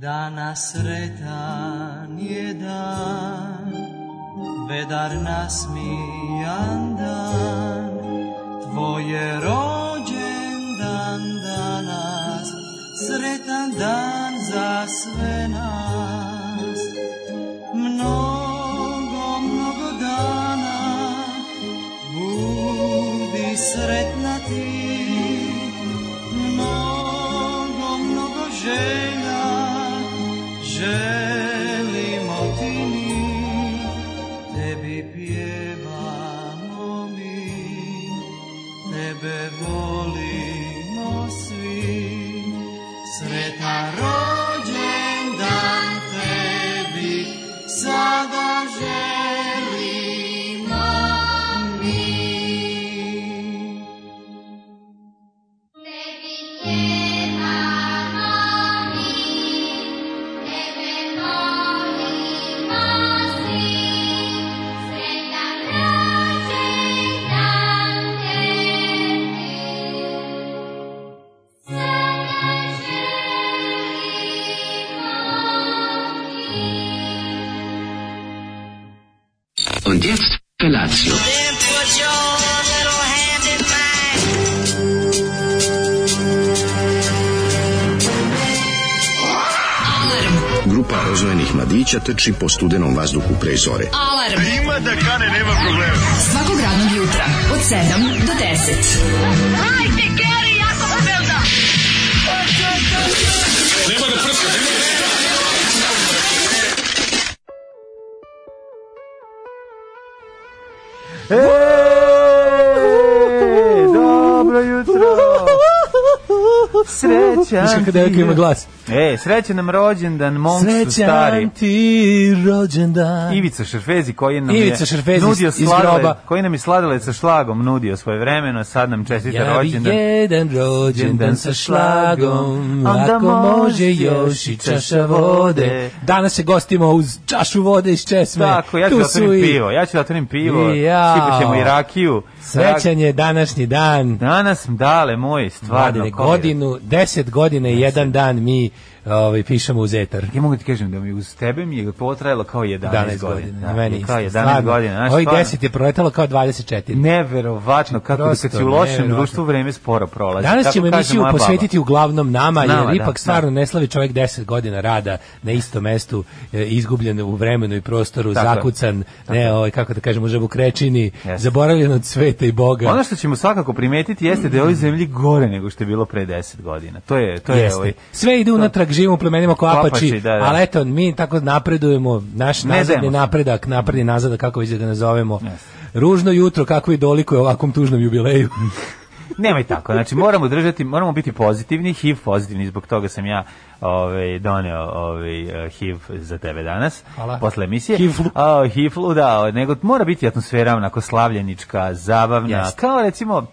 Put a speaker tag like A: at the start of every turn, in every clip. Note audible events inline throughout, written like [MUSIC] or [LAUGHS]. A: Danas sretan je dan, vedar nasmijan dan, tvoje rođen dan danas, sretan dan za sve nas. Mnogo, mnogo dana, budi sretna ti, mnogo, mnogo želja, želimo ti mi, tebi pjevamo mi, tebe volimo svi. Sretan rođen dan tebi, sada želimo mi.
B: Tebi pjevamo mi, tebe molimo svi, sretan rođendan tebi. Sada želimo mi.
C: Und jetzt Felatio.
D: Then put your little hand in mine.
E: Grupa rozvojenih mladića trči po studenom vazduhu pre zore.
F: Alarm. A ima da kane, nema problema. Svakog radnog jutra, od 7 do 10.
G: E, dobro jutro. Srećan
H: Znaš kako devojka ima glas?
G: E, srećan nam rođendan, Monksu stari.
H: Srećan ti rođendan.
G: Ivica Šerfezi koji nam
H: Ivica
G: je
H: Šerfezi
G: nudio
H: iz- iz
G: sladoled-
H: groba.
G: koji nam je sladoled sa šlagom nudio svoje vremeno, a sad nam čestita
H: Ja bi
G: rođendan.
H: jedan rođendan sa šlagom, ako može još i čaša vode. Danas se gostimo uz čašu vode iz česme.
G: Tako, ja ću
H: Tu
G: da
H: su
G: otvorim
H: i-
G: pivo, ja ću da otvorim pivo,
H: Jao.
G: ćemo i rakiju.
H: Srećan je današnji dan.
G: Danas, dale moj, stvarno.
H: Mladine,
G: ko je-
H: godinu, deset godina i jedan dan mi ovaj, pišemo uz etar.
G: Ja mogu ti kažem da mi uz tebe mi je potrajalo kao 11,
H: 11
G: godina.
H: godina.
G: Da,
H: meni
G: kao
H: isto.
G: 11
H: stvarno.
G: godina. znaš,
H: Ovih
G: stvarno.
H: 10 je proletalo kao 24.
G: Neverovatno kako
H: Prosto,
G: Prosto, kad si u lošem
H: neverovatno.
G: društvu vreme sporo prolazi.
H: Danas
G: Tako
H: ćemo
G: kaže
H: emisiju
G: moja baba.
H: posvetiti uglavnom nama,
G: Nama,
H: jer
G: da,
H: ipak
G: da.
H: stvarno ne slavi čovjek 10 godina rada na istom mestu, e, izgubljen u vremenu i prostoru,
G: Tako je.
H: zakucan, ne, ovaj, kako da kažemo, u krečini,
G: Jeste.
H: zaboravljen od sveta i Boga.
G: Ono što ćemo svakako primetiti jeste da je ovoj zemlji gore nego što je bilo pre 10 godina. To je to je
H: Jeste.
G: ovaj
H: Sve ide unatrag, živimo u plemenima
G: Kopači,
H: kopači,
G: da, da.
H: ali eto, mi tako napredujemo, naš
G: Ne
H: nazad
G: dajemo
H: je
G: se.
H: napredak, napred je nazad, kako već da ga nazovemo.
G: Jeste.
H: Ružno jutro, kako i dolikuje ovakvom tužnom
G: [LAUGHS]
H: jubileju.
G: nemoj tako. Znači moramo držati, moramo biti pozitivni, HIV pozitivni, zbog toga sam ja ovaj doneo ovaj eh, HIV za tebe danas
H: Hvala.
G: posle emisije.
H: HIV-lu.
G: A, HIV-lu, da, nego mora biti atmosfera onako slavljenička, zabavna,
H: Jeste.
G: kao recimo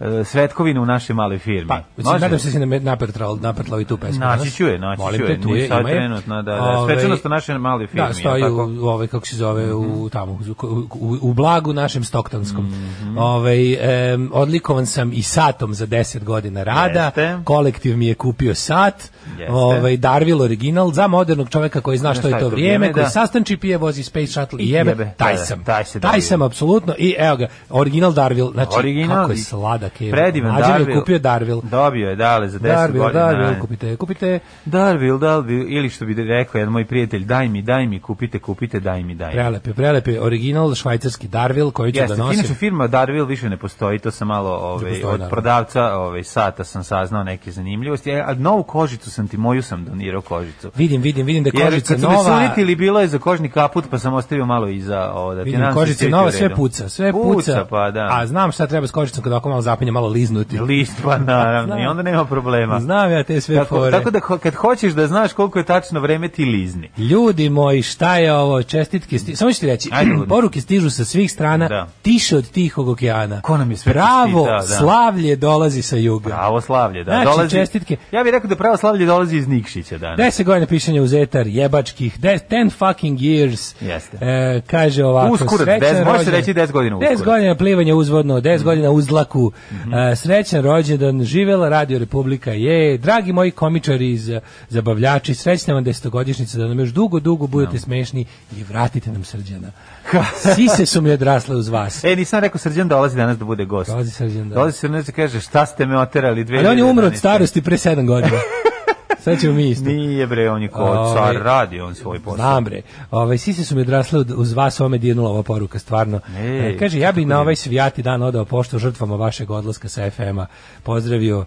G: eh, svetkovina u našoj maloj firmi.
H: Pa, mislim, nadam se da si nam je napertlao, napertlao i tu pesmu.
G: Naći
H: danas.
G: ću je, naći
H: Molim
G: ću
H: te,
G: je.
H: tu je,
G: Sad
H: ima je.
G: trenutno, da, da.
H: Ovaj,
G: Svečanost u našoj maloj firmi,
H: Da, stoji
G: je li tako? Mhm.
H: u, ovaj, kako se zove, u, tamo, u, u, u blagu našem stoktanskom.
G: Mhm.
H: ovaj, em, odlikovan sam i satom za 10 godina rada.
G: Jeste.
H: Kolektiv mi je kupio sat.
G: Jeste.
H: Ovaj, Darvil original za modernog čoveka koji zna što je to vrijeme, koji
G: da.
H: sastanči pije, vozi Space Shuttle i
G: I
H: jebe.
G: jebe,
H: Taj
G: da, da,
H: sam.
G: taj se
H: Taj
G: Darvil.
H: sam, apsolutno. I evo ga, original Darvil. Znači,
G: Original
H: kako je
G: i
H: sladak. Je.
G: Predivan
H: Mlađe mi je
G: Darvil.
H: kupio Darvil.
G: Dobio je, dale, za 10
H: Darvil,
G: godina.
H: Darvil, kupite, kupite.
G: Darvil, Darvil, ili što bi rekao jedan moj prijatelj, daj mi, daj mi, kupite, kupite, daj mi, daj mi.
H: Prelep je, prelep je original švajcarski Darvil koji ću
G: Jeste,
H: da nosim.
G: inače firma Darvil više ne postoji, to sam malo ovaj,
H: postoji,
G: od
H: naravno.
G: prodavca ovaj, sata sam saznao neke zanimljivosti, E, a novu kožicu sam ti, moju sam donirao kožicu.
H: Vidim, vidim, vidim da je
G: Jer
H: kožica
G: kad su me
H: nova.
G: sunitili, bilo je za kožni kaput, pa sam ostavio malo iza. Ovo, da ti
H: Vidim,
G: nadam se
H: kožica
G: će
H: je
G: biti u
H: nova, sve
G: redu.
H: puca, sve puca.
G: Puca, pa da.
H: A znam šta treba s kožicom kada oko malo zapinje, malo liznuti.
G: List, pa naravno, i onda nema problema.
H: Znam ja te sve
G: Tako,
H: fore.
G: tako da ho- kad hoćeš da znaš koliko je tačno vreme ti lizni.
H: Ljudi moji, šta je ovo? Čestitke, sti... samo ću ti reći, [CLEARS THROAT]
G: Ajde, Ludi.
H: poruke stižu sa svih strana,
G: Da.
H: tiše od tihog okeana.
G: Ko nam je sve
H: Pravo,
G: čestitao, da.
H: slavlje dolazi sa juga.
G: Pravo slavlje, da.
H: Znači,
G: dolazi,
H: čestitke.
G: Ja bih rekao da pravo slavlje dolazi iz Nikšića danas.
H: 10 godina pišanja uz etar, jebačkih, 10 fucking years,
G: Jeste.
H: e, kaže ovako,
G: Uskurac,
H: srećan
G: des- može se
H: rođendan.
G: reći 10 godina Mhm. uskurac.
H: 10 godina plivanja uzvodno, 10 godina uzlaku, E, srećan rođendan, živela Radio Republika je, dragi moji komičari iz e, zabavljači, srećna vam desetogodišnjica, da nam još dugo, dugo budete smešni i vratite nam srđana. Sise su mi odrasle uz
G: [LAUGHS]
H: vas.
G: E, nisam rekao Srđan dolazi danas da bude gost.
H: Dolazi Srđan, da.
G: Dolazi Srđan da kaže šta ste me oterali dve.
H: Ali on je umro od starosti pre 7
G: [LAUGHS]
H: godina. Sad ćemo mi isto.
G: Nije bre, on je kao
H: Ovaj,
G: car, radi on svoj posao.
H: Znam bre. Ovaj sise su mi odrasle od- uz vas, ova me dirnula ova poruka stvarno.
G: Ej,
H: E, kaže ja bi na ovaj svijati dan odao pošto žrtvama vašeg odlaska sa FM-a. Pozdravio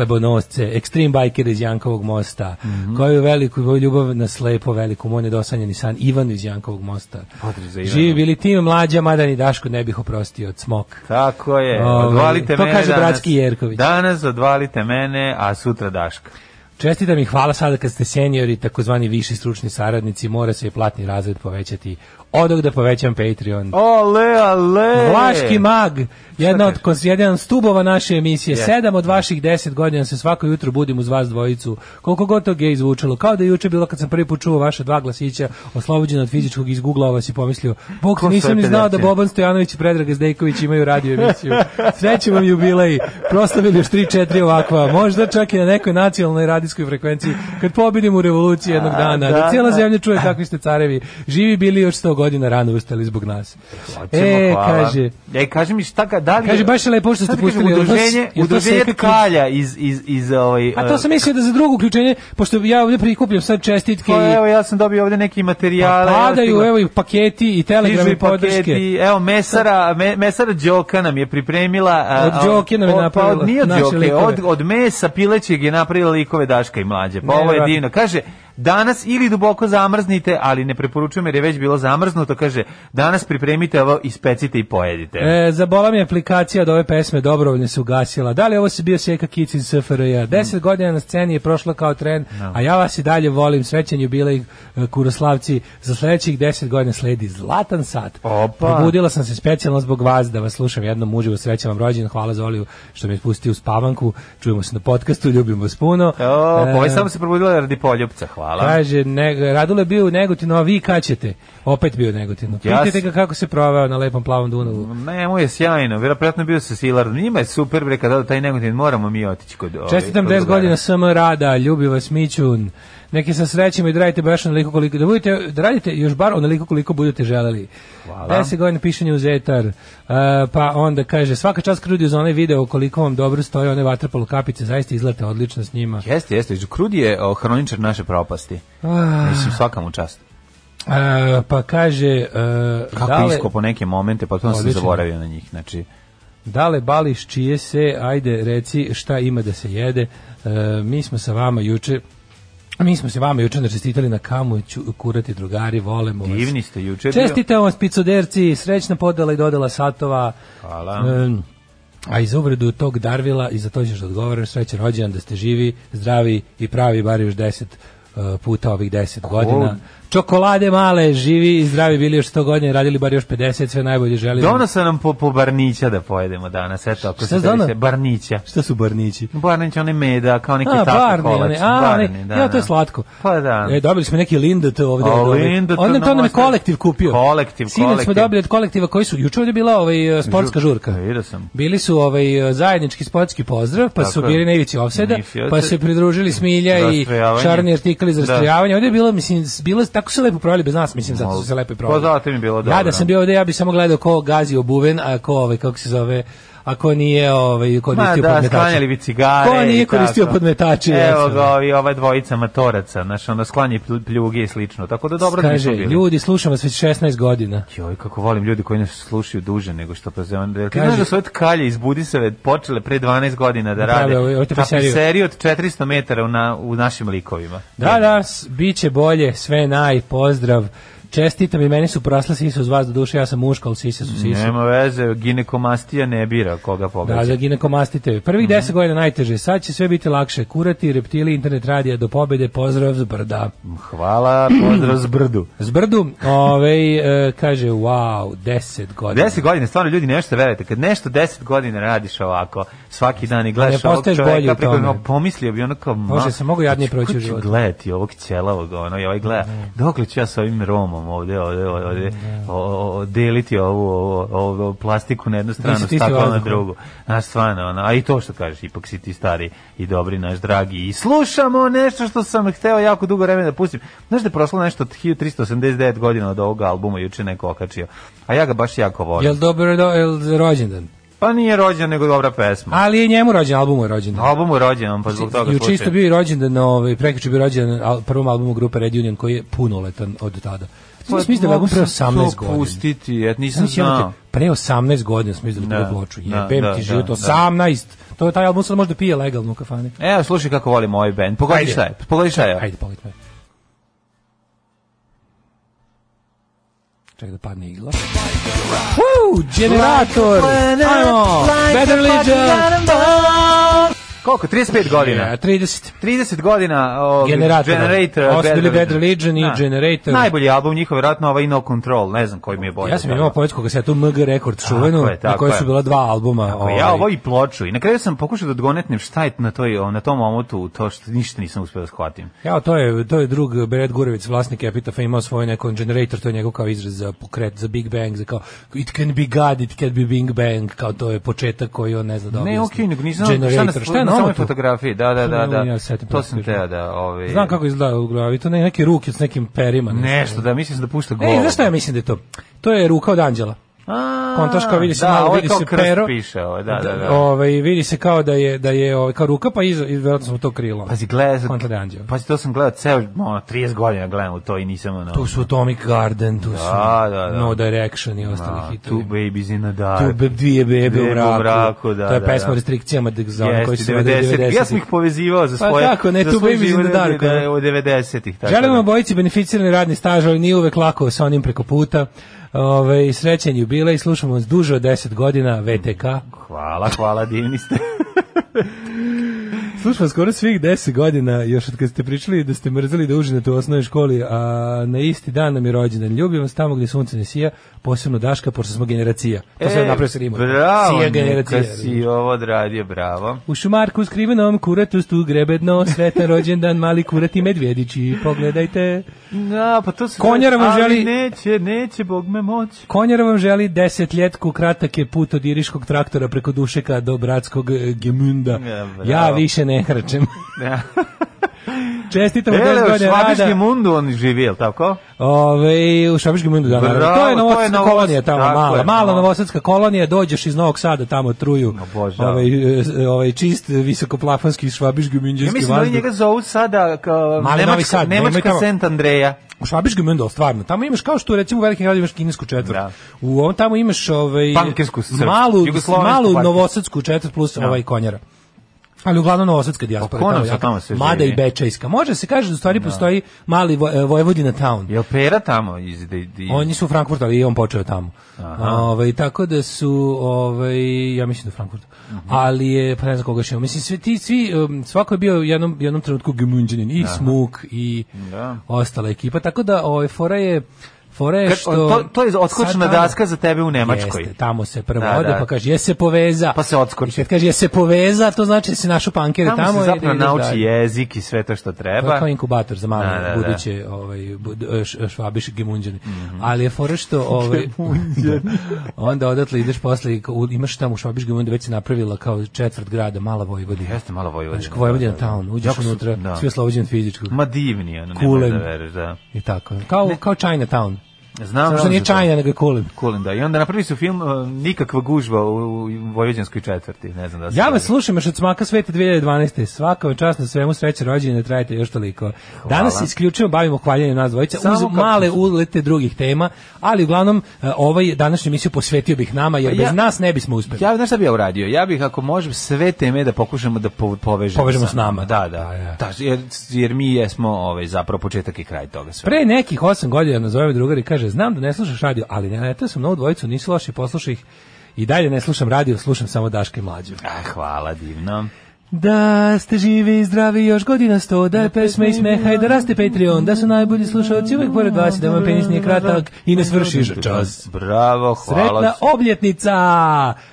H: hlebonosce, extreme biker iz Jankovog mosta,
G: Mhm.
H: koju veliku moju ljubav na slepo veliku moj nedosanjani san Ivan iz Jankovog mosta.
G: Pozdrav za Ivana.
H: Živi bili tim mlađa, mada ni Daško ne bih oprostio od smok.
G: Tako je,
H: Ovaj,
G: odvalite
H: to
G: mene
H: kaže
G: danas.
H: bratski Jerković.
G: Danas odvalite mene, a sutra Daška.
H: Čestitam i hvala sada kad ste seniori, takozvani viši stručni saradnici, mora se i platni razred povećati. Odog da povećam Patreon.
G: Ole, ale!
H: Vlaški mag, jedna od
G: kažeš?
H: kons- jedan od stubova naše emisije.
G: Je.
H: Sedam od vaših deset godina se svako jutro budim uz vas dvojicu. Koliko god to je izvučalo, kao da je juče bilo kad sam prvi put čuo vaša dva glasića, oslobođena od fizičkog izguglao vas i pomislio, Bog,
G: Ko su
H: nisam ni znao da
G: apelacije?"
H: Boban Stojanović i Predrag Zdejković imaju radio emisiju. Sreće vam jubilej, proslavili još 3-4 ovakva, možda čak i na nekoj nacionalnoj radijskoj frekvenciji, kad pobedimo u revoluciji jednog dana, da,
G: da,
H: cijela
G: da.
H: zemlja čuje kakvi ste carevi, živi bili još 100 godina rano ustali zbog nas.
G: Hoćemo,
H: e,
G: hvala.
H: kaže,
G: E, kaže mi šta, ga- da li...
H: Kaže, baš je lepo što ste
G: Sad kaže,
H: pustili, jel to-
G: Udruženje,
H: jel to
G: udruženje
H: seka ključ?
G: tkalja iz, iz, iz ovaj...
H: A to sam mislio da za drugo uključenje, pošto ja ovdje prikupljam sad čestitke
G: Pa,
H: i
G: evo, ja sam dobio ovde neki
H: pa
G: materijal.
H: padaju evo i paketi i telegrami podrške.
G: Evo, Mesara, me, Mesara Đoka nam je pripremila... a,
H: Od
G: a,
H: Đoke nam je
G: o, pa
H: napravila
G: od- nije od
H: naše
G: Đoke,
H: likove.
G: od, od mesa pilećeg je napravila likove Daška i mlađe. Pa ovo je
H: Nevjerovatno.
G: divno. Kaže, danas ili duboko zamrznite, ali ne preporučujem jer je već bilo zamrznuto, kaže, danas pripremite ovo, ispecite i pojedite.
H: E, zabola mi je aplikacija od ove pesme dobrovoljno se ugasila. Da li ovo se bio Seka Kic iz SFRJ? Deset godina na sceni je prošlo kao tren, a ja vas i dalje volim. Srećan jubilej e, Kuroslavci. Za sledećih deset godina sledi zlatan sat.
G: Opa.
H: Probudila sam se specijalno zbog vas da vas slušam jednom uživo. Srećan vam rođen. Hvala za Oliju što me pusti u spavanku. Čujemo se na podcastu. Ljubim vas puno.
G: O,
H: E,
G: pa ovo je samo se probudila radi poljupca, hvala.
H: Kaže, ne, Radule je bio u Negotinu, a vi kad ćete? Opet bio u Negotinu.
G: Ja
H: Pitajte
G: s-
H: ga kako se proveo na lepom plavom Dunavu.
G: Ne, mu je sjajno, vjerojatno bio sa Silardom. Njima je super, bre, kada taj negotin moramo mi otići kod... ovaj,
H: Čestitam
G: kod
H: 10
G: drugara.
H: godina SM rada, ljubi vas Mićun. Neki sa srećima i da radite baš onoliko koliko da budete da radite još bar onoliko koliko budete želeli. Hvala. 10 godina pišanja u Zetar. E, pa onda kaže svaka čast krudi za onaj video koliko vam dobro stoje one vaterpolo kapice, zaista izlete odlično s njima.
G: Jeste, jeste. Krudi je o, hroničar naše propasti.
H: Ah.
G: Mislim, svaka mu čast.
H: E, pa kaže uh,
G: Kako
H: dale,
G: iskopo neke momente, potpuno sam
H: Odlično.
G: zaboravio na njih. Znači,
H: dale bališ čije se, ajde reci šta ima da se jede. E, mi smo sa vama juče Mi smo se vama juče čestitali na kamu, ću- kurati drugari, volimo vas.
G: divni ste juče. bio.
H: Čestite vam spicoderci, srećna podela i dodela satova.
G: Hvala.
H: Em, a i za uvredu tog Darvila i za to ćeš da odgovaraš srećan rođendan da ste živi, zdravi i pravi bar još 10 e, puta ovih 10 godina. Čokolade male, živi i zdravi bili još 100 godina, i radili bar još 50, sve najbolje želim.
G: Donosa nam po, po barnića da pojedemo danas. Eto, ako
H: Šta ono?
G: se
H: dono?
G: se barnića.
H: Šta su barnići?
G: Barnić, one meda, kao neki
H: A,
G: tako
H: barni,
G: kolač.
H: one, a,
G: barni,
H: one,
G: da,
H: ja, to je
G: da.
H: slatko.
G: Pa da.
H: E, dobili smo neki Lindt ovde.
G: A,
H: od ovih.
G: Lindt, to
H: On nam to
G: nam
H: nam je
G: ostaje.
H: kolektiv kupio.
G: Kolektiv,
H: Sinoć smo
G: kolektiv.
H: dobili od kolektiva koji su, juče ovde je bila ovaj, e, sportska
G: Žu-
H: žurka.
G: Vidio sam.
H: Bili su ovaj zajednički sportski pozdrav, pa
G: Tako
H: su
G: je.
H: bili na ivici ofsajda,
G: Nifi ofsajd.
H: pa su se pridružili Smilja i
G: Rastrojavanje.
H: Šarni artikli za
G: Da.
H: rastrojavanje. Ovde je bilo, mislim, bilo, tako su se lepo proveli bez nas, mislim, zato su se lepo i proveli.
G: Pa zato im je bilo
H: Ja da
G: dobro.
H: sam bio ovde, ja bi samo gledao ko gazi obuven, a ko, ovaj, kako se zove, a ko nije ovaj,
G: Ma
H: koristio
G: da,
H: podmetače.
G: sklanjali bi cigare.
H: Ko nije
G: i tako.
H: koristio podmetače,
G: Evo
H: jasno.
G: ga, ovi, ova dvojica matoraca, znaš, onda sklanje plj- pljuge i slično. Tako da dobro da
H: Kaže,
G: nismo bili.
H: ljudi, slušam vas već 16 godina.
G: Joj, kako volim ljudi koji nas slušaju duže nego što pa znam. Ti
H: Kaže-
G: znaš da su ove tkalje iz Budisave počele pre 12 godina da
H: Naprave
G: rade
H: ovu- ovu tapiseriju.
G: tapiseriju od 400 metara u, na, u našim likovima.
H: Da, da, s- bit će bolje, sve naj, pozdrav. Čestitam i meni su prasle sise uz vas, do duše ja sam muška, ali sise su sise.
G: Nema veze, ginekomastija ne bira koga
H: Da,
G: pogađa.
H: za ginekomastite. Prvih
G: Mhm.
H: 10 godina najteže, sad će sve biti lakše. Kurati, reptili, internet radija do pobede, pozdrav z brda.
G: Hvala, pozdrav s brdu.
H: Z brdu, ovaj, e, kaže, wow, 10 godina.
G: 10 godina, stvarno ljudi nešto verujete, kad nešto 10 godina radiš ovako, svaki dan i gledaš
H: Ne
G: ovog
H: postaješ bolji
G: čoveka,
H: u
G: preko
H: tome.
G: no, pomislio bi ono kao, ma, znači,
H: Može se, mogu jadnije proći u
G: kako ću
H: životu.
G: gledati ovog ćelavog, ono, i ovaj gleda, dokle ću ja sa ovim Romom, lepilom ovde, ovde, ovde, o- o- o- deliti ovu, ovu, ovu, ovu plastiku na jednu stranu,
H: si ti si
G: staklo na
H: vazduh.
G: drugu. Znaš, stvarno, ono, a i to što kažeš, ipak si ti stari i dobri naš dragi. I slušamo nešto što sam hteo jako dugo vremena da pustim. Znaš da je prošlo nešto od 1389 godina od ovog albuma, juče neko okačio. A ja ga baš jako volim.
H: Jel dobro do, jel rođendan?
G: Pa nije rođen, nego dobra pesma.
H: Ali je njemu rođen, albumu je rođendan.
G: Album je rođen, on pa zbog toga
H: Juče isto
G: slušaj.
H: bio i rođendan, ovaj prekjuče bio rođendan na al- prvom albumu grupe Red Union koji je punoletan od tada. Pa, mislim da je album pre
G: mogu
H: 18
G: to
H: godina.
G: Pustiti, ja nisam
H: Znači,
G: znao.
H: imate, pre 18 godina smo izdali
G: Da,
H: prvu ploču.
G: da,
H: Jebem
G: da,
H: ti
G: da,
H: život,
G: da.
H: 18. To je taj album sad možda pije legalno u kafani.
G: Evo, slušaj kako volim ovaj band. Pogodi
H: Ajde.
G: šta je. Pogodi šta je.
H: Ajde, pogledaj me. Čekaj da padne igla. Woo, generator! Ajmo! Better Legion!
G: Koliko? 35 godina.
H: Ja, 30.
G: 30 godina ovog
H: Generator.
G: Generator.
H: Ovo su
G: Bad
H: bili
G: Religion.
H: Bad Religion i
G: Da.
H: Generator.
G: Najbolji album njihov, vjerojatno ovaj No Control. Ne znam koji mi je bolji.
H: Ja sam imao poetsku kasetu MG Rekord čuvenu,
G: je,
H: na
G: tako
H: kojoj
G: je.
H: su bila dva albuma.
G: Ako ja ovo i ploču. I na kraju sam pokušao da odgonetnem šta je na, toj, na tom omotu, to što ništa nisam uspeo da shvatim.
H: Ja, to je, to je drug Beret Gurevic, vlasnik Epitafa, imao svoj neko generator, to je njegov kao izraz za pokret, za Big Bang, za kao it can be God, it can be Big Bang, kao to je početak koji on ne zna da
G: Ne,
H: objasni.
G: okej, nego nisam znao šta na,
H: generator, šta je
G: na
H: na
G: samoj
H: omotu?
G: fotografiji. Da, da, da,
H: Šta ne mogu
G: da.
H: ja setim,
G: To sam
H: prosto kažem.
G: teo da... Ovaj,
H: Znam kako izgleda u glavi, to ne, neke ruke s nekim perima.
G: Nešto, da, mislim da pušta gol.
H: Ne, E, znaš šta ja mislim da je to? To je ruka od anđela. Kontaš kao vidi se
G: da,
H: malo,
G: ovo je
H: vidi
G: kao
H: se
G: krst
H: pero.
G: piše, ovo, da, da, da.
H: Ovaj, vidi se kao da je, da je ovaj, kao ruka, pa iza, i vjerojatno smo to krilo.
G: Pazi, gledaj,
H: Kontra da je anđeo.
G: pazi, to sam gledao ceo, ono, 30 godina gledam u to i nisam, ono,
H: Tu su Atomic Garden, tu su
G: Da, da, da.
H: No Direction i ostali
G: a,
H: hitovi.
G: ono, two babies in a dark.
H: Tu be, dvije bebe
G: Bebe
H: u
G: u
H: mraku.
G: mraku, da,
H: to je
G: da,
H: pesma
G: da.
H: o restrikcijama dek- za one
G: Jeste,
H: koji su
G: 90.
H: 90.
G: Ja sam ih povezivao za
H: Pa
G: svoje...
H: tako, ne,
G: za
H: Two
G: svoj
H: Babies in
G: život
H: the Dark,
G: da, da,
H: ono.
G: u 90-ih. tako
H: Želimo
G: da.
H: obojici beneficirani radni staž, ali nije uvek lako sa onim preko puta. Ove, srećen jubilej, slušamo vas duže od 10 godina, VTK.
G: Hvala, hvala, divni ste.
H: Slušam vas skoro svih 10 godina, još od kad ste pričali da ste mrzeli da užinate u osnovnoj školi, a na isti dan nam je rođendan. Ljubim vas tamo gdje sunce ne sija, posebno Daška, pošto smo generacija. [LAUGHS] To sam
G: E,
H: napravio sa rimom.
G: Bravo,
H: Sija
G: neka
H: generacija.
G: si ovo odradio, bravo.
H: U šumarku skrivenom kuratustu grebedno, sretan rođendan, mali kurat i medvjedići, pogledajte.
G: Da, pa to se...
H: Konjara vam
G: Ali
H: želi-
G: neće, neće, Bog me
H: [LAUGHS]
G: moći.
H: Konjara vam želi desetljetku, kratak je put od iriškog traktora preko Dušeka do bratskog eh, Gemunda.
G: Ja, bravo.
H: Ja više ne
G: [LAUGHS]
H: hrčem.
G: Ja.
H: Čestitam vam 10
G: Ele, u
H: godina
G: švabiški
H: rada.
G: mundu on živi, jel tako?
H: Ove, u Šabiškom mundu da, naravno.
G: Bravo,
H: To je
G: to je
H: novosadska
G: Novos-
H: kolonija tamo,
G: tako
H: mala.
G: je, no.
H: mala novosadska kolonija, dođeš iz Novog Sada tamo truju.
G: Obožavam.
H: Ovaj, eh, ovaj čist visokoplafonski švabiški
G: Ja
H: minđinski
G: mislim da oni
H: vazduh.
G: njega zovu sada kao
H: Mali
G: Nemačka,
H: Novi Sad, nemoj
G: Nemačka
H: tamo.
G: Sent Andreja.
H: U Švabiškom mundu, stvarno. Tamo imaš kao što recimo u velikim gradovima imaš kinesku četvrt.
G: Da.
H: U ovom tamo imaš ovaj
G: Pankersku, srpsku,
H: malu
G: jugoslovensku
H: malu
G: pankersku.
H: novosadsku četvrt plus ovaj konjara. Ali uglavnom novosadska dijaspora
G: konom
H: tamo,
G: se Pa
H: jaka.
G: tamo sve
H: mada
G: živi.
H: i bečejska. Može se kaže da u stvari postoji mali Vo- Vojvodina town.
G: Jel pera tamo iz... De, de,
H: Oni su u Frankfurtu, ali je on počeo tamo.
G: Aha.
H: Ovaj tako da su ovaj ja mislim da u Frankfurtu.
G: Mhm.
H: Ali je pa ne znam koga šeo. Mislim svi ti svi um, svako je bio u jednom jednom trenutku Gemundžanin i Smuk i
G: Da.
H: ostala ekipa. Tako da ovaj fora je fora je
G: Kad-
H: što
G: to, to je
H: sad
G: odskočna
H: tamo-
G: daska za tebe u Nemačkoj.
H: Jeste, tamo se prvo
G: Da,
H: ode,
G: da.
H: pa kaže, je se poveza.
G: Pa se odskoči.
H: I kad kaže, je se poveza, to znači da si našo pankere
G: tamo,
H: tamo.
G: se
H: i da
G: zapravo
H: ideš
G: nauči
H: dalje.
G: jezik i sve to što
H: To je
G: treba.
H: Pa kao inkubator za male
G: Pa- Da, da, da.
H: buduće ovaj bud- š- švabiš gemunđani.
G: Mhm.
H: Ali je fora
G: [LAUGHS]
H: što ovaj onda odatle ideš posle i u- imaš tamo u švabiš gemunđani već se napravila kao četvrt grada mala Vojvodina.
G: Jeste malo Vojvodina.
H: Znači Vojvodina town, uđeš
G: Jako su-
H: unutra,
G: da.
H: svi oslobođeni fizičkog.
G: Ma divni, ono,
H: Kulen.
G: nemoj da veruješ, da.
H: I tako. Kao kao China town.
G: Znam
H: Samo
G: za
H: što nije
G: to.
H: China nego je Kulen.
G: Kulen, da. I onda napravili su film uh, Nikakva gužva u, u Vojvođanskoj četvrti. Ne znam da se...
H: Ja vas slušam još od smaka sveta 2012. Svaka vam čast na svemu sreće rođenje, ne trajite još toliko. Danas se isključivo bavimo hvaljenjem nas dvojica
G: Samo
H: uz
G: kako-
H: male ulete drugih tema, ali uglavnom e, ovaj današnju emisiju posvetio bih nama jer
G: Pa ja-
H: bez nas ne bismo uspeli.
G: Ja, znaš šta bi ja uradio? Ja bih, ako možem, sve teme da pokušamo da po, povežemo.
H: Povežemo
G: sa-
H: s nama.
G: Da, da.
H: Da, da.
G: Da, jer, jer mi jesmo ovaj, zapravo početak i kraj toga sve.
H: Pre nekih osam godina nazove me drugar i kaže, znam da ne slušaš radio, ali ne letao sam na ovu dvojicu, nisu loši, poslušaj ih. I dalje ne slušam radio, slušam samo Daška i Mlađu.
G: Ah, hvala, divno.
H: Da ste živi i zdravi još godina sto, da je pesme i smeha i da raste Patreon, da su najbolji slušalci uvek pored vas i da vam penis nije kratak i ne svršiš čas.
G: Bravo, hvala.
H: Sretna obljetnica!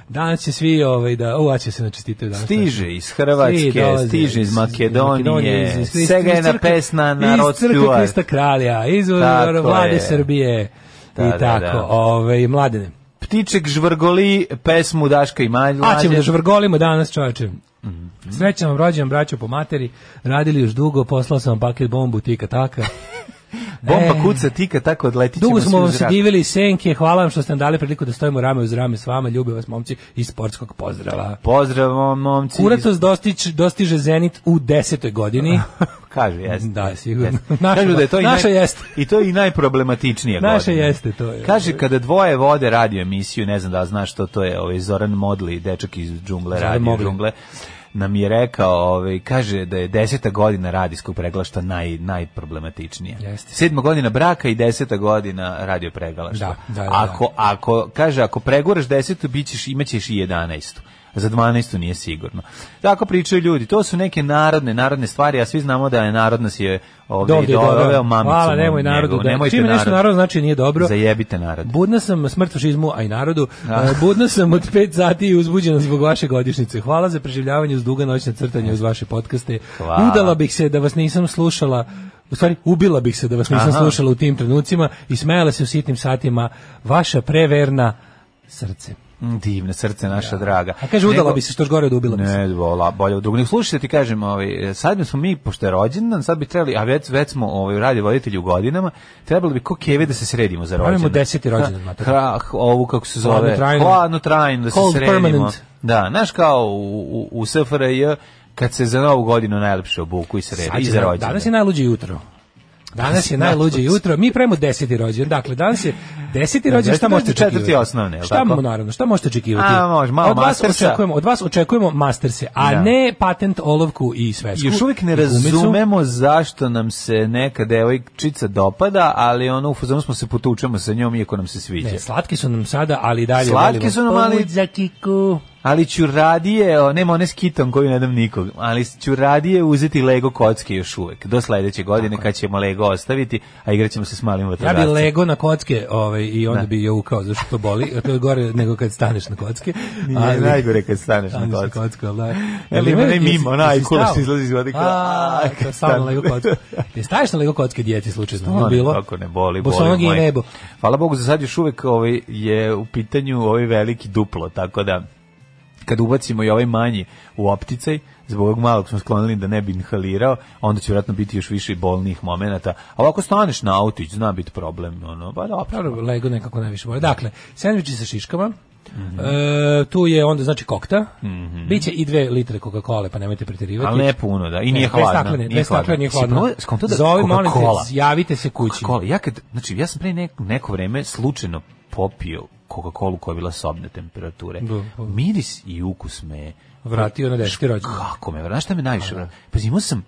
H: Danas će svi ovaj, da, ova će se načestitaju danas.
G: Stiže iz Hrvatske,
H: Svi dolaze
G: stiže iz Makedonije,
H: iz- iz- iz-
G: svega je
H: iz
G: na
H: crkve-
G: pesna narod
H: Iz crkve
G: Stuart.
H: Krista Kralja, iz ono,
G: Tako
H: vlade
G: je.
H: Srbije
G: Da,
H: i
G: da,
H: tako.
G: da.
H: Ove, mladene.
G: Ptiček žvrgoli pesmu Daška i Mlađe.
H: A ćemo da žvrgolimo danas, čoveče. Srećan vam rođen, braćo po materi, radili još dugo, poslao sam vam paket bombu tika
G: [LAUGHS]
H: taka.
G: Bomba
H: E.
G: kuca tika tako odletit ćemo
H: Dugo smo
G: svi u
H: vam se
G: zrak.
H: divili senke, hvala vam što ste nam dali priliku da stojimo rame uz rame s vama, ljube vas momci i sportskog pozdrava.
G: Pozdrav vam, momci. iz-
H: Kuratos dostić, dostiže Zenit u desetoj godini.
G: Kaže, [LAUGHS] jeste.
H: Da, sigurno.
G: Jeste.
H: [LAUGHS] Naša-
G: Kažu da je to i
H: naša
G: naj-
H: jeste.
G: I to je i najproblematičnije
H: Naša jeste, to je.
G: Kaže, kada dvoje vode radio emisiju, ne znam da li znaš što to je, ovaj Zoran Modli, dečak iz džungle,
H: Zoran
G: radio
H: Mogli.
G: džungle, nam je rekao, ovaj, kaže da je deseta godina radijskog preglašta naj, najproblematičnija.
H: Jeste.
G: Sedma godina braka i deseta godina radio preglašta.
H: Da, da, da,
G: ako, ako, kaže, ako preguraš desetu, bit ćeš, imat ćeš i jedanaestu. Za 12. nije sigurno. Tako pričaju ljudi. To su neke narodne, narodne stvari, a svi znamo da je narodnost je ovdje i
H: Dovde je
G: doveo
H: dobro.
G: mamicu.
H: Hvala, nemoj
G: njegovu.
H: narodu. Da,
G: Nemojte
H: čim je nešto
G: narod.
H: narod znači nije dobro.
G: Zajebite narod.
H: Budna sam smrt fašizmu, a i narodu. E, Budna sam od 5 sati i uzbuđena zbog vaše godišnjice. Hvala za preživljavanje uz duga noćna crtanja uz vaše podcaste.
G: Hvala.
H: Udala bih se da vas nisam slušala U stvari, ubila bih se da vas nisam
G: Aha.
H: slušala u tim trenucima i smejala se u sitnim satima vaša preverna srce.
G: Mm, Divno srce naša draga.
H: A kaže, udala
G: Nego-
H: bi se, što je gore od ubila bi se.
G: Ne, vola, bolje od drugog. Nego, Slušajte, ti kažem, ovaj, sad bi smo mi, pošto je rođendan, sad bi trebali, a već, već smo ovaj, radi voditelji u godinama, trebalo bi ko keve da se sredimo za
H: Pravimo
G: rođendan.
H: deseti rođendan, mater.
G: Hra, ovu, kako se zove,
H: Hladnu trajnu.
G: hladnu trajnu, da se
H: Cold
G: sredimo.
H: permanent.
G: Da, znaš kao u, u, u SFRJ, kad se za novu godinu najlepše obuku i sredi,
H: Sad
G: i
H: je-
G: za rođendan.
H: Danas je najluđe jutro.
G: [LAUGHS]
H: Danas je najluđe jutro. Mi pravimo deseti rođen. Dakle, danas je deseti rođen.
G: Deseti
H: Šta možete
G: rođendan,
H: očekivati?
G: četvrti osnovne, je li
H: Šta
G: tako?
H: mu naravno? Šta možete očekivati?
G: A, može, malo
H: od vas
G: mastersa.
H: očekujemo, od vas očekujemo masterse, a
G: Da.
H: ne patent olovku i svesku.
G: Još uvijek ne
H: i gumicu.
G: razumemo zašto nam se neka devojčica dopada, ali ono u fazonu smo se potučemo sa njom iako nam se sviđa.
H: Ne, slatki su nam sada, ali i dalje
G: Slatki
H: volimo.
G: su nam, ali-
H: Pomoć za kiku.
G: Ali ću radije, o, nema one s kitom koju ne dam nikog, ali ću radije uzeti Lego kocke još uvek, do sledeće godine kad ćemo Lego ostaviti, a igrat ćemo se s malim
H: Ja
G: vatrogascem.
H: bi lego na kocke ovaj, i onda bi je ukao, zašto to boli. a To je gore nego kad staneš na kocke.
G: Nije
H: ali-
G: najgore kad staneš na
H: Staneš na
G: kocke.
H: kocku, ali da.
G: Jel ima onaj mimo, onaj
H: Jesi
G: kula
H: stao?
G: što izlazi iz vode, kao, [LAUGHS]
H: A,
G: "Aj,
H: kad
G: kad
H: stao na
G: stanem."
H: Lego kocku. Ti staješ na Lego kocke djeci slučajno, ono
G: Molim,
H: bilo.
G: Kako ne boli, boli
H: Bosonogi i
G: moje.
H: nebo.
G: Hvala Bogu, za sad još uvek ovaj, je u pitanju ovaj veliki duplo, tako da kad ubacimo i ovaj manji u opticaj, zbog ovog malog smo sklonili da ne bi inhalirao, onda će vjerojatno biti još više bolnih momenata. A ovako staneš na autić, zna biti problem. Ono, ba, dobro.
H: Dobro, Lego nekako najviše voli. Dakle, sendviči sa šiškama,
G: Mhm.
H: E, tu je onda znači kokta. Biće i dve litre Coca-Cola, pa nemojte preterivati.
G: Ali ne puno, da. I
H: Ne,
G: nije
H: dve
G: hladno.
H: staklene, Dve staklene, nije hladno. Zove,
G: Zove,
H: molim te, javite se kući.
G: Coca-Cola. Ja kad, znači, ja sam pre neko, neko vreme slučajno popio Coca-Colu koja je bila sobne temperature.
H: Da, pa. da.
G: Miris i ukus me
H: Vratio na deseti ono rođendan.
G: Kako me, vratio? znaš šta me najviše vratio? Pazi, imao sam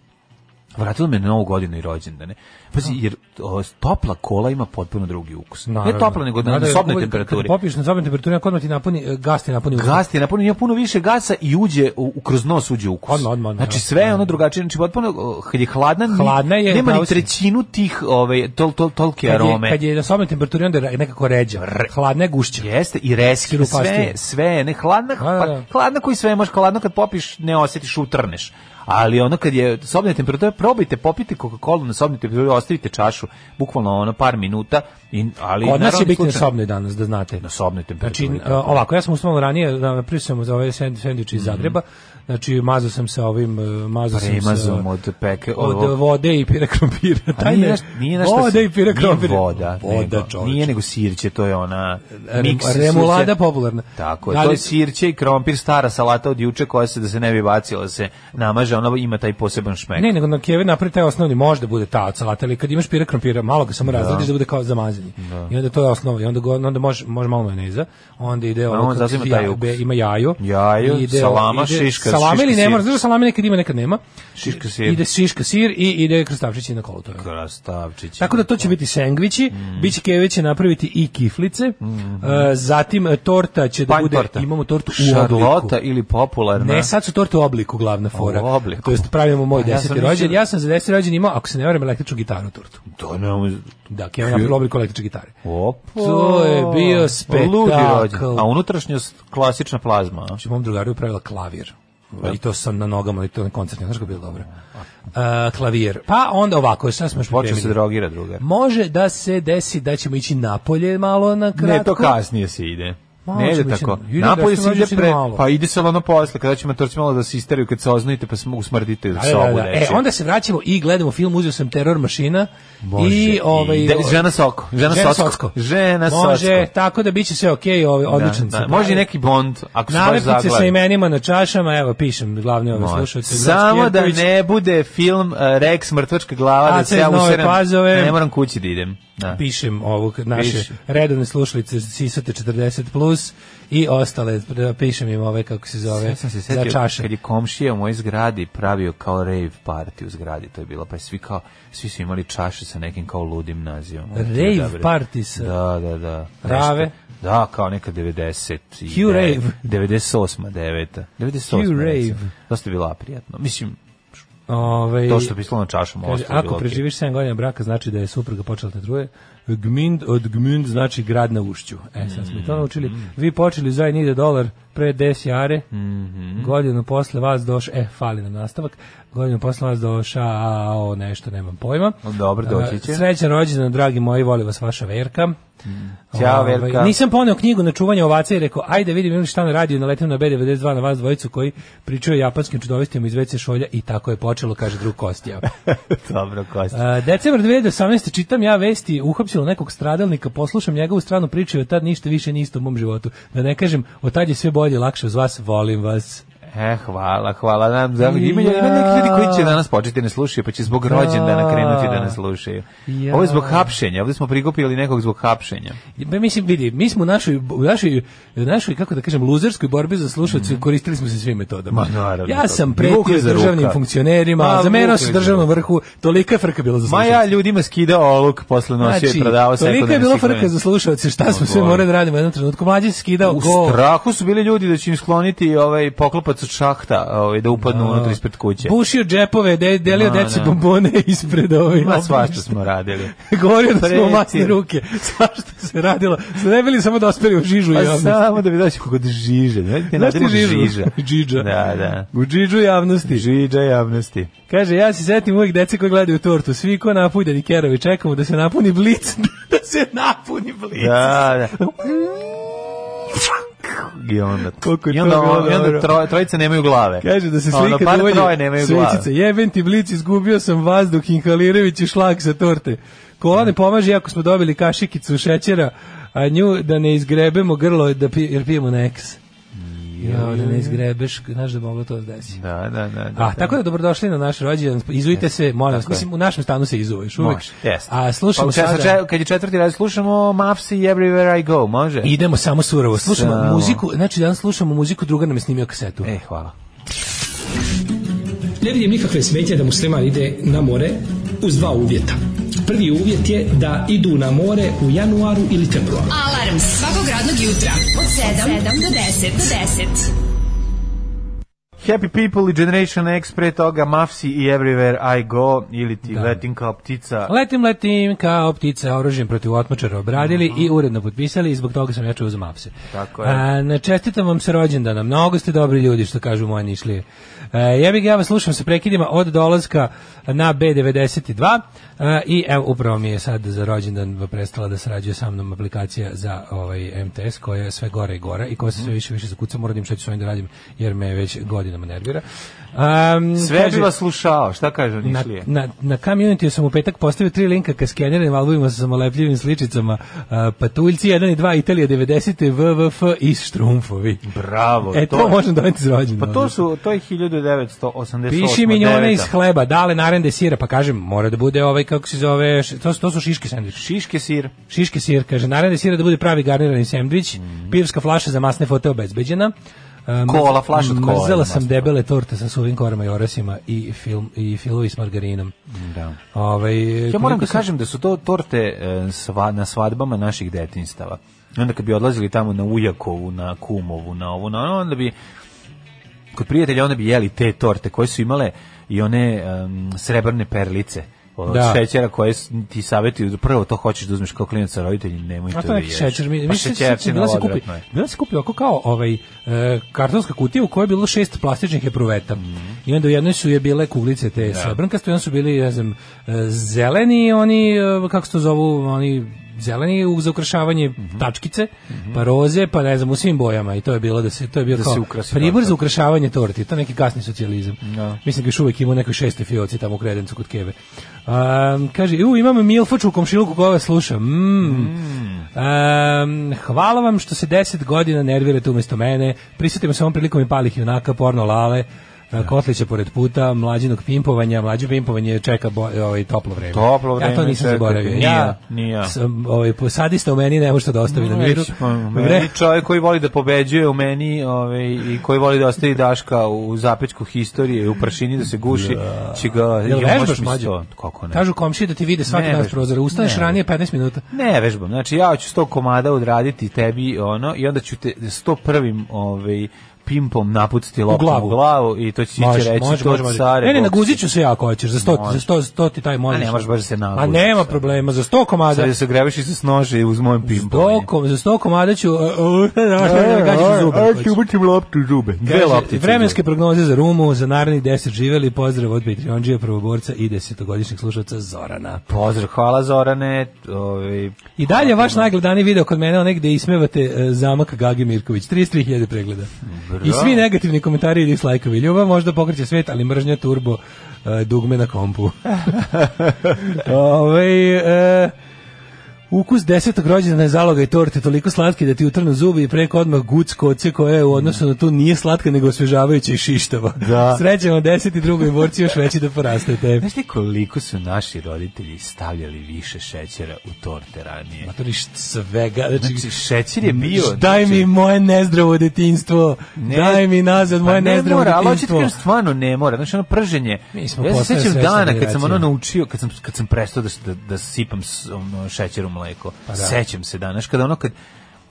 G: Vratilo me na novu godinu i rođendane. Pazi, jer o, topla kola ima potpuno drugi ukus.
H: Naravno.
G: Ne topla, nego na,
H: Da,
G: na
H: da,
G: sobnoj
H: kad-
G: temperaturi.
H: Kad popiješ na sobnoj temperaturi, ako odmah ti napuni, e, gas ti napuni. usta.
G: Gas ti je napunio, ima puno više gasa i uđe, u, u- kroz nos uđe ukus.
H: Odmah, odmah, odmah,
G: Znači
H: da.
G: sve je ono drugačije, znači potpuno, o, kad je hladna, ni-
H: Hladna je,
G: nema
H: pravo
G: ni
H: si.
G: trećinu tih, ovaj, tol, tol, tolke
H: Kad je,
G: arome.
H: kad je na sobnoj temperaturi, onda je ra- nekako ređa. Hladna je gušća.
G: Jeste, i reski, sve,
H: Siropastije.
G: sve, je, ne, hladna,
H: Da, da,
G: pa-
H: da.
G: hladna koji sve može, hladno kad popiš, ne osjetiš, utrneš. Ali ono kad je sobna temperatura, probajte, popite Coca-Cola na sobnoj temperaturi, ostavite čašu, bukvalno ono par minuta. I, ali,
H: Kod nas
G: naravno,
H: je biti na
G: slučajno-
H: sobnoj danas, da znate.
G: Na sobnoj temperaturi.
H: Znači,
G: tako.
H: a, ovako, ja sam usmao ranije, da me prisamo za ove send, sendviče
G: Mhm.
H: iz Zagreba, znači mazao sam se ovim, e, mazao sam se...
G: Premazom od peke-
H: Od
G: ovo-
H: vode i pira krompira.
G: A
H: Taj
G: nije
H: ne-
G: naš- nije naš šta
H: Voda
G: si-
H: i pira
G: nije
H: krompira.
G: Voda,
H: Voda,
G: nego-
H: čoveče.
G: Nije nego sirće, to je ona
H: Rem-
G: miks sirće.
H: remulada popularna.
G: Tako, je,
H: Da li-
G: to je sirće i krompir, stara salata od juče koja se da se ne bi bacila, da se namaže, ona ima taj poseban šmek.
H: ovaj Ne, nego na keve napravi taj osnovni, možda bude ta od salata, ali kad imaš pire krompira, malo ga samo razradiš da. bude kao zamazanje. I onda to je osnova. I onda go, onda može može malo majoneza. Onda ide
G: A
H: ovo
G: on zato
H: kako
G: ima
H: se
G: taj
H: jabe,
G: ukus.
H: ima jajo.
G: Jajo,
H: i
G: salama,
H: ide-
G: šiška,
H: Salama
G: šiška
H: ili ne
G: sir.
H: mora, znaš da salame nekad ima, nekad nema.
G: Šiška sir.
H: Ide šiška sir i ide krstavčići na kolu. To je.
G: Krastavčić.
H: Tako da to će biti sendviči,
G: Mm.
H: biće keve će napraviti i kiflice. e, zatim e, torta će da
G: Mm-hmm. Panj
H: bude
G: torta.
H: imamo tortu u obliku.
G: Šarlota ili popularna.
H: Ne, sad su torte u obliku glavna fora.
G: U obliku.
H: To jest pravimo moj
G: A ja sam
H: 10.
G: mislio-
H: rođendan. Ja sam za 10. rođendan imao, ako se ne varam, električnu gitaru tortu.
G: To ne,
H: Da, Keva je napravila u obliku električne gitare.
G: Opa.
H: To je bio spektakl.
G: Ludi rođen. A unutrašnjost klasična plazma. a?
H: Znači, mom drugaru je pravila klavir. I to sam na nogama, ali to na koncertnje, znaš kako je bilo dobro. E, klavir. Pa onda ovako, sad smo još
G: Počeo se
H: pripremili.
G: drogira druga.
H: Može da se desi da ćemo ići napolje malo na kratko.
G: Ne, to kasnije se ide.
H: Malo
G: ne ide
H: ćemo ići
G: tako.
H: na- ide
G: Napolje
H: desno,
G: se ide
H: dođe se
G: pre,
H: malo.
G: pa ide se ono posle, kada ćemo torci malo da se isteriju, kad se oznojite pa se usmrdite u
H: Da, da,
G: sobu.
H: da. E,
G: nečije.
H: onda se vraćamo i gledamo film, uzeo sam Teror mašina
G: Može.
H: i ovaj
G: De- žena Soko. Žena, Socko. Žena Socko.
H: Može, tako da biće sve okej, ovaj odličan
G: Da,
H: sam.
G: da. Može i neki Bond, ako se baš
H: Nalepnice sa
G: zaglavi.
H: imenima na čašama, evo pišem glavne ove
G: Može.
H: slušalce.
G: Samo da
H: znači, Jerković.
G: ne bude film eh, Rex mrtvačka glava da
H: Aca
G: se
H: iz
G: ja
H: Nove
G: useram.
H: Pazove.
G: Ne moram kući da idem. Da.
H: pišem ovog naše
G: Piši.
H: redovne slušalice Sisate 40 plus i ostale pišem im ove kako se zove
G: Ja Pa sam se
H: za
G: setio
H: čaše.
G: kad je komšija u mojoj zgradi pravio kao rave party u zgradi, to je bilo, pa je svi kao, svi su imali čaše sa nekim kao ludim nazivom. Ono, to je
H: Rave
G: dobro.
H: party sa-
G: Da, da, da.
H: Rave?
G: Nešto- Da, kao neka 90. i de-
H: Hugh Rave.
G: 98. 9. 98.
H: Hugh
G: recimo.
H: Rave.
G: Dosta je bila prijatno. Mislim,
H: Ovaj,
G: to što je pisalo na čašama
H: Kaže,
G: ostalo je bilo
H: ako
G: okej.
H: preživiš 7 godina braka, znači da je supruga počela te truje. Gmund od Gmund znači grad na ušću. E, sad smo i
G: Mhm.
H: to naučili. Vi počeli za nide dolar pre 10 jare,
G: Mhm.
H: godinu posle vas doš, e, fali nam nastavak, godinu posle vas doša, a, o, nešto, nemam pojma.
G: No, dobro, doći će. Mhm.
H: E, Srećan rođendan, dragi moji, voli vas vaša Verka.
G: Ćao,
H: Ovaj,
G: Verka.
H: Nisam poneo knjigu na čuvanje ovaca i rekao, ajde vidim imam li šta na radiju, naletim na B92 na vas dvojicu koji pričaju o japanskim čudovistima iz WC šolja i tako je počelo, kaže drug Kostija.
G: [LAUGHS] Dobro, Kosti.
H: Uh, decembar 2018. čitam ja vesti, uhapsilo nekog stradalnika, poslušam njegovu stranu priče i od tad ništa više nije isto u mom životu. Da ne kažem, od tad je sve bolje i lakše uz vas, volim vas.
G: E, hvala, hvala nam. Za... Ima, ima neki ljudi koji će danas početi da ne slušaju, pa će zbog rođendana krenuti da ne slušaju.
H: Ja.
G: Ovo je zbog hapšenja, ovdje smo prikupili nekog zbog hapšenja.
H: I, ba, Pa mislim, vidi, mi smo u našoj, u našoj, u našoj kako da kažem, luzerskoj borbi za slušalce koristili smo se svim metodama.
G: Mhm. Ma, naravno,
H: ja sam
G: to- vukli
H: pretio
G: za
H: državnim
G: rukav.
H: funkcionerima,
G: Ma,
H: zamenao
G: vukli
H: se
G: za
H: državnom
G: rukav.
H: vrhu, tolika je frka bila za
G: Ma
H: slušalce.
G: ja ljudima skidao oluk, posle nosio i prodavao se.
H: toliko Znači, je bilo frka za slušalce, šta smo sve
G: Bože.
H: morali da radimo u jednom trenutku. Mlađi se skidao
G: U
H: go.
G: strahu su bili ljudi da će im skloniti ovaj poklopac od šahta, ovaj, da upadnu unutra ispred kuće.
H: Bušio džepove, de, delio
G: Ma,
H: deci
G: da.
H: bombone [LAUGHS] ispred ovih.
G: Ma svašta smo radili.
H: Govorio da smo
G: Preti.
H: masne ruke. [LAUGHS] Svašta se radilo. Sve ne bili samo da osperi u žižu
G: Pa
H: javnosti.
G: samo da bi doći kod žiže. Ne, ne,
H: Znaš ti žižu? [LAUGHS]
G: žiža.
H: Džidža.
G: Da, da.
H: U džidžu javnosti.
G: Žiđa javnosti.
H: Kaže, ja se setim uvijek dece koji gledaju tortu. Svi ko napuljeni kerovi. Čekamo da se napuni blic. [LAUGHS] da se napuni blic. [LAUGHS]
G: Da, da. I onda,
H: Koliko je
G: i onda,
H: to bilo
G: i onda
H: dobro.
G: tro, trojica nemaju glave.
H: Kaže da se
G: Ono,
H: slika
G: bar
H: dovolje
G: troje nemaju
H: svećice.
G: glave.
H: Jebem ti blic, izgubio sam vazduh inhalirajući šlag sa torte. Kola ne pomaže ako smo dobili kašikicu šećera, a nju da ne izgrebemo grlo da pi, jer pijemo Nex. Ja, da ne izgrebeš, znaš da moglo to da se desi.
G: Da, da, da. da
H: A, tako da dobrodošli na naš rođendan. Izujte se, molim vas. Mislim, u našem stanu se izuješ uvek.
G: Može, jest.
H: A slušamo
G: pa,
H: sada...
G: Če, kad je četvrti raz, slušamo Mavsi i Everywhere I Go, može?
H: Idemo samo surovo. Slušamo
G: Samo.
H: muziku, znači danas slušamo muziku, druga nam je snimio kasetu.
G: E, hvala.
I: Ne vidim nikakve smetnje da musliman ide na more uz dva uvjeta. Prvi uvjet je da idu na more u januaru ili februaru.
F: Alarm svakog radnog jutra od 7, do 10. Do 10.
G: Happy People i Generation X, pre toga Mavsi i Everywhere I Go, ili ti letim kao ptica.
H: Letim, letim, kao ptica oružjem protiv otmačara obradili i uredno potpisali i zbog toga sam ja čuo za mapse.
G: Mhm. Tako je.
H: A, na čestitam vam se rođendana, mnogo ste dobri ljudi što kažu moje nišlije. E, ja bih ja vas slušam sa prekidima od dolaska na B92 e, i evo upravo mi je sad za rođendan prestala da sarađuje sa mnom aplikacija za
G: Mhm.
H: ovaj MTS koja je sve gore i gore i koja se sve više i više zakuca, moram da im šta ću s ovim da radim jer me već godinama me nervira. Um,
G: Sve bi vas slušao, šta kaže
H: na,
G: Nišlije?
H: na, na community sam u petak postavio tri linka ka skeneranim albumima sa samolepljivim sličicama. Uh, Patuljci 1 i 2, Italija 90. WWF i Štrumfovi.
G: Bravo,
H: E, to, možem doneti za rođendan. ono.
G: Pa to su, to je 1988.
H: Piši minjone iz
G: deveta.
H: hleba, dale narende sira, pa kažem, mora da bude ovaj, kako se zove, š- to, su- to su šiške sandviči.
G: Šiške sir.
H: Šiške sir, kaže, narende sira da bude pravi garnirani sandvič, pivska flaša za masne fote obezbeđena. Um,
G: Mhm. Kola, flaša od kola
H: Mrzela
G: za
H: sam
G: masne
H: debele torte sa suvim korama i orasima i, film, i filovi s margarinom.
G: Da.
H: Ovaj,
G: Mhm. Ja moram da
H: koliko sam-
G: kažem da su to torte e, sva, na svadbama naših detinstava. I onda kad bi odlazili tamo na Ujakovu, na Kumovu, na ovu, na ono, onda bi kod prijatelja onda bi jeli te torte koje su imale i one em, srebrne perlice od
H: Da.
G: šećera koje s- ti savjetuju, prvo to hoćeš da uzmeš kao klinac sa roditeljima, nemoj
H: A
G: to
H: to
G: da
H: neki
G: ješ.
H: šećer, mi,
G: pa
H: mi se
G: šećerci
H: bila se kupi,
G: odvratno je.
H: bila se kupi oko kao ovaj e, kartonska kutija u kojoj je bilo šest plastičnih epruveta.
G: Mhm.
H: I onda u jednoj su je bile kuglice te srebrnkaste, i onda su bili, ne znam, e, zeleni oni e, kako se to zovu, oni zeleni u za ukrašavanje
G: Mhm.
H: tačkice, pa roze, pa ne znam, u svim bojama i to je bilo da se to je bio
G: Da
H: kao
G: se ukrasi
H: pribor
G: torta.
H: za ukrašavanje torti, to je neki kasni socijalizam. Mislim da ga još uvek ima u nekoj šestoj fioci tamo u kredencu kod Keve. Um, kaže, u, imam Milfoču u komšiluku koja vas sluša. Mm. Um, hvala vam što se deset godina nervirate umesto mene. Prisetimo se ovom prilikom i palih junaka, porno lale, uh, Kotlića pored puta, mlađinog pimpovanja, mlađe pimpovanje čeka bo- ovaj, toplo vreme.
G: Toplo
H: Ja to
G: vreme
H: nisam
G: čeka,
H: zaboravio.
G: ni ja, ni ja.
H: Sam, ovaj, sadista u meni ne može to da ostavi na miru.
G: Već, pa, meni
H: Vre-
G: čovjek koji voli da pobeđuje u meni ovaj, i koji voli da ostavi Daška u zapečku historije i u prašini da se guši, će ga...
H: Jel
G: Ja, možeš
H: vežbaš
G: mi
H: mlađe?
G: sto- Kako ne?
H: Kažu komšije da ti vide svaki
G: Ne
H: dan s
G: vežbam.
H: prozora. Ustaneš
G: Ne.
H: ranije 15 minuta.
G: Ne vežbam, znači ja ću 100 komada odraditi tebi ono i onda ću te 101. ovaj pimpom napuciti loptom u glavu, u
H: glavu.
G: glavu i to će ti će reći to care.
H: Ne, ne,
G: Bog
H: na
G: ti-
H: guziću se ja ako hoćeš. Za 100 za 100 100 ti taj možeš.
G: A ne možeš baš da se naguziš
H: A nema
G: sad.
H: problema za 100 komada.
G: Sad da se grebaš i se snože uz mojim pimpom.
H: Doko, za 100 komada ću uh, uh, gađaš u zube.
G: Ajde, ubacim loptu u zube. Dve loptice. u zube.
H: Vremenske prognoze za Rumu, za narednih 10 živeli, pozdrav od Patreonđija, prvoborca i desetogodišnjeg slušalca Zorana.
G: Pozdrav, hvala Zorane. Ovaj,
H: I dalje vaš najgledaniji video kod mene, onaj gde ismevate e, zamak Gagi Mirković. 33.000 pregleda. I svi negativni komentari i dislajkovi. Ljubav možda pokreće svet, ali mržnja turbo e, dugme na
G: [LAUGHS]
H: kompu. Ovaj e, Ukus desetog rođendana je zaloga i torte toliko slatke da ti utrnu zubi i preko odmah guc koce koja je u odnosu na to nije slatka nego osvežavajuća i šištava.
G: Da.
H: Srećan vam deset i drugoj borci još veći da porastete.
G: Znaš ti koliko su naši roditelji stavljali više šećera u torte ranije?
H: Ma to niš svega. Znači,
G: Znači, šećer je bio... znači,
H: Daj mi moje nezdravo detinjstvo.
G: Ne-
H: daj mi nazad
G: Pa
H: moje
G: ne
H: nezdravo
G: mora, ali hoću ti
H: detinjstvo.
G: kažem, stvarno ne mora. Znači ono prženje.
H: Mi smo
G: ja se
H: postali
G: sećam
H: svesna
G: dana kad sam
H: generacija.
G: ono naučio, kad sam kad sam prestao da s- da, da sipam s- ono, šećer u mleko.
H: Pa
G: Sećam se danas kada ono kad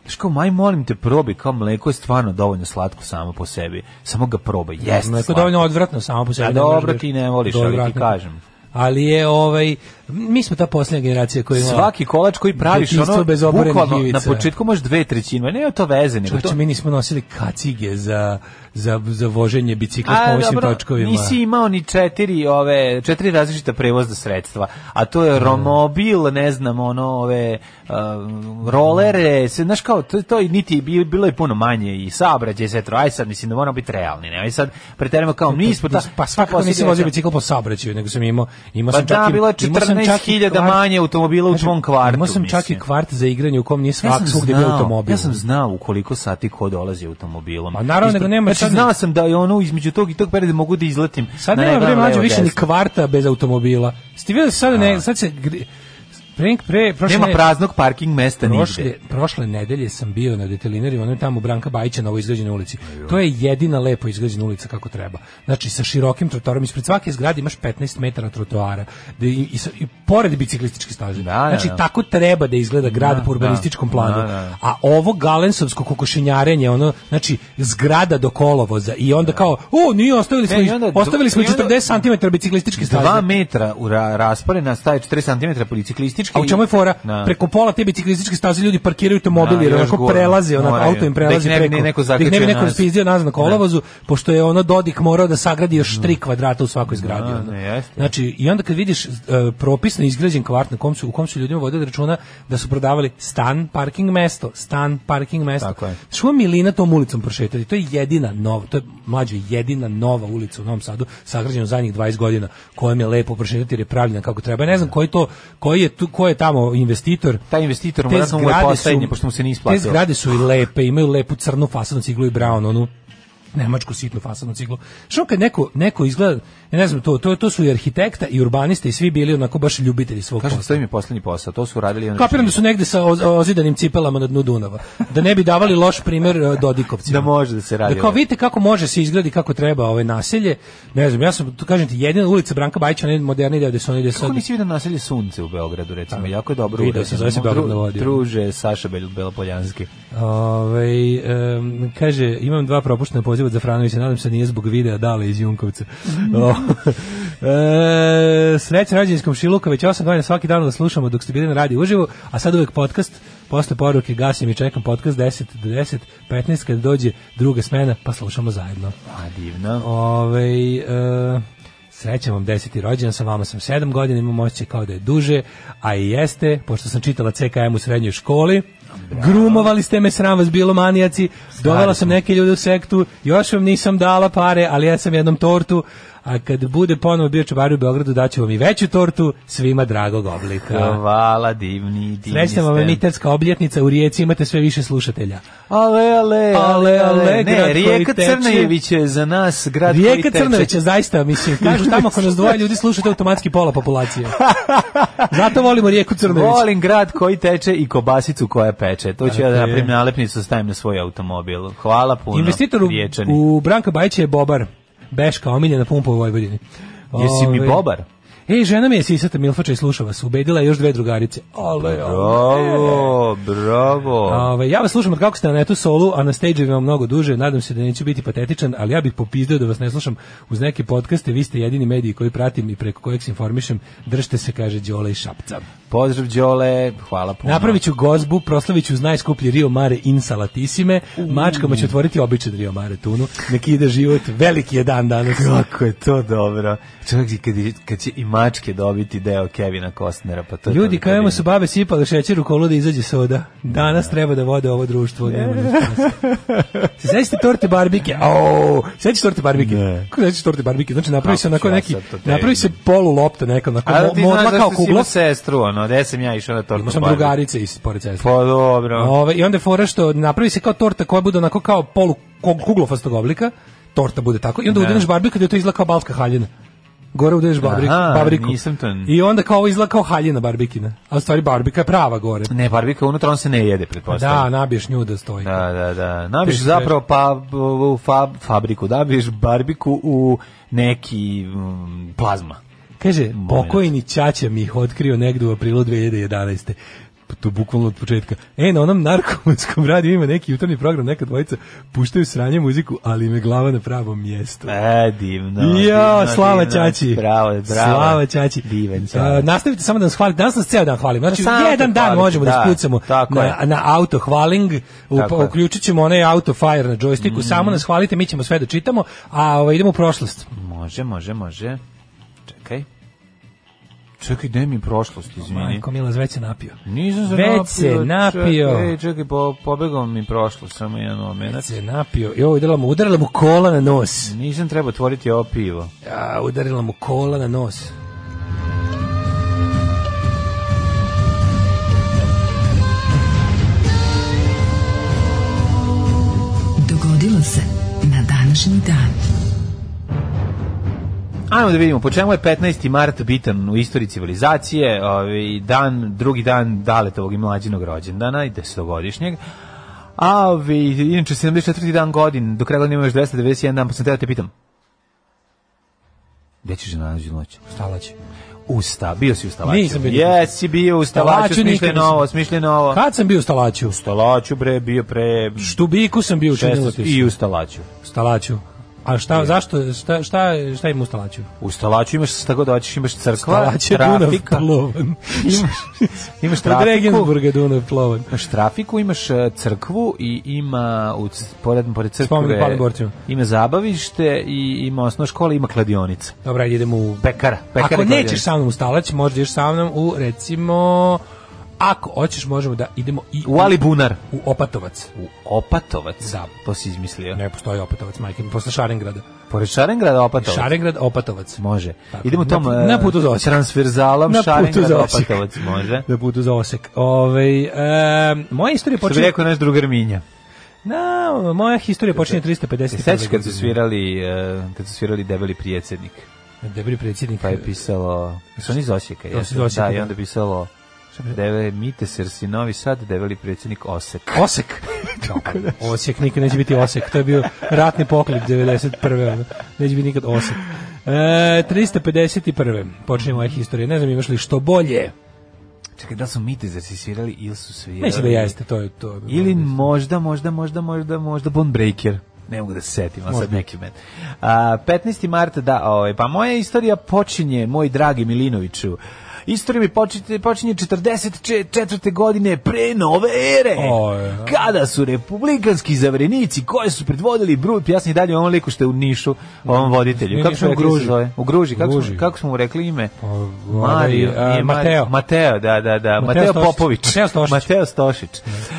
G: Znaš kao, maj, molim te, probi, kao mleko je stvarno dovoljno slatko samo po sebi. Samo ga probaj, jeste
H: Mleko je
G: slatko.
H: dovoljno odvratno samo po sebi.
G: Da,
H: ne možeš
G: dobro,
H: baš-
G: ti ne voliš,
H: Da,
G: ali ti
H: odvratno.
G: kažem.
H: Ali je ovaj, mi smo ta posljednja generacija koja ima...
G: Svaki kolač koji praviš,
H: Detinjstvo
G: ono,
H: bez oborenih
G: bukvalno, na
H: ivica.
G: početku možeš dve trećine, ne je to veze, nego
H: Čovječe,
G: to...
H: mi nismo nosili kacige za, za, za voženje bicikla s pomoćnim točkovima.
G: nisi imao ni četiri ove četiri različita prevozna sredstva, a to je romobil, ne znam, ono ove um, rolere, se znaš kao to, to i niti je bilo, bilo je puno manje i saobraćaj se aj sad mislim da moramo biti realni, ne, aj sad preterujemo kao mi smo ta
H: pa svakako
G: posljednja-
H: nisam vozio bicikl po saobraćaju, nego sam imao, imao
G: Pa
H: sam čak
G: da,
H: i-
G: bilo je
H: imao sam čak i
G: 14.000
H: kvart-
G: manje automobila u
H: Kažem,
G: tvom kvartu,
H: Imao sam čak i
G: mislim.
H: kvart za igranje u kom nije svak,
G: Ja sam,
H: svugde bio
G: znao,
H: automobil.
G: ja sam znao u koliko sati ko dolazi automobilom.
H: Pa naravno,
G: Ispred-
H: nego nema sad
G: znači,
H: ni-
G: znao sam da je ono između tog i tog perioda mogu da izletim.
H: Sad
G: na
H: nema
G: jedan
H: vremena mlađe
G: levo,
H: više ni
G: desno.
H: kvarta bez automobila. Ste videli sad ne, sad se gri- pre pre prošle
G: Nema
H: ne-
G: praznog parking mesta
H: Prošle,
G: nigde.
H: prošle nedelje sam bio na detelinerima, ono je tamo u Branka Bajića na ovoj izgrađenoj ulici. To je jedina lepo izgrađena ulica kako treba. Znači, sa širokim trotoarom, ispred svake zgrade imaš 15 metara trotoara. Da i, i, sa- i pored biciklističke staze.
G: Da, da,
H: znači,
G: da.
H: tako treba da izgleda grad
G: Da,
H: po urbanističkom planu.
G: da, da.
H: A ovo galensovsko kokošinjarenje, ono, znači, zgrada do kolovoza i onda kao, o, nije, ostavili smo,
G: Ne, i
H: iz-
G: onda-
H: ostavili smo
G: i onda-
H: 40 cm biciklističke staze.
G: Dva metra u ra raspore na staje 40 cm
H: biciklističke. A u čemu je fora?
G: Da.
H: Preko pola te biciklističke staze ljudi parkiraju automobil
G: Da,
H: jer
G: još
H: onako
G: gore.
H: prelaze, onako
G: Moraju.
H: auto im
G: Da ih
H: prelazi
G: ne bi
H: preko.
G: neko
H: Da ih ne bi
G: zakačio
H: neko
G: nazad.
H: spizdeo nazad na kolovozu, pošto je ono Dodik morao da sagradi još tri kvadrata u svakoj zgradi.
G: Da,
H: ono.
G: ne, jeste.
H: Znači, i onda kad vidiš e, propisno izgrađen kvart na kom su, u kom su ljudima vodili računa da su prodavali stan, parking mesto, stan, parking mesto.
G: Tako je.
H: Šuma Milina tom ulicom prošetati. To je jedina nova, to je mlađa jedina nova ulica u Novom Sadu, sagrađena u zadnjih 20 godina, kojom je lepo prošetati jer je pravljena kako treba. Ja ne znam koji to koji je tu ko je tamo investitor.
G: Taj investitor mu vjerojatno mu je poslednji, pošto mu se nije isplatilo.
H: Te zgrade su i lepe, imaju lepu crnu fasadnu ciglu i brown, onu nemačku sitnu fasadnu ciglu. Što kad neko, neko izgleda, ja ne znam, to, to, to su i arhitekta i urbanista i svi bili onako baš ljubitelji svog
G: Kažem,
H: posla.
G: to im je poslednji posao, to su radili oni.
H: Kapiram da su negde sa oz- ozidanim cipelama na dnu Dunava. Da ne bi davali loš primer e, Dodikovcima.
G: Da može da se radi ovaj.
H: Da kao
G: ovo.
H: vidite kako može se izgradi kako treba ove naselje. Ne znam, ja sam tu kažem ti jedina ulica Branka Bajića, onaj moderni deo gde su oni gde sad.
G: Kako nisi vidio naselje Sunce u Beogradu, recimo, jako je dobro
H: Video sam, zove se Beograd na vodi.
G: Druže, Saša Bel- Belopoljanski.
H: Ovaj, em, kaže, imam dva propuštena poziva za Franovića, nadam se da nije zbog videa dale iz Junkovca. O, [LAUGHS] e, sreća rođendinskom Šiluka, već 8 godina svaki dan da slušamo dok ste bili na radiju uživo, a sad uvek podcast, posle poruke gasim i čekam podcast 10 do 10, 15 kad dođe druga smena, pa slušamo zajedno.
G: A, divno.
H: Ovaj e, srećan vam deseti rođendan, sa vama sam sedam godina, imam osjećaj kao da je duže, a i jeste, pošto sam čitala CKM u srednjoj školi, grumovali ste me, sram vas bilo manijaci, dovela sam neke ljude u sektu, još vam nisam dala pare, ali ja sam jednom tortu, a kad bude ponovo bio čubar u Beogradu, daću vam i veću tortu, svima dragog oblika.
G: Hvala, divni, divni
H: Srećna vam
G: ste.
H: je mitarska obljetnica, u Rijeci imate sve više slušatelja.
G: Ale, ale,
H: Ale, ale, grad
G: ne,
H: koji
G: Rijeka
H: teče.
G: Crnojević je za nas grad koji
H: Rijeka
G: teče.
H: Crnovića, zaista, mislim,
G: [LAUGHS]
H: kažu tamo ako nas dvoje ljudi slušate automatski pola populacije. Zato volimo Rijeku Crnović.
G: Volim grad koji teče i kobasicu koja peče. To ću ja da
H: Tako je.
G: napravim nalepnicu, stavim na svoj automobil. Hvala puno.
H: Investitor u,
G: Riječani.
H: u Branka Bajića je Bobar. Beška, omiljena pumpa u Vojvodini.
G: Jesi mi
H: Ovaj,
G: bobar?
H: Ej, žena mi je sisata Milfača i sluša vas. Ubedila je još dve drugarice. Ale, ale.
G: Bravo, bravo.
H: Ove, Ovaj, ja vas slušam od kako ste na netu solu, a na stage vam mnogo duže, nadam se da neću biti patetičan, ali ja bih popizdeo da vas ne slušam uz neke podcaste, vi ste jedini mediji koji pratim i preko kojeg se informišem, držte se, kaže Đola i Šapca.
G: Pozdrav Đole, hvala puno.
H: Napravit ću gozbu, proslavit ću uz najskuplji Rio Mare Insalatissime, mačkama ću otvoriti običan Rio Mare tunu, neki ide život, veliki je dan danas.
G: Kako je to dobro. Čovjek kad, kad će i mačke dobiti deo Kevina Kostnera, pa to je
H: Ljudi,
G: toliko
H: kojima
G: divno.
H: su babe sipale šećer u kolu da izađe soda. Danas treba da vode ovo
G: [LAUGHS]
H: društvo. nema ništa šanse. Se sećate torte barbike? Au! Sećate torte barbike?
G: Ne.
H: Kako sećate torte barbike? Znači, napravi se
G: Kako
H: onako
G: ću ja
H: neki,
G: sad to tebi?
H: napravi se polu lopta neka, onako,
G: A da ti
H: mo- modla
G: znaš
H: kao
G: zašto si
H: kugla.
G: imao sestru, ono, gde sam ja išao na tortu
H: Imao sam
G: barbi?
H: drugarice iz pored sestre.
G: Pa dobro.
H: Ove, I onda je fora što napravi se kao torta koja bude onako kao polu ko- kuglofastog oblika, torta bude tako, i onda
G: Da.
H: udeneš barbiku da to izgleda kao balska haljina. Gore udeneš babrik,
G: Aha,
H: babriku.
G: nisam to-
H: I onda kao ovo izgleda kao haljina barbikina. A u stvari barbika je prava gore.
G: Ne, barbika unutra, on se ne jede,
H: Da,
G: pretpostavljam.
H: nabiješ nju da stoji.
G: Pa Da, da, da. Nabiš
H: Teško
G: zapravo pa, u fa, fabriku, nabiš barbiku u neki mm, plazma.
H: Kaže, pokojni Ćaća mi ih otkrio negde u aprilu 2011. Pa To bukvalno od početka. E, na onom narkomanskom radiju ima neki jutarnji program, neka dvojica puštaju sranje muziku, ali me glava na pravom mjestu.
G: E, divno.
H: Jo,
G: divno,
H: slava
G: divno.
H: Ćaći.
G: Bravo, bravo.
H: Slava Ćaći.
G: Divan
H: A,
G: Ćaći.
H: nastavite samo da nas hvalite. Danas nas ceo dan hvalimo. Znači,
G: Samo te
H: jedan dan
G: hvalite,
H: možemo da,
G: da,
H: spucamo
G: tako
H: na,
G: je.
H: na auto hvaling. U, pa
G: Tako je. Mm.
H: uključit ćemo onaj auto fire na džojstiku. Samo nas hvalite, mi ćemo sve da čitamo. A ovaj, idemo u prošlost.
G: Može, može, može. Čekaj. Čekaj, gde mi je prošlost, izvini.
H: Majko Milas već se napio.
G: Nisam se
H: Već
G: napio.
H: se napio.
G: Čekaj, čekaj, po, pobegao mi prošlo, samo jedan moment.
H: Se napio. Jo, udarila mu, udarila mu kola na nos.
G: Nisam trebao otvoriti ovo pivo.
H: A, udarila mu kola na nos.
F: Dogodilo se na današnji dan.
G: Ajmo da vidimo, po čemu je 15. mart bitan u istoriji civilizacije, ovaj dan, drugi dan Daletovog i mlađinog rođendana i desetogodišnjeg. A ovi, inače, 74. dan godin, do kraja godine ima još 291 dan, pa sam teo da te pitam. Gde ćeš da nađu noć?
H: Stala će.
G: Usta, bio si u stalaču.
H: Nisam bio.
G: Jesi bio u stalaču,
H: Stalaču nikad
G: smišljaj
H: nisam.
G: novo, smišljaj novo.
H: Kad sam bio u Stalaću?
G: U stalaču, bre, bio pre...
H: Štubiku sam bio učinila
G: 16
H: ti.
G: I u stalaču.
H: Stalaću. A šta, zašto, šta, šta, šta im ustalaću?
G: U Stalaću imaš tako da hoćeš, imaš crkva,
H: Stalaće Dunav
G: trafika,
H: plovan.
G: imaš, imaš
H: Od
G: trafiku,
H: Regensburga Dunav plovan.
G: imaš trafiku, imaš e, crkvu i ima u c- pored pored
H: Spomenik
G: crkve
H: palim borcima.
G: ima zabavište i ima osnovna škola, ima kladionica.
H: Dobra, ajde, idemo u...
G: Pekara, pekara.
H: Ako
G: i
H: nećeš
G: kladionica.
H: sa mnom u Stalać, možda ideš sa mnom u, recimo... Ako hoćeš, možemo da idemo i
G: u Ali Bunar,
H: u Opatovac.
G: u Opatovac.
H: Da.
G: To si izmislio.
H: Ne postoji Opatovac, majke, mi, posle Šarengrada.
G: Pored Šarengrada Opatovac.
H: Šarengrad, Opatovac.
G: Može.
H: Tako,
G: Idemo
H: na
G: tom
H: pu-
G: e,
H: na putu za Osijek.
G: Transferzalom
H: Na putu
G: Šarengrad
H: za Osijek.
G: Opatovac, može.
H: Da budu za Osek. Ove, e, moja istorija
G: Što bi
H: počinje...
G: rekao naš drugar Minja.
H: Na, moja istorija počinje 350.
G: E, Sećaš kad su svirali, e, kad su svirali debeli prijecednik,
H: Debri predsjednik.
G: pa je pisalo, su oni iz Osijeka,
H: To su iz
G: jesu?
H: Osijeka,
G: da, i
H: da.
G: onda je pisalo, Deve, mite Srsi, Novi Sad, debeli predsjednik Osek.
H: Osek. Osek nikad neće biti Osek. To je bio ratni poklik 91. ono. Neće biti nikad Osek. E, 351. Počinje moja historija. Ne znam imaš li što bolje.
G: Čekaj, da li su mite Srsi svirali ili su svirali?
H: Mislim da jeste, to je to. je bilo.
G: Ili možda, možda, možda, možda, možda Bone Breaker. Ne mogu da se setim, a sad
H: Možda.
G: neki men. A, 15. marta, da, ovaj, pa moja istorija počinje, moj dragi Milinoviću, Istorija mi počinje, počinje 44. godine pre nove ere.
H: O, je.
G: Kada su republikanski zavrenici koje su predvodili Brut, ja sam i dalje u ovom liku što je u Nišu, ovom voditelju.
H: Nije
G: Kako smo
H: Nišu, u
G: rekli da se
H: Gruži.
G: zove? U Gruži. Kako,
H: Gruži.
G: Smo, kako smo mu rekli ime?
H: ovaj,
G: Mario,
H: a,
G: nije Mario.
H: Mateo.
G: e, Mateo, da, da, da. Mateo,
H: Mateo Stošić.
G: Popović.
H: Mateo Stošić.
G: Mateo Stošić.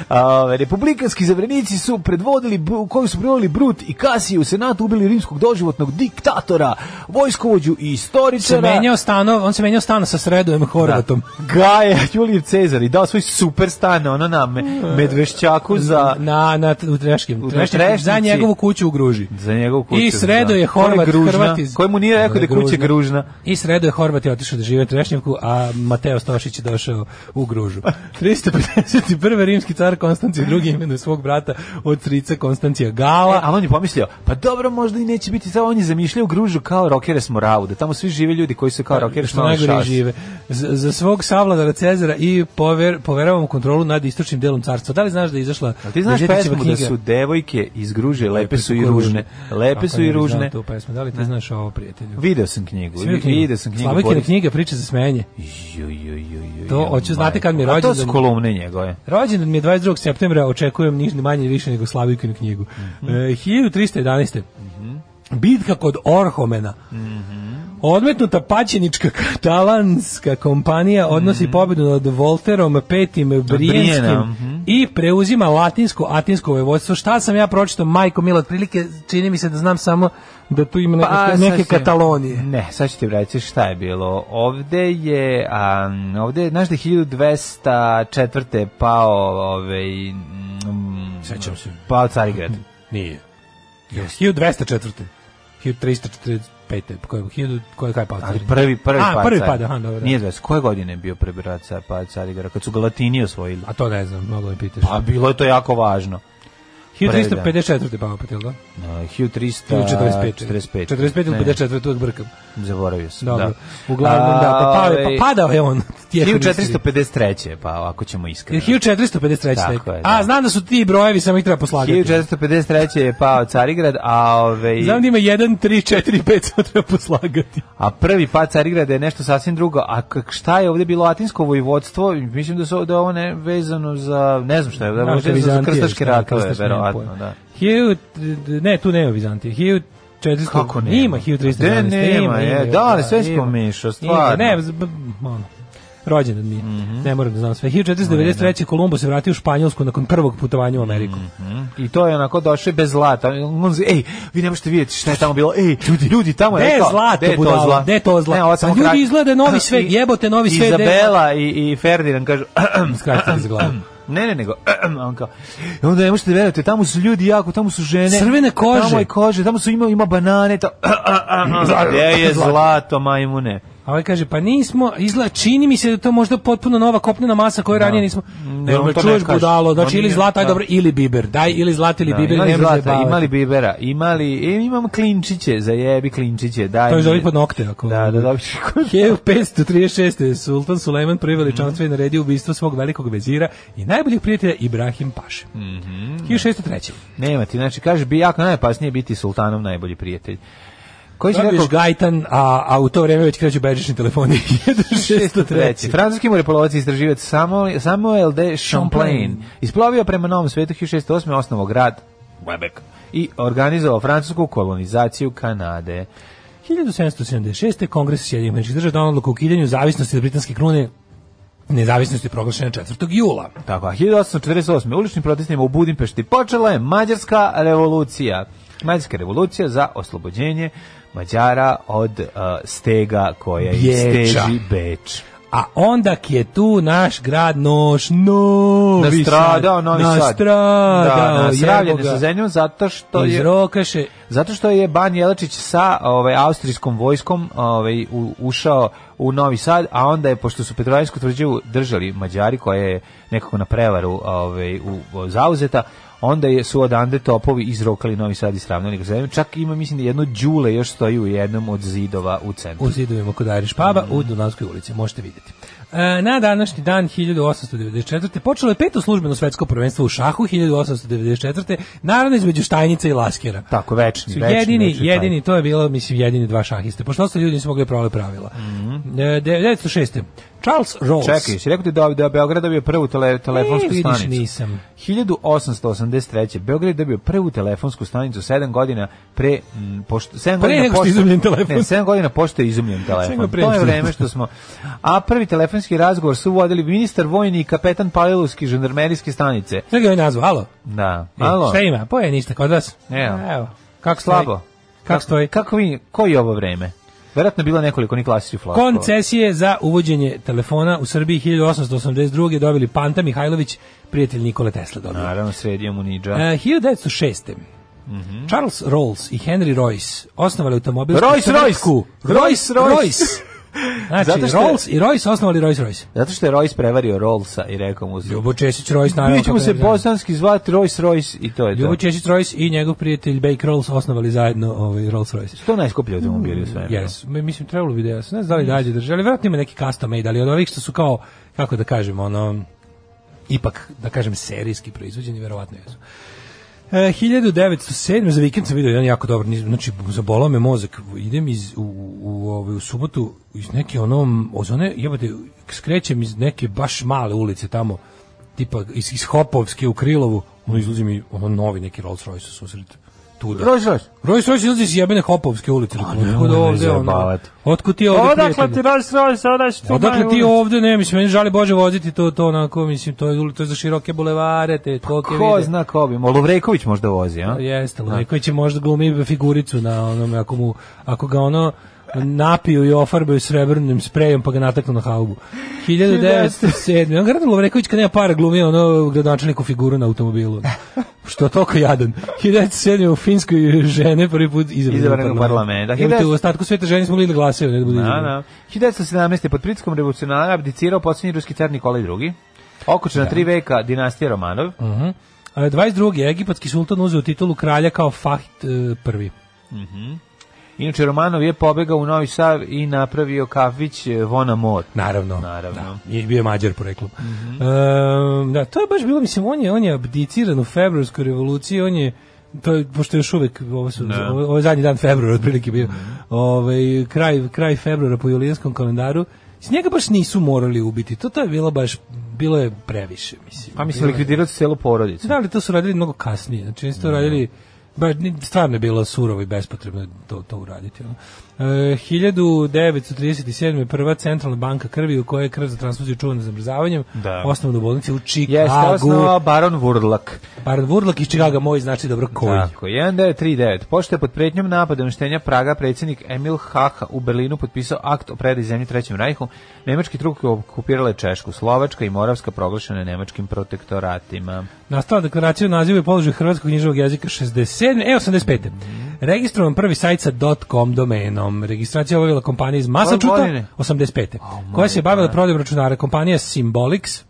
G: A, republikanski zavrenici su predvodili, Bru- koji su predvodili Brut i kasije u Senatu ubili rimskog doživotnog diktatora, vojskovođu i
H: se
G: istoričara.
H: menjao stanov, on se menjao stana sa Sredojem Horvatom.
G: Gaja Julijev Cezar i dao svoj super stan ono na me,
H: E.
G: Medvešćaku za
H: Na, na, u Treškim.
G: U
H: Treškim,
G: Trešnici.
H: za njegovu kuću u Gruži.
G: za njegovu kuću.
H: I sredo je
G: da. Ko
H: Horvat,
G: gružna,
H: Hrvat iz...
G: Koji mu nije rekao da je kuća gružna.
H: I sredo je Horvat je otišao da žive u Trešnjevku, a Mateo Stošić je došao u
G: [LAUGHS]
H: Gružu. 351. rimski car Konstancije II. imenuje svog brata od strica Konstancija
G: E,
H: Gala.
G: ali on je pomislio, pa dobro, možda i neće biti, sad on je zamišljao gružu kao rokere s moravu, da tamo svi žive ljudi koji su kao rokere s
H: Pa, što
G: moravu
H: najgore
G: šas.
H: žive. Z- za svog savladara Cezara i pover, poveravam kontrolu nad istočnim delom carstva. Da li znaš da je izašla
G: Ali ti znaš
H: Bezetićeva
G: pesmu da
H: knjiga?
G: su devojke iz gruže, lepe su i ružne. Lepe
H: Kako
G: su i
H: ne bi znao
G: ružne.
H: tu pesmu? Da li ti znaš ovo, prijatelju?
G: Video sam knjigu.
H: Jesi vidio knjigu?
G: Video sam knjigu.
H: Slavikina
G: Boris-
H: knjiga, priča za smenje.
G: Ju, ju, ju, ju,
H: To
G: ju,
H: hoću znati kad mi je
G: majko. A to su
H: rođendan.
G: kolumne njegove.
H: Rođendan mi je 22. septembra, očekujem niš ni manje ni više nego Slavikinu knjigu. Mm 1311. Bitka kod Orhomena. Mhm. Odmetnuta paćenička katalanska kompanija odnosi pobedu nad Volterom petim Brijenskim
G: Brijena, mhm.
H: i preuzima latinsko atinsko vojvodstvo. Šta sam ja pročitao, majko Mila, otprilike čini mi se da znam samo da tu ima neke,
G: sad
H: neke
G: ću ti-
H: Katalonije.
G: Ne, sad ću ti vratiti šta je bilo. Ovde je, a, ovde je, znaš da je 1204. pao, ovaj, mm,
H: Sećam se.
G: pao Carigrad.
H: Nije. 1204. 1345. Koje, 1000, koje kaj pa?
G: Ali prvi, prvi
H: A,
G: pad
H: prvi
G: Car-
H: pad, aha, dobro.
G: Nije 20. Koje godine je bio prvi rad sa pad Carigrada? Kad su ga Latini osvojili?
H: A to ne znam, mnogo mi pitaš.
G: Pa bilo je to jako važno.
H: 1354. pa opet, jel da?
G: Uh,
H: Ili 45.
G: 1345.
H: 45 ili
G: Ne,
H: 54, tu odbrkam.
G: Zaboravio sam,
H: Dobro.
G: da.
H: Uglavnom, da, pa, pao je-
G: ovaj,
H: pa padao je on. tijekom istorije.
G: 1453. Pa ako ćemo iskreno.
H: 1453.
G: Tako
H: Tako
G: je, da.
H: A, znam da su ti brojevi, samo ih treba poslagati.
G: 1453. je pao Carigrad, a ovaj
H: Znam da ima 1, 3, 4, 5, samo treba poslagati.
G: a prvi pad Carigrada je nešto sasvim drugo. A k- šta je ovdje bilo latinsko vojvodstvo? Mislim da su da je ovo ne vezano za ne znam šta je, da je
H: Možda
G: vezano za
H: Vizantije,
G: krstaške
H: šta je,
G: ratove,
H: krstaške, nemam
G: verovatno,
H: pojma.
G: da.
H: 1000, ne, tu nema Vizantije. 1400,
G: Kako nema?
H: Ima 1312.
G: Gde nema,
H: ima,
G: je?
H: ima,
G: Da, ali sve si
H: ima.
G: pomešao,
H: Ima,
G: stvarno. Mhm.
H: Ne, z- b- b- ono, rođendan mi je. Ne moram da znam sve. 1493. Kolumbo se vratio u Španjolsku nakon prvog putovanja u Ameriku. [CLEARS THROAT]
G: Mm. I to je onako došao bez zlata. On zi- ej, vi ne možete vidjeti šta je tamo bilo. Ej, ljudi, ljudi tamo je
H: Gde je
G: rekao,
H: zlato,
G: gde je to
H: budalo?
G: zla?
H: Gde je to zla?
G: Ne, ovo
H: Pa
G: samo
H: ljudi,
G: kratko.
H: izgleda
G: [CLEARS THROAT]
H: novi svet,
G: I-
H: jebote, novi svet, gde je-
G: Izabela i, i Ferdinand kažu,
H: Skratite za glavu.
G: [CLEARS THROAT] Ne, ne, nego, [CLEARS THROAT] on kao, "I onda ne možete verujete, tamo su ljudi jako, tamo su žene.
H: Crvene kože.
G: [CLEARS THROAT] Tamo je kože, tamo su ima, ima banane, to, gde je zlato, majmune.
H: A ovaj kaže, pa nismo, izla, čini mi se da je to možda potpuno nova kopnena masa koju ranije nismo.
G: Ne,
H: Jel
G: on
H: me
G: to ne
H: čuješ
G: kaže.
H: budalo, znači
G: On
H: ili
G: nije-
H: zlata, aj
G: da.
H: dobro, ili biber. Daj ili zlata ili
G: Da,
H: biber,
G: imali
H: ne može
G: zlata, imali bibera, imali, e, imamo klinčiće, zajebi klinčiće, daj.
H: To je
G: mi.
H: zove pod nokte, ako...
G: Da, da, dobiš.
H: 1536. Sultan Sulejman prvi
G: Mhm.
H: veličanstvo je naredio ubistvo svog velikog vezira i najboljeg prijatelja Ibrahim Paše. Mm
G: Mhm.
H: 1603.
G: Nema ti, znači, kaže, bi jako najopasnije biti sultanom najbolji prijatelj. Koji si
H: Dobiš
G: rekao?
H: gajtan, a, a u to vreme već kreću bežični [LAUGHS] telefoni. 1603.
G: Francuski morepolovac i istraživac Samo- Samuel de Champlain isplovio prema Novom svetu 1608. osnovo grad Quebec i organizovao francusku kolonizaciju Kanade.
H: 1776. Kongres Sjedinjenih američkih država donao odluku o ukidanju zavisnosti od britanske krune nezavisnosti je proglašena 4. jula.
G: Tako, a 1848. uličnim protestima u Budimpešti počela je Mađarska revolucija. Mađarska revolucija za oslobođenje Mađara od uh, stega koja im
H: Beča.
G: steži Beč.
H: A onda je tu naš grad Noš Novi
G: Nastradao
H: Sad.
G: Novi Sad.
H: Nastradao,
G: da, nasravljene
H: jebo
G: su
H: ga.
G: zemljom zato što
H: Iz
G: je
H: Rokaše.
G: Zato što je Ban Jelačić sa ovaj austrijskom vojskom ovaj u- ušao u Novi Sad, a onda je pošto su Petrovaradijsku tvrđavu držali Mađari koja je nekako na prevaru ovaj u, u- zauzeta, onda je su odande topovi izrokali Novi Sad i sravnali ga sa zemljom. Čak ima mislim da jedno đule još stoji u jednom od zidova u centru.
H: u zidovima kod Irish puba u Dunavskoj ulici, možete vidjeti. E, na današnji dan 1894. počelo je peto službeno svetsko prvenstvo u šahu 1894. Naravno između Štajnica i Laskera.
G: Tako, večni,
H: Su
G: večni,
H: jedini,
G: večni taj.
H: jedini, to je bilo, mislim, jedini dva šahiste. Pošto ostali ljudi nisu mogli da prole pravila. E, 1906. Charles Rolls.
G: Mhm. Čekaj, si rekao ti da, da je Beograd dobio prvu tele, telefonsku
H: E, vidiš,
G: stanicu.
H: nisam.
G: 1883. Beograd je dobio prvu telefonsku stanicu 7 godina pre mm, pošto 7
H: Pre
G: godina
H: nego što je izumljen telefon.
G: Ne, 7 godina pošto je izumljen
H: Sve
G: telefon.
H: ga pre
G: To je
H: nego što-
G: vreme što smo a prvi telefonski razgovor su vodili ministar vojni i kapetan Palilovski žandarmerijske stanice.
H: Sve ga je nazvao, alo?
G: Da.
H: E,
G: Malo.
H: Šta ima? Poje ništa kod vas?
G: Evo.
H: Kako stoji?
G: slabo.
H: Kako stoji?
G: Kako vi koji je ovo vreme? Verovatno je bilo nekoliko ni klasičnih flashova.
H: Koncesije za uvođenje telefona u Srbiji 1882. dobili Panta Mihajlović, prijatelj Nikole Tesla dobio.
G: Naravno, Mhm. sredio mu niđa.
H: E, 1906. Charles Rolls i Henry Royce osnovali automobilsku
G: Rolls-Royce!
H: tvrtku Royce
G: Rolls-Royce!
H: Royce.
G: [LAUGHS]
H: Znači,
G: Zato što je-
H: Rolls i Royce osnovali Royce Royce.
G: Zato što je Royce prevario Rollsa i rekao mu se,
H: Ljubo Česić Royce naravno.
G: Mi ćemo
H: kako ne
G: se
H: bi znao.
G: bosanski zvati Royce Royce i to je to.
H: Ljubo Česić Royce i njegov prijatelj Bake Rolls osnovali zajedno ovaj Rolls Royce.
G: To je najskuplji automobil u svemiru.
H: Yes, mi- mislim trebalo bi da ja sam ne znam da li dalje drže, ali verovatno ima neki custom made, ali od ovih što su kao, kako da kažem, ono, ipak, da kažem, serijski proizvođeni, verovatno jesu. E, 1907. za vikend sam vidio jedan jako dobar, niz- znači zabolao me mozak, idem iz, u, u, u, ovaj, u subotu iz neke onom, od one, jebate, skrećem iz neke baš male ulice tamo, tipa iz, iz Hopovske u Krilovu, ono izlazi mi ono novi neki Rolls Royce u susret. Tuda.
G: Royce Royce.
H: Rolls Royce izlazi iz jebene Hopovske ulice. Otkud
G: nemoj me
H: ovde, ono?
G: zajebavati.
H: Otkud ti ovde,
G: Odakle ti
H: prijatelju?
G: Royce Royce, odakle ti
H: Odakle ti
G: Majo?
H: ovde, ne, mislim, meni žali Bože voziti to, to onako, mislim, to je, uli- to je za široke bulevare, te kolike
G: Pa Ko
H: vide.
G: zna ko bi? Molovreković možda vozi, a?
H: Jeste, Lojković će možda glumi figuricu na onom, ako, mu, ako ga ono napiju i ofarbaju srebrnim sprejom pa ga nataknu na haubu. 1907. On garantno Lovreković kad nema para glumi ono gradonačelniku figuru na automobilu. Što je toliko jadan. 1907. u Finskoj žene prvi put
G: Izabrane u
H: izabrane u
G: parlament.
H: parlament.
G: Da,
H: Jebite,
G: 1900
H: U ostatku sveta žene smo mogli da glasaju, ne da budu
G: Da,
H: izabrane.
G: da. 1917. pod pritiskom revolucionara abdicirao posljednji ruski car Nikolaj II. Okočena tri veka dinastija Romanov.
H: Mm. A 22. egipatski sultan uzeo titulu kralja kao Fahd e, prvi.
G: Inače, Romanov je pobegao u Novi Sav i napravio kafić eh, Vona Mor.
H: Naravno.
G: Naravno. Mhm.
H: Da, je bio je mađar poreklom. Ehm, da, to je baš bilo, mislim, on je, on je abdiciran u februarskoj revoluciji, on je to je, pošto je još uvek ovo su ovo, ovo je zadnji dan februara otprilike
G: Mhm.
H: bio. Ovaj kraj kraj februara po julijanskom kalendaru. S njega baš nisu morali ubiti. To to je bilo baš bilo je previše, mislim.
G: Pa mislim,
H: Bilo je-
G: likvidirao se celu porodicu.
H: Da, ali to su radili mnogo kasnije. Znači, nisu
G: Mm.
H: to radili, baš ni- stvarno je bilo surovo i bespotrebno to, to uraditi. Ono. E, 1937. je prva centralna banka krvi u kojoj je krv za transfuziju čuvana zamrzavanjem,
G: Da.
H: osnovna u bolnici u
G: Jeste,
H: Čikagu.
G: osnovao Baron Vurlak.
H: Baron Vurlak iz Čikaga moj znači dobro koji.
G: Tako, 1939. Pošto je pod pretnjom napada uništenja Praga predsjednik Emil Haha u Berlinu potpisao akt o predaji zemlje Trećem rajhu, nemački truke okupirale Češku, Slovačka i Moravska proglašene nemačkim protektoratima.
H: Nastala deklaracija o nazivu i položaju hrvatskog književog jezika 67. E, 85. registrovan prvi sajt sa .com domenom. Registracija je obavila kompanija iz
G: godine?
H: Massachusetts 85. koja se je bavila prodajom računara kompanija Symbolics.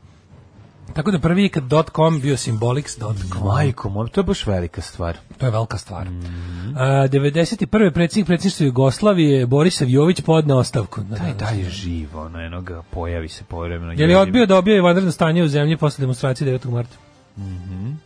H: Tako da prvi kad .com bio Symbolics.com.
G: Majko, moj, to je baš velika stvar.
H: To je velika stvar. A, 91. predsjednik predsjedništva Jugoslavije Borisav Jović podne ostavku. Da,
G: Taj dalje živo, ono, eno ga pojavi se povremeno.
H: Je li odbio da objavi vanredno stanje u zemlji posle demonstracije 9. marta? Mm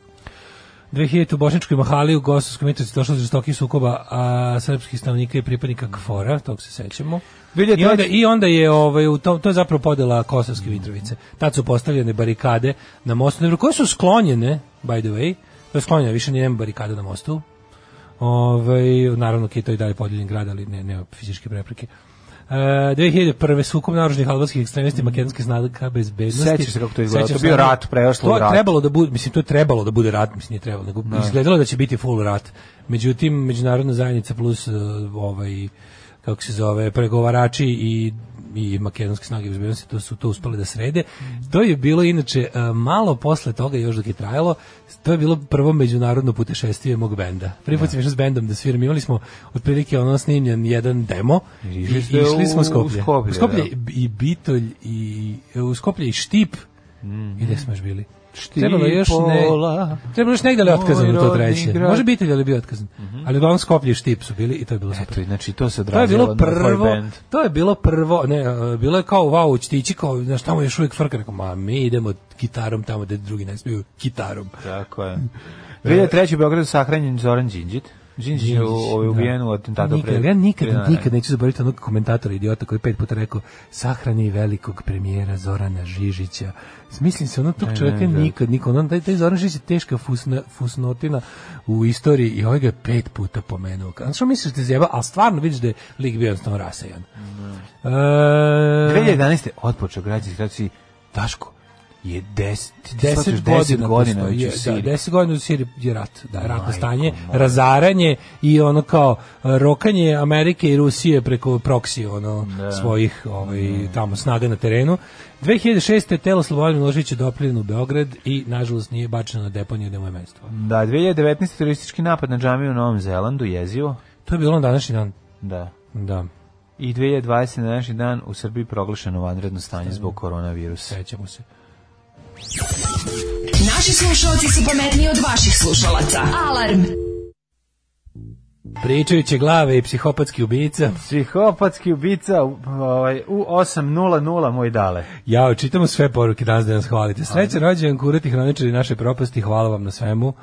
H: 2000 u Bošničkoj mahali u Gostovskoj Mitrovici došlo do žestokih sukoba a, srpskih stanovnika i pripadnika KFOR-a, tog se sećamo.
G: 2003.
H: I onda, I onda je, ovaj, u to, to je zapravo podela Kosovske Mitrovice. Tad su postavljene barikade na mostu, Dobro, koje su sklonjene, by the way, to je sklonjeno, više nije barikada na mostu. Ovaj, naravno, Kito je i dalje podijeljen grad, ali ne, nema fizičke prepreke. E, 2001. sukob naoružnih albanskih ekstremista i makedonske snaga bezbednosti.
G: Sećaš se kako to izgledalo?
H: Sećam
G: To je bio
H: se,
G: rat, preraslo u
H: To je
G: rat.
H: trebalo da bude, mislim, to je trebalo da bude rat, mislim, nije trebalo, nego izgledalo da će biti full rat. Međutim, međunarodna zajednica plus e, ovaj, kako se zove, pregovarači i i makedonske snage bezbednosti to su to uspeli da srede. To je bilo inače e, malo posle toga još dok je trajalo, to je bilo prvo međunarodno putešestvije mog benda. Prvi put sam išao s bendom da sviram, imali smo otprilike ono snimljen jedan demo i
G: Išli ste
H: išli smo
G: u
H: u Skoplje.
G: Skoplje,
H: U Skoplje
G: da.
H: i Bitolj i e, u Skoplje i Štip. I gde smo još bili?
G: Štip,
H: Trebalo je još ne,
G: pola.
H: trebalo je još negde ali
G: Moj
H: otkazano to
G: rodni
H: treće.
G: grad. Mhm.
H: Može biti ali je bio otkazan. Ali uglavnom Skoplje i Štip su bili i to je bilo super.
G: Eto, znači to se
H: To je
G: odrazilo
H: bilo
G: na tvoj
H: prvo,
G: band.
H: to je bilo prvo, ne, e, bilo je kao wow, ćete ići kao, znaš, tamo je još uvijek frka, rekao, ma mi idemo gitarom tamo gde drugi ne smiju, gitarom.
G: Tako je. 2003. u Beogradu sahranjen Zoran Đinđić. Đinđić je u- ovaj, ubijen u atentatu
H: nikad,
G: pre...
H: Pa Ja nikad,
G: pre dana.
H: nikad neću zaboraviti onog komentatora idiota koji je pet puta rekao sahrani velikog premijera Zorana Žižića. Mislim se, ono tog čovjeka nikad, nikad, ono, taj, taj Zoran Žižić je teška fusna, fusnotina u istoriji i ovaj ga je pet puta pomenuo. Znači, što misliš da je zjeba, ali stvarno vidiš da je lik bio jednostavno rasajan. E,
G: 2011. otpočeo građanski rat u Siriji. Daško, je 10
H: 10 godina,
G: godina
H: postoji,
G: već
H: je,
G: u Siriji.
H: Da, 10 godina u Siriji je rat, da, ratno
G: Majko
H: stanje,
G: moja.
H: razaranje i ono kao e, rokanje Amerike i Rusije preko proksi ono svojih ovaj tamo snaga na terenu. 2006. telo Slobodana Miloševića dopljeno u Beograd i nažalost nije bačeno na deponiju gde mu je mesto.
G: Da, 2019. turistički napad na džamiju u Novom Zelandu, jezivo.
H: To je bilo na današnji dan.
G: Da.
H: Da,
G: I 2020. na današnji dan u Srbiji proglašeno vanredno stanje zbog koronavirusa.
H: sećamo se.
F: Naši slušalci su pametniji od vaših slušalaca. Alarm.
H: Pričajuće glave i psihopatski ubica.
G: Psihopatski ubica u, ovaj, u 8.00 moj
H: [LAUGHS]
G: dale.
H: Ja, čitamo sve poruke danas da nas hvalite. Srećan rođendan kurati hroničari naše propasti, hvala vam na svemu.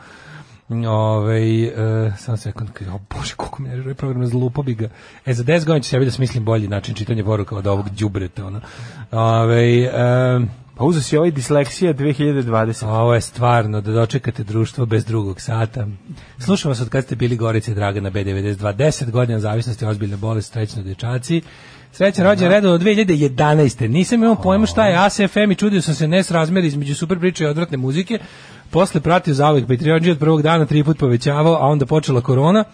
H: Ove, e, samo sekund, o bože, koliko mi je ovaj program zlupo bi ga. E, za 10 godina ću sebi da smislim bolji način čitanja poruka od ovog đubreta, ono. Ove, e,
G: Pa uzeo si ovaj disleksija 2020.
H: ovo je stvarno, da dočekate društvo bez drugog sata. Slušam vas od kad ste bili Gorice Draga na B92. 10 godina zavisnosti, ozbiljne bolest, srećno dječaci. Srećan rođen redom od 2011. Nisam imao pojma šta je ASFM i čudio sam se nesrazmjer između super priče i odvratne muzike. Posle pratio zauvek Patreon od prvog dana tri put povećavao, a onda počela korona.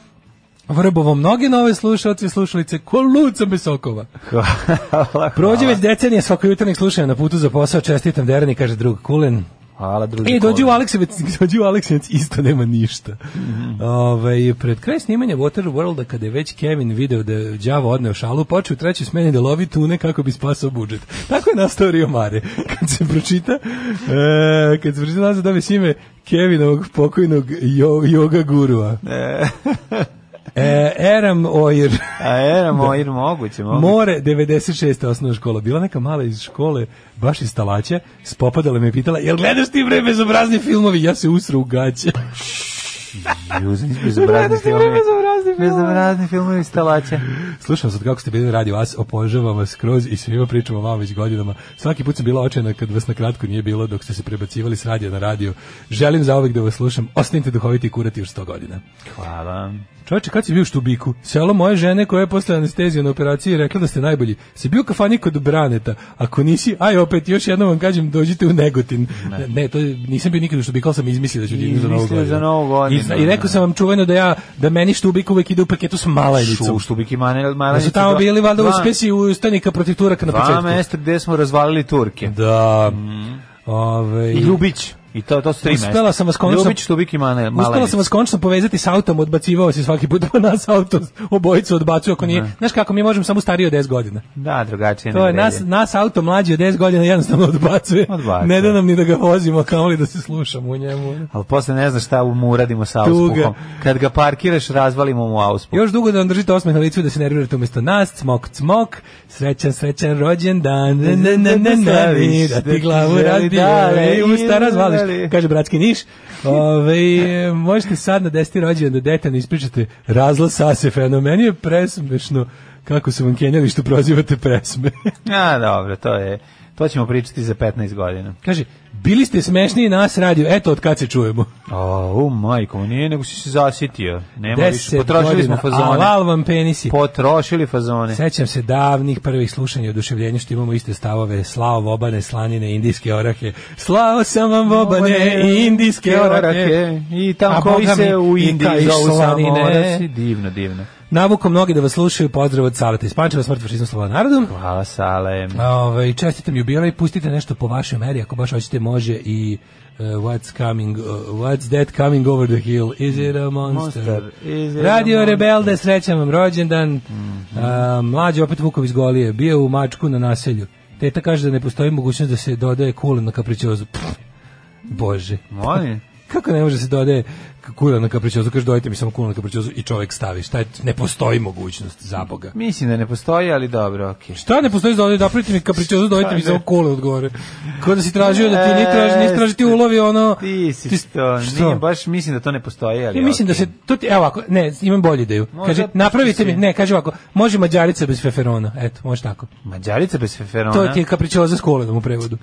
H: Vrbovo mnoge nove slušalce i slušalice, ko luca bez sokova. Prođe već decenije svakojutarnjeg slušanja na putu za posao, čestitam Derani, kaže drug Kulen.
G: Hvala, druži.
H: E, dođi u
G: kolega.
H: Aleksinac, [LAUGHS] dođi u Aleksinac, isto nema ništa. Ovaj, pred kraj snimanja Waterworlda, kada je već Kevin video da je đavo odneo šalu, počeo u trećoj smeni da lovi tune kako bi spasao budžet. Tako je nastao Rio Mare. [LAUGHS] Kad se pročita, e, kad se pročita nazad dobiješ ime Kevinovog pokojnog jo, yoga gurua. E, Eram Oir.
G: A era, moj, moguće, moguće.
H: More 96. osnovna škola. Bila neka mala iz škole, baš iz talaća, spopadala me i pitala, jel gledaš ti bre bezobrazni filmovi? Ja se usru u gaće.
G: Juzni
H: [LAUGHS]
G: bezobrazni
H: Gledaš li
G: filmovi.
H: bezobrazni filmovi?
G: Bezobrazni filmovi stalaća.
H: Slušam sad kako ste bili na radio vas, opožavam vas skroz i svima pričamo o vama već godinama. Svaki put sam bila očajna kad vas na kratko nije bilo dok ste se prebacivali s radija na radio. Želim zaovek da vas slušam. Ostanite duhoviti i kurati još 100 godina.
G: Hvala.
H: Čovječe, kad si bio u Štubiku? Selo moje žene koja je posle anestezije na operaciji rekla da ste najbolji. Si bio u kafani kod Braneta. Ako nisi, aj opet, još jednom vam kažem, dođite u Negotin. Ne, to je- nisam bio nikad u Štubiku, ali sam izmislio da ću ti za novu
G: Izmislio
H: godinu.
G: za Novu godinu,
H: I, zna- i rekao sam vam čuveno da ja, da meni Štubik uvek ide u paketu s
G: Šu,
H: malajnicom.
G: štubiki mane,
H: Da
G: mane.
H: su tamo bili valjda
G: dva-
H: uspesi ustanika protiv Turaka na
G: Dva
H: početku.
G: mesta gde smo razvalili Turke.
H: Da. Ovaj,
G: I Ljubić. I to, to su tri mesta.
H: Uspela sam vas konačno-
G: Ljubić, Tubik i Mane,
H: Uspela
G: Malenić.
H: sam vas konačno povezati s autom, odbacivao si svaki put po nas auto, obojicu odbacuju ako nije. Znaš kako, mi možemo samo stariji od 10 godina.
G: Da, drugačije.
H: To
G: ne
H: je
G: vredi.
H: nas, nas auto mlađi od 10 godina jednostavno odbacuje.
G: Odbacuje.
H: Ne da nam ni da ga vozimo, kao li da se slušamo u njemu.
G: Ali posle ne znaš šta mu uradimo sa
H: Tuga.
G: auspuhom. Kad ga parkiraš, razvalimo mu auspuh.
H: Još dugo da vam držite osmeh na licu i da se nervirate umjesto nas, cmok, cmok, srećan, srećan rođendan, ne, ne, ne, ne, ne, ne, da ti glavu razbijali, usta razvališ, kaže bratski [LAUGHS] Niš. Ove, možete sad na deseti rođendan da detaljno ispričate razlaz sase fenomeni je presmešno kako su vam kenjali što prozivate [LAUGHS] presme.
G: A, dobro, to je... To ćemo pričati za 15 godina.
H: Kaže, bili ste smešniji nas radio, eto od kad se čujemo.
G: O, u, majko, nije, nego si se zasitio. Nema više.
H: 10
G: Potrošili
H: godina,
G: smo fazone.
H: alal vam penisi.
G: Potrošili fazone.
H: Sećam se davnih prvih slušanja i oduševljenja što imamo iste stavove, slao vobane, slanine, indijske orahe. Slao sam vam vobane i indijske orahe.
G: I
H: A
G: tam koji
H: Boga mi,
G: se u
H: i taj
G: Indiji zovu
H: slanine.
G: samo orasi. e, Divno, divno.
H: Navukom mnogi da vas slušaju, pozdrav od Salata iz Pančeva, smrt fašizmu slova narodu.
G: Hvala, Sale.
H: Ove, ovaj, čestitam jubilej, pustite nešto po vašoj meri, ako baš hoćete može i uh, what's coming, uh, what's that coming over the hill, is it a monster?
G: Monster, is it a
H: Radio
G: monster? Mhm.
H: Rebelde, srećan vam rođendan, A, mlađi opet Vukov iz Golije, bio u mačku na naselju, teta kaže da ne postoji mogućnost da se dodaje kulen na kapričozu, Pff, bože.
G: Molim?
H: [LAUGHS] Kako ne može se dodaje kulen na kapričozu, kaže dojte mi samo kulen na kapričozu i čovek stavi, šta je, ne postoji mogućnost, za Boga.
G: Mislim da ne postoji, ali dobro, okej.
H: Šta ne postoji za ovdje, napravite mi kapričozu, dojte mi samo kole odgovore. Kao da si tražio da ti ne traži, ne traži ti ulovi, ono...
G: E, Ti si to,
H: što?
G: nije, baš mislim da to ne postoji, ali
H: Ja mislim da
G: okej.
H: se to ti, evo ovako, ne, imam bolju ideju.
G: Možda
H: Kaže,
G: pusti
H: napravite
G: si.
H: mi, ne, kaže ovako, može mađarica bez feferona. Eto, može tako.
G: Mađarica bez feferona?
H: To ti je kapričoza s kolenom u prevodu.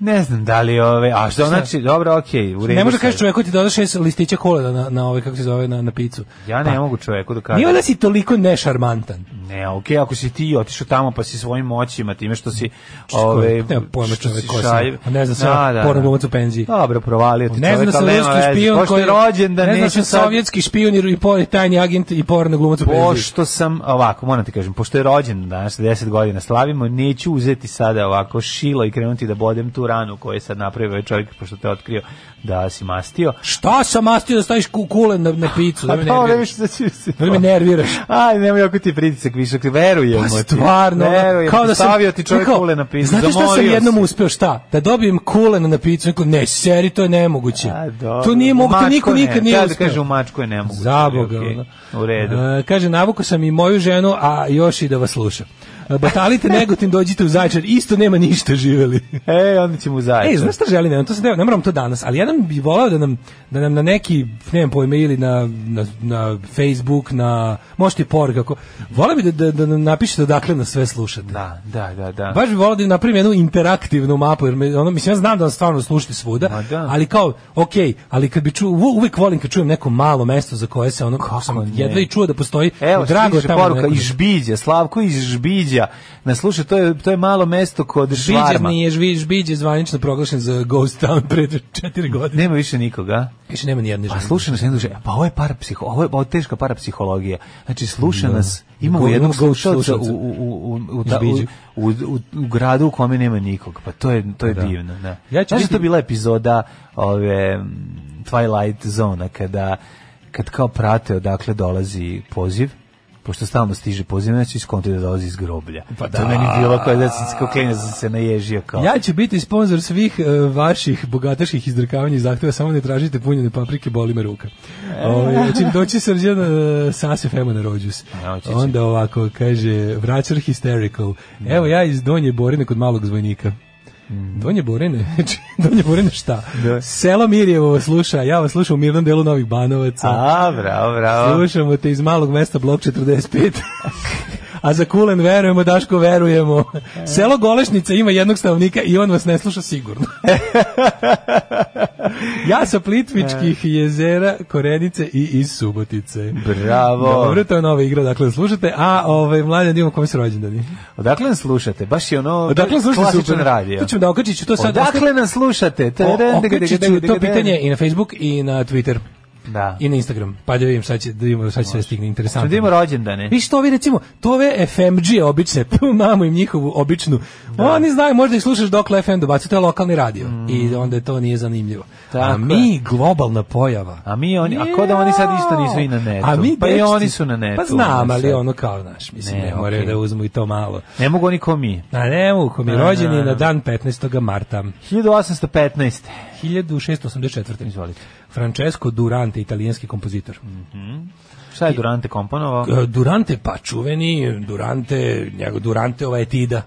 G: Ne znam da li ove, a što znači, dobro, okej, u redu.
H: Ne može
G: sad.
H: kažeš čoveku ti dodaš šest listića kolena na, na ove, kako se zove, na, na picu.
G: Ja ne mogu čoveku da kažem.
H: Pa- Nije da si toliko nešarmantan.
G: Ne, okej, ako si ti otišao tamo pa si svojim moćima, time što si ove
H: nema pojma
G: što
H: čovek
G: si
H: ko sam.
G: šaljiv-
H: A ne znam se ja, porno glumac u penziji.
G: Dobro, provalio ti
H: Ne znam
G: čovek,
H: da
G: Pa
H: se
G: ali nema
H: ruski
G: veze.
H: špijun
G: Pošto
H: koji
G: je rođen da
H: ne znam da
G: neću
H: sam
G: sad...
H: sovjetski špijun i i por- tajni agent i porno glumac u penziji.
G: Pošto sam, ovako, moram ti kažem, pošto je rođen danas, 10 godina slavimo, neću uzeti sada ovako šilo i krenuti da bodem tu ranu koju je sad napravio ovaj čovjek, pošto te otkrio da si mastio.
H: Šta sam mastio da staviš ku- kulen na, na picu? Da
G: A
H: me
G: Pa to Pa ne
H: nerviraš.
G: više da ću se...
H: Da me nerviraš.
G: Aj, nemoj ako ti je pritisak visok, verujem
H: Pa
G: ti.
H: stvarno, ono,
G: verujem, kao da sam, stavio ti čovjek
H: Kao,
G: kule na pizu,
H: Znate šta sam
G: zamorio
H: jednom
G: si.
H: uspio, šta? Da dobijem kulen na picu, rekao, ne, seri, to je nemoguće.
G: A, dobro.
H: to nije
G: U
H: moguće, to
G: mačku
H: niko
G: ne,
H: nikad nije
G: treba
H: uspio.
G: Da kaže u mačku je nemoguće.
H: Za
G: ali
H: Boga,
G: okej,
H: ono.
G: U redu.
H: E, kaže, navuko sam i moju ženu, a još i da vas slušam. E, Batalite [LAUGHS] Negotin, dođite u Zaječar, isto nema ništa, živeli.
G: Ej, E, onda ćemo zajedno.
H: Ej, znaš šta želim, ja, to se ne, ne moram to danas, ali jedan bi voleo da nam, da nam na neki, nemam pojma, ili na, na, na Facebook, na, možete i porg, ako, voleo bi da, da, da nam napišete odakle nas sve slušate.
G: Da, da, da, da.
H: Baš bi volao da im napravim jednu interaktivnu mapu, jer me, ono, mislim, ja znam da nas stvarno slušate
G: Ma
H: svuda,
G: da.
H: ali kao, okej, ali kad bi čuo, u- uvek volim kad čujem neko malo mesto za koje se ono, kako sam
G: ne?
H: jedva i čuo da postoji,
G: Evo,
H: drago
G: drago
H: je
G: stiže
H: tamo
G: poruka
H: neko-
G: iz Žbiđa, Slavko iz Žbiđa. Na slušaj, to je to je malo mesto kod
H: Žbiđe
G: Švarma.
H: nije, Žbi- Žbiđe je zvanično proglašen za Ghost Town pred četiri godine.
G: Nema više nikoga.
H: Više nema nijedne
G: A
H: žene.
G: sluša nas jedan duže, pa ovo je parapsiho, ovo je ovo je teška parapsihologija. Znači sluša nas, imamo
H: Go-
G: jednog
H: imamo ghost
G: slušalca u,
H: slušalca.
G: u, u, u, da, u,
H: Izbiđu.
G: u, u, u gradu u kome nema nikog, pa to je, to je divno. Da.
H: Ja
G: Znaš
H: ću
G: da
H: biti-
G: to bila epizoda ove mm, Twilight Zona, kada kad kao prate odakle dolazi poziv, pošto stalno stiže poziv, znači iskonti da dolazi iz groblja.
H: Pa
G: To
H: da.
G: je meni bilo kao da sam se kao klinac sam se naježio kao.
H: Ja ću biti sponsor svih e, vaših bogataških izdrkavanja i zahteva, samo ne tražite punjene paprike, boli me ruka.
G: E.
H: Ove, čim doći srđan e, sase fema na rođus.
G: A, hoće, hoće.
H: Onda ovako, kaže, vraćar hysterical. Evo ja iz Donje Borine kod malog zvojnika. Donje Borine? [LAUGHS] Znači, Donje Borine šta?
G: Mhm. Da.
H: Selo Mirjevo vas sluša, ja vas slušam u mirnom delu Novih Banovaca.
G: A, bravo, bravo.
H: Slušamo te iz malog mesta blok 45. A za Kulen verujemo, Daško verujemo. Selo Golešnica ima jednog stanovnika i on vas ne sluša
G: [LAUGHS]
H: sigurno. ja sa Plitvičkih jezera, Korenice i iz Subotice.
G: Bravo.
H: Dobro, to je nova igra, dakle slušate. A ovaj mladen da imamo kome se rođendani.
G: Odakle nas slušate? Baš je ono
H: Odakle slušate
G: klasičan
H: super.
G: radio.
H: To ćemo da okačit ću to sad.
G: Odakle nas slušate?
H: O- okačit ću to pitanje i na Facebook i na Twitter.
G: Da.
H: i na Instagram. Pa da vidim šta će, da vidimo šta će sve stigne interesantno.
G: Čudimo rođendane.
H: Vi što vi recimo, to ove FMG obične, [LAUGHS] p- mamu im njihovu običnu, oni znaju, možda ih slušaš dok FM dobacu, to je lokalni radio i onda to nije zanimljivo. a
G: Mm. Tako
H: mi, globalna pojava.
G: A mi oni, a ko da oni sad isto nisu i na netu? pa i
H: dečki-
G: oni su na netu.
H: Pa znam,
G: oni
H: ali
G: sad.
H: ono kao, znaš, mislim,
G: Ne,
H: ne, moraju
G: okej.
H: da uzmu i to malo.
G: Ne mogu oni ko mi.
H: A ne, uko mi
G: Da,
H: rođen
G: da,
H: je
G: da.
H: na dan 15. marta
G: 1815.
H: 1684.
G: Izvolite. Mm.
H: Francesco Durante, italijanski kompozitor.
G: Šta je Durante komponovao?
H: E, Durante, pa čuveni, Durante, njegov Durante ova etida.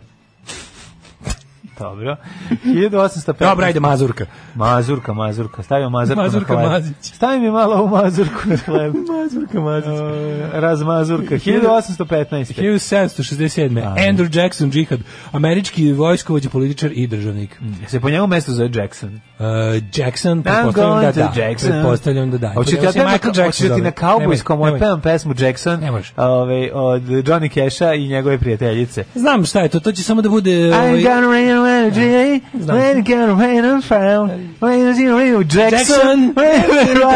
G: Dobro. 1815.
H: Dobra, ajde [LAUGHS] Mazurka.
G: Mazurka, mazurka. Stavio mazurku
H: Mazurka
G: na hleb.
H: Mazić.
G: Stavi mi malo ovu mazurku na hleb.
H: [LAUGHS] Mazurka, Mazurka.
G: E, Razmazurka. 1815.
H: 1767.
G: Ajde.
H: Andrew Jackson Džihad, američki vojskovođa, političar i državnik.
G: Se po njemu mesto zove Jackson.
H: Uh, Jackson,
G: Mm. I'm
H: pretpostavljam da
G: going to
H: da.
G: Jackson.
H: Pretpostavljam da da.
G: Hoću ti
H: Evo
G: ja
H: se
G: tebe-
H: Michael
G: hoću ti
H: zove.
G: na kaubojskom ovaj
H: Nemoj, nemoj.
G: pevam pesmu Jackson
H: Ne može.
G: ovaj, od Johnny Casha i njegove prijateljice.
H: Znam šta je to, to će samo da bude... ovaj,
G: I'm gonna rain on energy,
H: Znam.
G: when it's gonna rain on frown, when it's gonna rain on Jackson, when
H: Jackson.
G: it's gonna rain on down,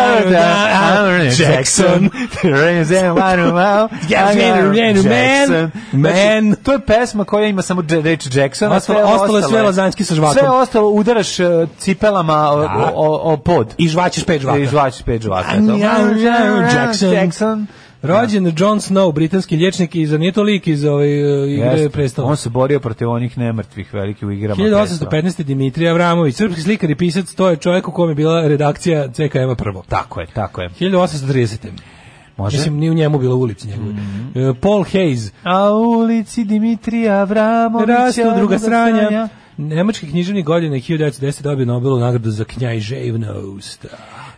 G: I'm gonna rain on Jackson,
H: uh, Jackson.
G: rain on down, why don't I-
H: [LAUGHS] Yes,
G: I'm
H: rain on-
G: gonna
H: rain on man,
G: Jackson.
H: man.
G: Znači, To je pesma koja ima samo dž- reč Jackson, a sve
H: Ostalo- ostalo je sve
G: je-
H: lazanjski sa žvakom.
G: Sve ostalo udaraš e, cipelama o,
H: Da.
G: o, o, o pod.
H: I žvaćeš pet žvaka.
G: I žvačiš pet žvaka.
H: I'm
G: to.
H: gonna- Jackson.
G: Jackson.
H: Rođen Jon Snow, britanski liječnik i zar nije to lik iz ove uh, igre
G: Jeste.
H: prestala?
G: On se borio protiv onih nemrtvih veliki u igrama. prestava.
H: 1815. Dimitrije Avramović, srpski slikar i pisac, to je čovjek u kom je bila redakcija CKM-a prvo.
G: Tako je, tako je.
H: 1830.
G: Može? Mhm.
H: Mislim, ni u njemu bila ulica njegove. E, Paul Hayes,
G: A u ulici Dimitrija Avramovića
H: rastu druga stranja. Nemački književnik godine 1910 dobio Nobelovu nagradu za knjajževnost.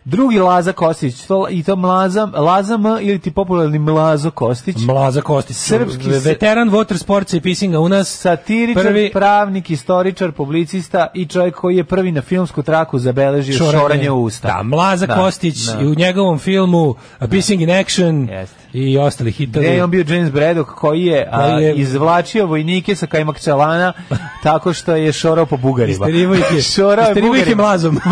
G: Drugi Laza Kostić, to, i to Mlaza, Laza M ili ti popularni Mlazo Kostić.
H: Mlaza Kostić,
G: Srpski
H: srpski
G: se-
H: veteran water sportsa i pisinga u nas.
G: Satiričar,
H: Prvi-
G: pravnik, istoričar, publicista i čovjek koji je prvi na filmsku traku zabeležio šoranje, u usta.
H: Da, Mlaza Kostić i u njegovom filmu a Pissing in Action
G: Jeste.
H: i ostali hitovi.
G: Gde je E, on bio James Braddock koji je, a,
H: Koji je-
G: izvlačio vojnike sa kajmak
H: [LAUGHS]
G: čelana tako što je šorao po bugarima.
H: Isterivo ih je,
G: [LAUGHS] šorao je
H: isterivo ih je
G: bugarima. [LAUGHS]
H: mlazom. [LAUGHS]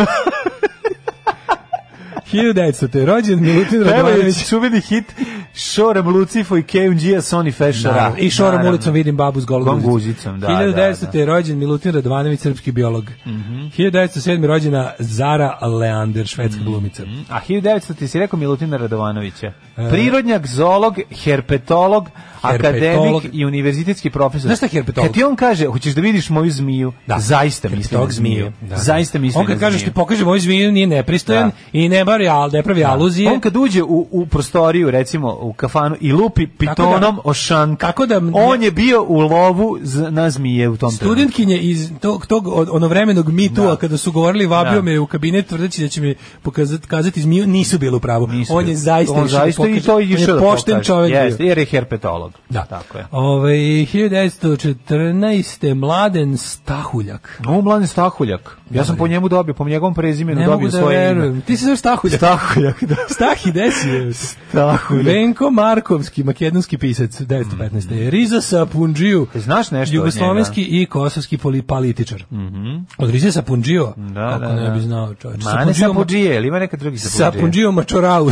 H: 1900. Rođen Milutin Radovanović.
G: Pevajući čuveni hit Šoram Lucifu i KMG-a Sony Fashion.
H: Naravno, I šorom ulicom vidim babu s golom
G: Golom
H: guzicom.
G: guzicom, da,
H: 1910.
G: da,
H: je rođen Milutin Radovanović, srpski biolog.
G: Mhm.
H: 1907. je rođena Zara Leander, švedska
G: Mhm.
H: glumica.
G: A 1900 ti si rekao Milutina Radovanovića.
H: E.
G: Prirodnjak, zoolog, herpetolog, akademik i univerzitetski profesor.
H: Znaš šta je herpetolog?
G: Kad ti on kaže, hoćeš da vidiš moju zmiju,
H: Da.
G: zaista misli na
H: Herpetolog
G: zmiju.
H: Da.
G: Zaista misli
H: On kad
G: na
H: kaže
G: zmiju.
H: što pokaže moju zmiju nije nepristojan
G: Da.
H: i ne, bar, al, ne pravi aluzije.
G: On kad uđe u, u prostoriju, recimo u kafanu, i lupi pitonom o šanka.
H: tako da-
G: on je bio u lovu z- na zmije u tom trenutku.
H: Studentkinje iz tog, tog od- onovremenog mitua kada su govorili vabio
G: Da.
H: me u kabinet tvrdeći da će mi pokazati kazati zmiju nisu bili u pravu.
G: Nisu
H: on
G: bili.
H: je zaista
G: on
H: išao da
G: zaista i
H: pokaže-
G: to
H: on
G: je
H: je
G: išao da
H: pošten
G: pokaže.
H: čovjek bio.
G: Jeste, jer je herpetolog.
H: Da.
G: Tako je.
H: Ovaj 1914. Mladen Stahuljak.
G: No, Mladen Stahuljak. Ja sam po njemu dobio, po njegovom prezimenu
H: Ne mogu
G: dobio
H: da
G: svoje ime.
H: verujem. Ti se zoveš Stahuljak.
G: Stahuljak, da.
H: Stahi desi je.
G: Stahuljak.
H: Venko Markovski, makedonski pisac, 1915. Riza Sapundžiju.
G: Mhm. Znaš nešto od Mhm.
H: Jugoslovenski i kosovski poli- političar. Mm -hmm. Od Rize Sapundžio?
G: Da,
H: Kako
G: da,
H: ne
G: da.
H: bi znao čovječ.
G: Mane Sapudžije, ili ima neka drugi Sapudžije?
H: Sapundžio Mačorau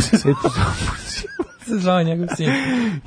G: [LAUGHS]
H: se zove. se zvao njegov sin.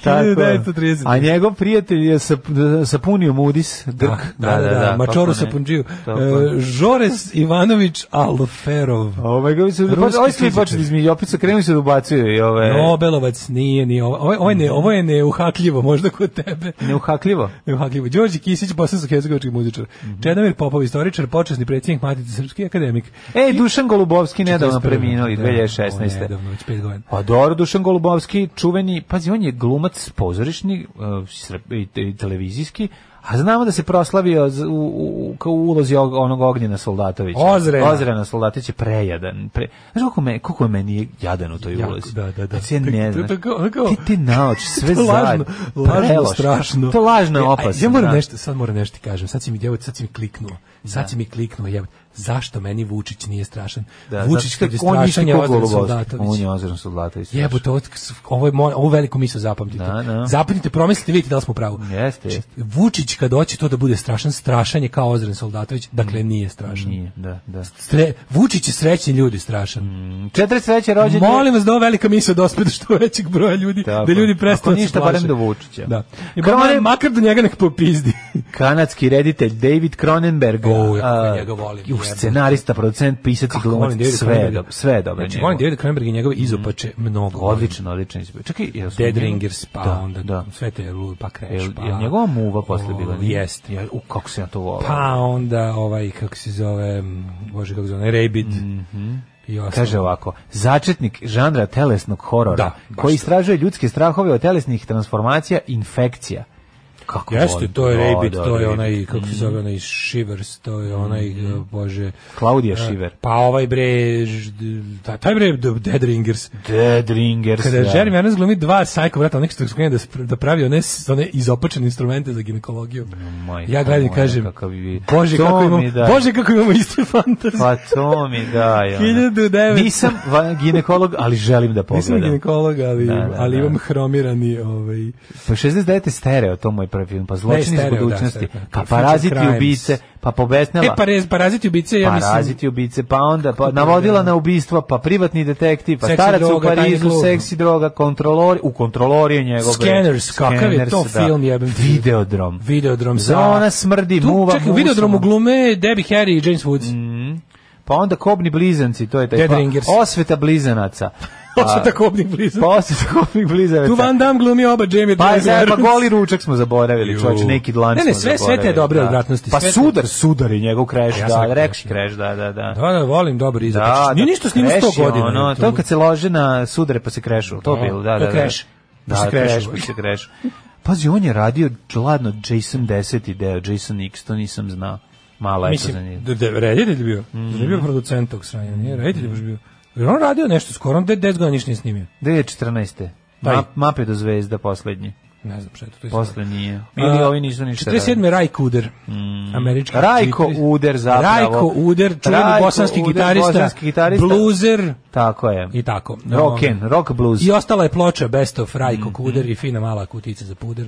G: Tako je.
H: 1930.
G: A njegov prijatelj je sap, sapunio Mudis, Grk.
H: Da, da, da, da, Mačoru
G: kako ne.
H: Sapundžiju.
G: Tako je.
H: E, Žores Ivanović Alferov.
G: Oh my god, su,
H: Ruski
G: pa, ovi svi
H: fizičar.
G: počeli između, opet su krenuli se da ubacuju i ove...
H: Nobelovac nije, nije ovo, ovo, je- ovo, je ne, ovo je neuhakljivo, možda kod tebe.
G: Neuhakljivo.
H: Neuhakljivo. Đorđe Kisić, bosansko-hercegovački muzičar.
G: Mhm.
H: Čedomir Popov, istoričar, počasni predsjednik Matice Srpske i akademik.
G: Ej, E, Dušan Golubovski nedavno
H: 41..
G: preminuo i
H: Da, on je
G: 2016.
H: Nedavno, već pet godina.
G: Pa dobro, Dušan Golubovski, čuveni, pazi, on je glumac pozorišni uh, sre- i, i televizijski, a znamo da se proslavio z- u, u, kao u ulozi og- onog Ognjena Soldatovića.
H: Ozrena.
G: Ozrena Soldatović je prejadan. Pre... Znaš koliko, me, koliko je meni jadan u toj
H: Jako,
G: ulozi?
H: da, da, da.
G: Kad se ne
H: To- to-
G: znaš.
H: to kao- ono kao-
G: Ti te naoči,
H: [LAUGHS]
G: sve
H: To je
G: zajedno.
H: lažno, lažno,
G: Preloš.
H: strašno.
G: To je lažno
H: E,
G: je
H: a,
G: opasno.
H: Ja moram
G: da.
H: nešto, sad moram nešto ti kažem. Sad si mi djevojka, sad si mi kliknuo. Sad si mi kliknuo, jebote. zašto meni Vučić nije strašan?
G: Da,
H: Vučić
G: zato
H: kad
G: što
H: je
G: on isti
H: strašan je
G: ko
H: ozbiljan
G: Golubovski.
H: soldatović.
G: On je ozbiljan soldatović.
H: Jebote, ovo, ovo, je, mo- ovo veliku misao zapamtite.
G: Da, da.
H: Zapamtite, promislite, vidite da li smo u pravu.
G: Jeste,
H: Znači,
G: jeste.
H: Vučić kad hoće to da bude strašan, strašan je kao Ozren Soldatović, dakle nije strašan.
G: Mm. Nije, da, da.
H: Stre, Vučić je srećni ljudi strašan.
G: 43. rođendan.
H: Molim vas da ova velika misao dospe do što većeg broja ljudi,
G: Tako.
H: da ljudi prestanu
G: Ako
H: da se
G: ništa,
H: plaše.
G: barem do Vučića.
H: Da. I
G: Kao
H: ba-
G: onaj-
H: makar do njega nek
G: [LAUGHS]
H: popizdi.
G: Kanadski reditelj David Cronenberg.
H: O, ja kako
G: a,
H: njega volim,
G: u
H: jebote.
G: scenarista, producent, pisac i
H: Kako
G: glumac.
H: volim Davida
G: Sve, je
H: Cronenberga.
G: dobro, sve je dobro.
H: Znači,
G: njegovo. Mhm.
H: volim David Cronenberg i njegove izopače mnogo. volim.
G: Odličan, odličan izbor. Čekaj, jel su
H: Dead
G: njegov-
H: Ringers, pa
G: da,
H: onda
G: da.
H: sve te Lu- pa Crash,
G: Jel-
H: pa...
G: jel njegova muva posle
H: O,
G: bila, nije?
H: Jest.
G: Ja, u, kako se ja to volao.
H: Pa onda ovaj, kako se zove, m, bože kako se zove, Rabbit. I ostalo.
G: Mhm. Kaže ovako, začetnik žanra telesnog horora,
H: Da, baš
G: koji
H: to.
G: istražuje ljudske strahove od telesnih transformacija i infekcija. Kako
H: Jeste,
G: volim.
H: to je
G: Da,
H: Rabbit,
G: da,
H: to je
G: Rabbit. Mm. Mhm.
H: onaj, kako se zove, onaj Shivers, to je onaj, e, bože...
G: Claudia
H: e,
G: Shiver.
H: Pa ovaj bre, ž- d- taj- taj bre, d- Dead Ringers.
G: Dead Ringers.
H: Kada
G: da.
H: Jeremy Irons glumi dva sajko, brata, onih što skrenu da, spr- da pravi one, s- one izopačene instrumente za ginekologiju.
G: majko
H: ja gledam i
G: moja,
H: kažem,
G: kakav vi-
H: bože,
G: To
H: kako
G: mi
H: imamo,
G: daj.
H: bože, kako imamo iste fantazije.
G: Pa to mi
H: [LAUGHS]
G: daj. ono.
H: 1009.
G: Nisam va- ginekolog, ali želim da pogledam.
H: Nisam ginekolog, ali,
G: Da, da, da.
H: ali imam hromirani ovaj,
G: Pa 69. stereo, to mu je prvi film, pa zločin iz
H: Stereo, da,
G: budućnosti,
H: Stereo.
G: pa
H: Future
G: paraziti
H: Crimes.
G: ubice, pa pobesnela.
H: E, parez, paraziti ubice, ja mislim...
G: paraziti ubice, pa onda pa navodila na ubistva, pa privatni detektiv, pa
H: Seksi
G: starac u
H: droga,
G: Parizu,
H: tajni klub.
G: seksi droga, kontrolori, u kontrolori je njegov. bre.
H: Scanners, kakav je to
G: Scanners, da.
H: film, jebem ti.
G: Videodrom.
H: Videodrom sa...
G: Zona smrdi,
H: tu,
G: muva
H: Čekaj, u
G: musom.
H: Videodromu glume Debbie Harry i James Woods.
G: Pa onda kobni blizanci, to je taj
H: Dead
G: pa,
H: Ringers.
G: osveta blizanaca.
H: [LAUGHS] Hoće
G: Pa-
H: tako obnih blizu.
G: Pa osveta kobnih blizanaca.
H: Tu Van Damme glumi oba Jamie
G: Pa,
H: Drivera.
G: za, pa goli ručak smo zaboravili,
H: Ju.
G: čovječ, neki lanc
H: Ne, ne,
G: smo
H: sve- sve te
G: zaboravili,
H: dobre
G: da.
H: odvratnosti,
G: Pa
H: sve te-
G: sudar, sudar i njegov kreš,
H: Ja sam
G: da,
H: rekao
G: rekš
H: Crash,
G: kreš, da, da, da.
H: Da, da, volim dobar izopač. znači, Nije ništa s njim
G: Crash
H: 100
G: je
H: godina.
G: Ono,
H: to-
G: to kad se lože na sudare pa se krešu, to
H: Da,
G: bilo, da,
H: to
G: da.
H: je Crash.
G: Da,
H: Pa se
G: da
H: krešu.
G: kreš, pa se krešu. Pazi, on je radio čladno Jason 10 deo, Jason X, to nisam znao. Mala je to za Mhm. njega.
H: Mislim, da, da, reditelj bio. Da je bio producent tog sranja,
G: Mhm.
H: nije reditelj baš bio. Jer on radio nešto skoro, on de- 10 godina ništa nije snimio.
G: 2014.
H: Taj.
G: Ma, mape do zvezda poslednji.
H: Ne znam šta je to. to je
G: Posle nije. Ili
H: A,
G: ovi nisu ništa. radili. Mhm.
H: 47. Ray Kuder, američki.
G: Rajko
H: gitarist.
G: Uder zapravo.
H: Rajko Uder, čuveni
G: Rajko
H: bosanski
G: Uder,
H: gitarista,
G: bosanski gitarista.
H: bluzer
G: Tako je.
H: i tako. Ono,
G: Rock and, rock blues. Mhm.
H: I ostala je ploča Best of Rajko Kuder i fina mala kutica za puder.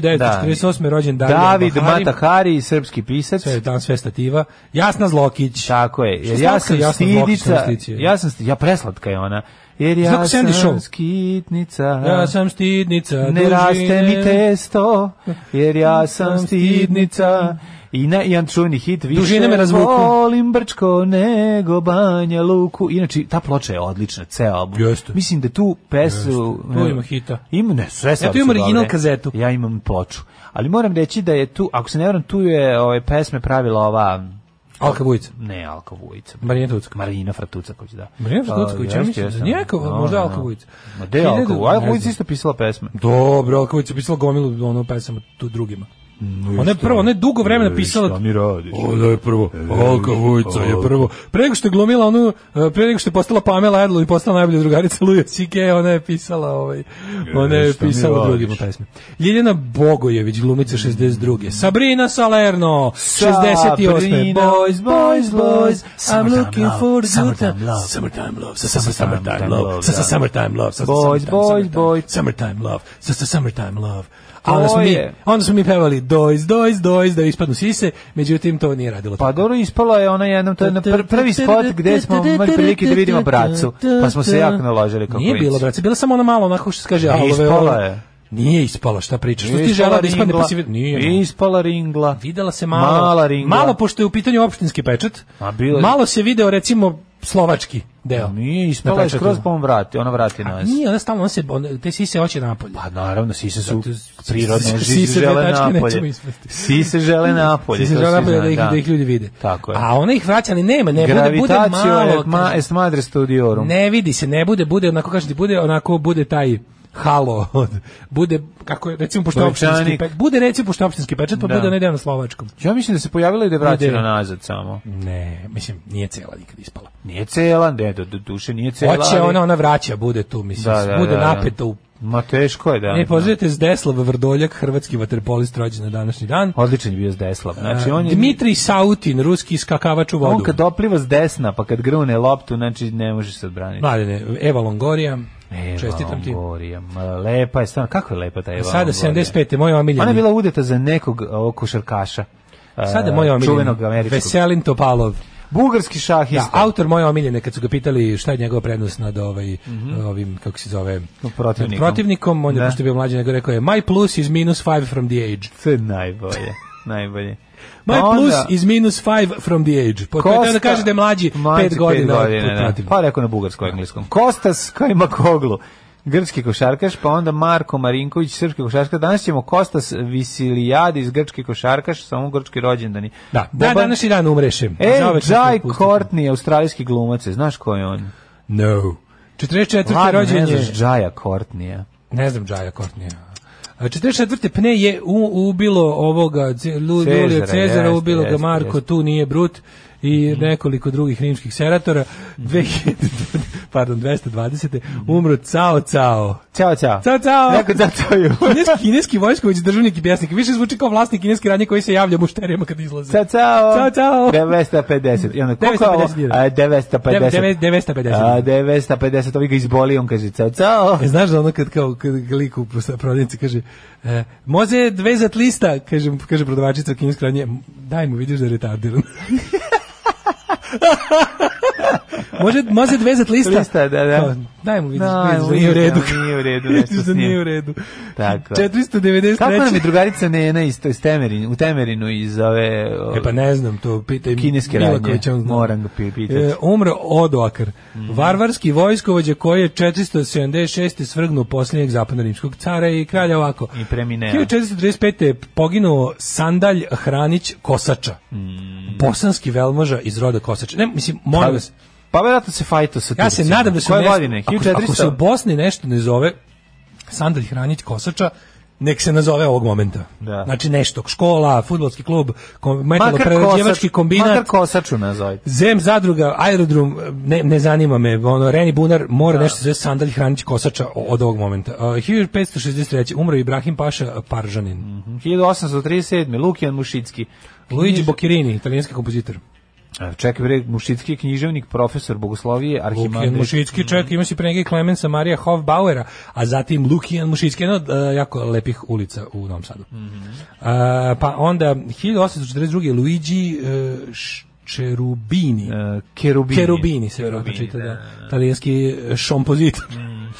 H: 1948. rođen David,
G: David
H: Bahari,
G: Matahari, srpski pisac.
H: Sve, dan sve stativa. Jasna Zlokić.
G: Tako je. Jer
H: Šta
G: ja
H: znači
G: sam
H: Jasna Zlokić na
G: stidica,
H: listići?
G: ja sam sti- ja preslatka je ona. Jer
H: Znaš
G: ja
H: kako Sandy
G: sam
H: Show?
G: skitnica.
H: Ja sam stidnica
G: ne
H: dužine.
G: raste mi testo, jer ja sam stidnica. I na jedan čuveni hit više
H: Dužine me razvuku.
G: volim Brčko nego Banja Luku. Inače, ta ploča je odlična, ceo album.
H: Jeste.
G: Mislim da tu pesu...
H: Jeste. Tu ima hita.
G: Ima, ne, sve sam
H: tu imam original
G: dobre.
H: kazetu.
G: Ja imam ploču. Ali moram reći da je tu, ako se ne varam, tu je ove pesme pravila ova...
H: Alka Vujica.
G: Ne, Alka Vujica.
H: Marina Tucka.
G: Marina Fratucaković, da.
H: Marina Fratucaković, ja
G: jeste,
H: mislim da
G: jeste.
H: nije Alka- možda Alka Vujica.
G: Ma gde je Alka
H: Hiljadu-
G: Vujica? Alka
H: ne
G: Vujica
H: znam.
G: isto pisala pesme.
H: Dobro, Alka Vujica je pisala gomilu ono pesama tu drugima. Ona je prvo, ona je dugo vremena pisala...
G: radiš?
H: Ona je prvo,
G: E,
H: Alka Vujica je prvo. Pre nego što je glumila onu, e, pre nego što je postala Pamela Adlon i postala najbolja drugarica Luja Cike, ona je pisala, ovaj, ona je
G: E, šta mi
H: pisala
G: radiš?
H: drugima pesme. Ljiljana Bogojević, glumica 62. Sabrina Salerno, 68.
G: Sabrina,
H: Boys, boys, boys, I'm
G: Summertime
H: looking
G: love,
H: for good
G: summertime
H: time.
G: love.
H: Summertime love, sa- sa- sa-
G: Summertime
H: summertime
G: love,
H: love, sa- sa-
G: da.
H: summertime love, sa- sa-
G: Boys,
H: summertime,
G: boys,
H: summertime,
G: boys.
H: Summertime love, sa- sa- summertime love.
G: To
H: A onda smo mi,
G: je-
H: Onda smo mi pevali dojz, dojz, dojz, da ispadnu sise, međutim to nije radilo.
G: Pa dobro, ispala je ona jednom, to je na pr prvi spot gde smo imali prilike da vidimo bracu, pa smo se jako naložili kako
H: Nije bilo, brace, bila samo ona malo onako što se kaže,
G: Nije
H: alove.
G: ispala
H: olove.
G: je.
H: Nije ispala, šta pričaš? Što
G: Nije
H: ti
G: ispala
H: žela da ispadne
G: ringla.
H: pasiv?
G: Nije
H: Nije.
G: ispala ringla.
H: Videla se malo.
G: Mala ringla.
H: Malo, pošto je u pitanju opštinski pečat.
G: A bilo je-
H: Malo se video, recimo, slovački deo.
G: Nije ispala,
H: Na
G: je
H: pečatu.
G: skroz pa on vrati, ona vrati nas.
H: Nije, ona stalno ona se, ona, te sise hoće napolje.
G: Pa naravno, sise su
H: Zato-
G: prirodne,
H: sise
G: sise
H: dve
G: žele
H: tačke nećemo
G: napolje.
H: ispasti.
G: Sise žele napolje.
H: Sise
G: to
H: žele
G: svi
H: napolje da,
G: znaju,
H: ih, da ih ljudi vide.
G: Tako je.
H: A ona ih vraća, ali nema, ne, bude, bude
G: Gravitatio
H: malo.
G: et ma- est madre studiorum.
H: Ne vidi se, ne bude, bude onako kažem ti, bude onako bude taj halo od, bude kako je recimo pošto je opštinski
G: Povećanik.
H: pečat, bude recimo pošto je opštinski pečat pa
G: Da.
H: bude onaj deo na slovačkom.
G: Ja mislim da se pojavila i da je
H: Bude.
G: vraćena nazad samo.
H: Ne, mislim nije cela nikad ispala.
G: Nije cela, ne, do, do duše nije cela.
H: Hoće ono-
G: ali-
H: ona, ona vraća, bude tu, mislim,
G: Da, da,
H: bude
G: da, da.
H: napeto u
G: Ma teško je, da.
H: Ne pozdravite Zdeslav Vrdoljak, hrvatski vaterpolist rođen na današnji dan.
G: Odličan je bio s Deslav. Znači, on je...
H: Dmitri Sautin, ruski skakavač u vodu.
G: On kad opliva s desna, pa kad grune loptu, znači ne možeš se odbraniti.
H: Mladene, Eva Longoria,
G: Eva
H: čestitam ti.
G: Longoria, ma, lepa je stvarno. Kako je lepa ta Eva
H: Sada
G: Longoria?
H: 75. moj
G: Ona je
H: omiljeni.
G: bila udeta za nekog o, košarkaša. e,
H: Sada moj omiljeni.
G: Čuvenog američkog.
H: Veselin Topalov.
G: Bugarski
H: Da,
G: šahista.
H: autor moje omiljene, kad su ga pitali šta je njegova prednost nad ovaj, ovim, kako se zove,
G: Mhm. Protivnikom.
H: nad protivnikom, on je,
G: Da.
H: pošto je bio mlađi, nego rekao je, my plus is minus five from the age.
G: To je najbolje. najbolje.
H: My
G: Pa
H: plus
G: onda-
H: is minus five from the age. Po, to je teo da kaže da je mlađi,
G: Mlađi
H: pet godina, od
G: godina, da.
H: protivnika.
G: Pa rekao na bugarsko engleskom. Kostas Kajmakoglu, grčki košarkaš, pa onda Marko Marinković, srpski košarkaš. Danas ćemo Kostas Visilijadis, grčki košarkaš, samo grčki rođendani.
H: Da, da
G: Boban-
H: današnji dan umreše.
G: E,
H: Zauvek ću
G: Jai
H: se pustiti.
G: Courtney, australijski glumac, je. znaš ko je on?
H: No. 44.
G: Ladno,
H: rođen
G: ne
H: je...
G: znaš Jaja Courtneya.
H: Ne znam Jaja Courtney. 44. pne je u, ubilo ovoga Ce- Lu-
G: Cezara,
H: Julio Cezara,
G: jeste,
H: ubilo ga
G: jeste, Mhm.
H: Marko,
G: jeste.
H: tu nije brut i nekoliko drugih rimskih seratora.
G: Mhm.
H: 2000, [LAUGHS] pardon, 220. umro Cao Cao.
G: Ćao, ćao.
H: Cao Cao!
G: Mhm. Neko za to je.
H: Kineski, kineski vojskovođ, državnik i pjesnik. Više zvuči kao vlasnik kineske radnje koji se javlja mušterijama kad izlaze.
G: Ćao, ćao.
H: Ćao, ćao.
G: 950. I onda, koliko je ovo?
H: 950 dinara.
G: A, 950.
H: 950.
G: A, 950. Ovi ga izboli, on kaže, ćao, ćao.
H: E, znaš da ono kad kao kad lik u sa prodavnici kaže e, može dvezat lista, kaže, kaže prodavačica kineske radnje, daj mu, vidiš da je retardiran. [LAUGHS] može, može dvezat lista?
G: Lista, da, da.
H: Kao, daj mu, vidiš,
G: Daj
H: vidiš
G: mu,
H: da nije u
G: vidiš da
H: redu.
G: [LAUGHS] nije u redu,
H: [LAUGHS] vidiš
G: nešto
H: da
G: s njim.
H: nije u redu.
G: Tako.
H: 493.
G: Kako nam je drugarica Nena iz, iz Temerin, u Temerinu iz ove... o,
H: E pa ne znam, to pitaj
G: Kineske
H: Milakovića,
G: radnje.
H: on zna.
G: Moram ga pi- pitati.
H: E, umro Odoakar, varvarski vojskovođa koji je 476. svrgnuo posljednjeg zapadno-rimskog cara i kralja ovako.
G: I premineo.
H: 1435. je poginuo Sandalj Hranić Kosača.
G: Mm.
H: Bosanski velmoža iz roda Kosača. Ne, mislim,
G: Pa,
H: molim vas,
G: pa verovatno se fajto sa
H: ja se
G: Turcima.
H: nadam da se
G: Koje
H: nešto,
G: godine?
H: Ako, ako se u
G: 1400?
H: Bosni nešto ne zove Sandalj Hranić Kosača, nek se nazove ovog momenta.
G: Da.
H: Znači nešto, škola, futbolski klub, kom,
G: Makar
H: metaloprerađivački
G: kosač, makar
H: kombinat,
G: kosaču nazovite.
H: Zem zadruga, aerodrom, ne, ne zanima me, ono, Reni Bunar mora nešto se zove Sandalj Hranić Kosača o- od ovog momenta. Uh, 1563. umro Ibrahim Paša Paržanin.
G: Mhm. 1837. Lukijan Mušicki.
H: Luigi Boccherini, italijanski kompozitor.
G: A, Čekaj bre, Mušicki je književnik, profesor bogoslovije,
H: Lukijan
G: arhimandrit.
H: Mušicki, čovjek, ima si pre njega i Klemensa Marija Hofbauera, a zatim Lukijan Mušicki, jedna od uh, jako lepih ulica u Novom Sadu.
G: Mhm.
H: Uh, pa onda, 1842. Luigi uh, Čerubini.
G: E, Kerubini.
H: Kerubini se vjerojatno
G: Kerubini,
H: čita,
G: da,
H: da.
G: da, Mhm. da.
H: Talijanski e, šompozitor.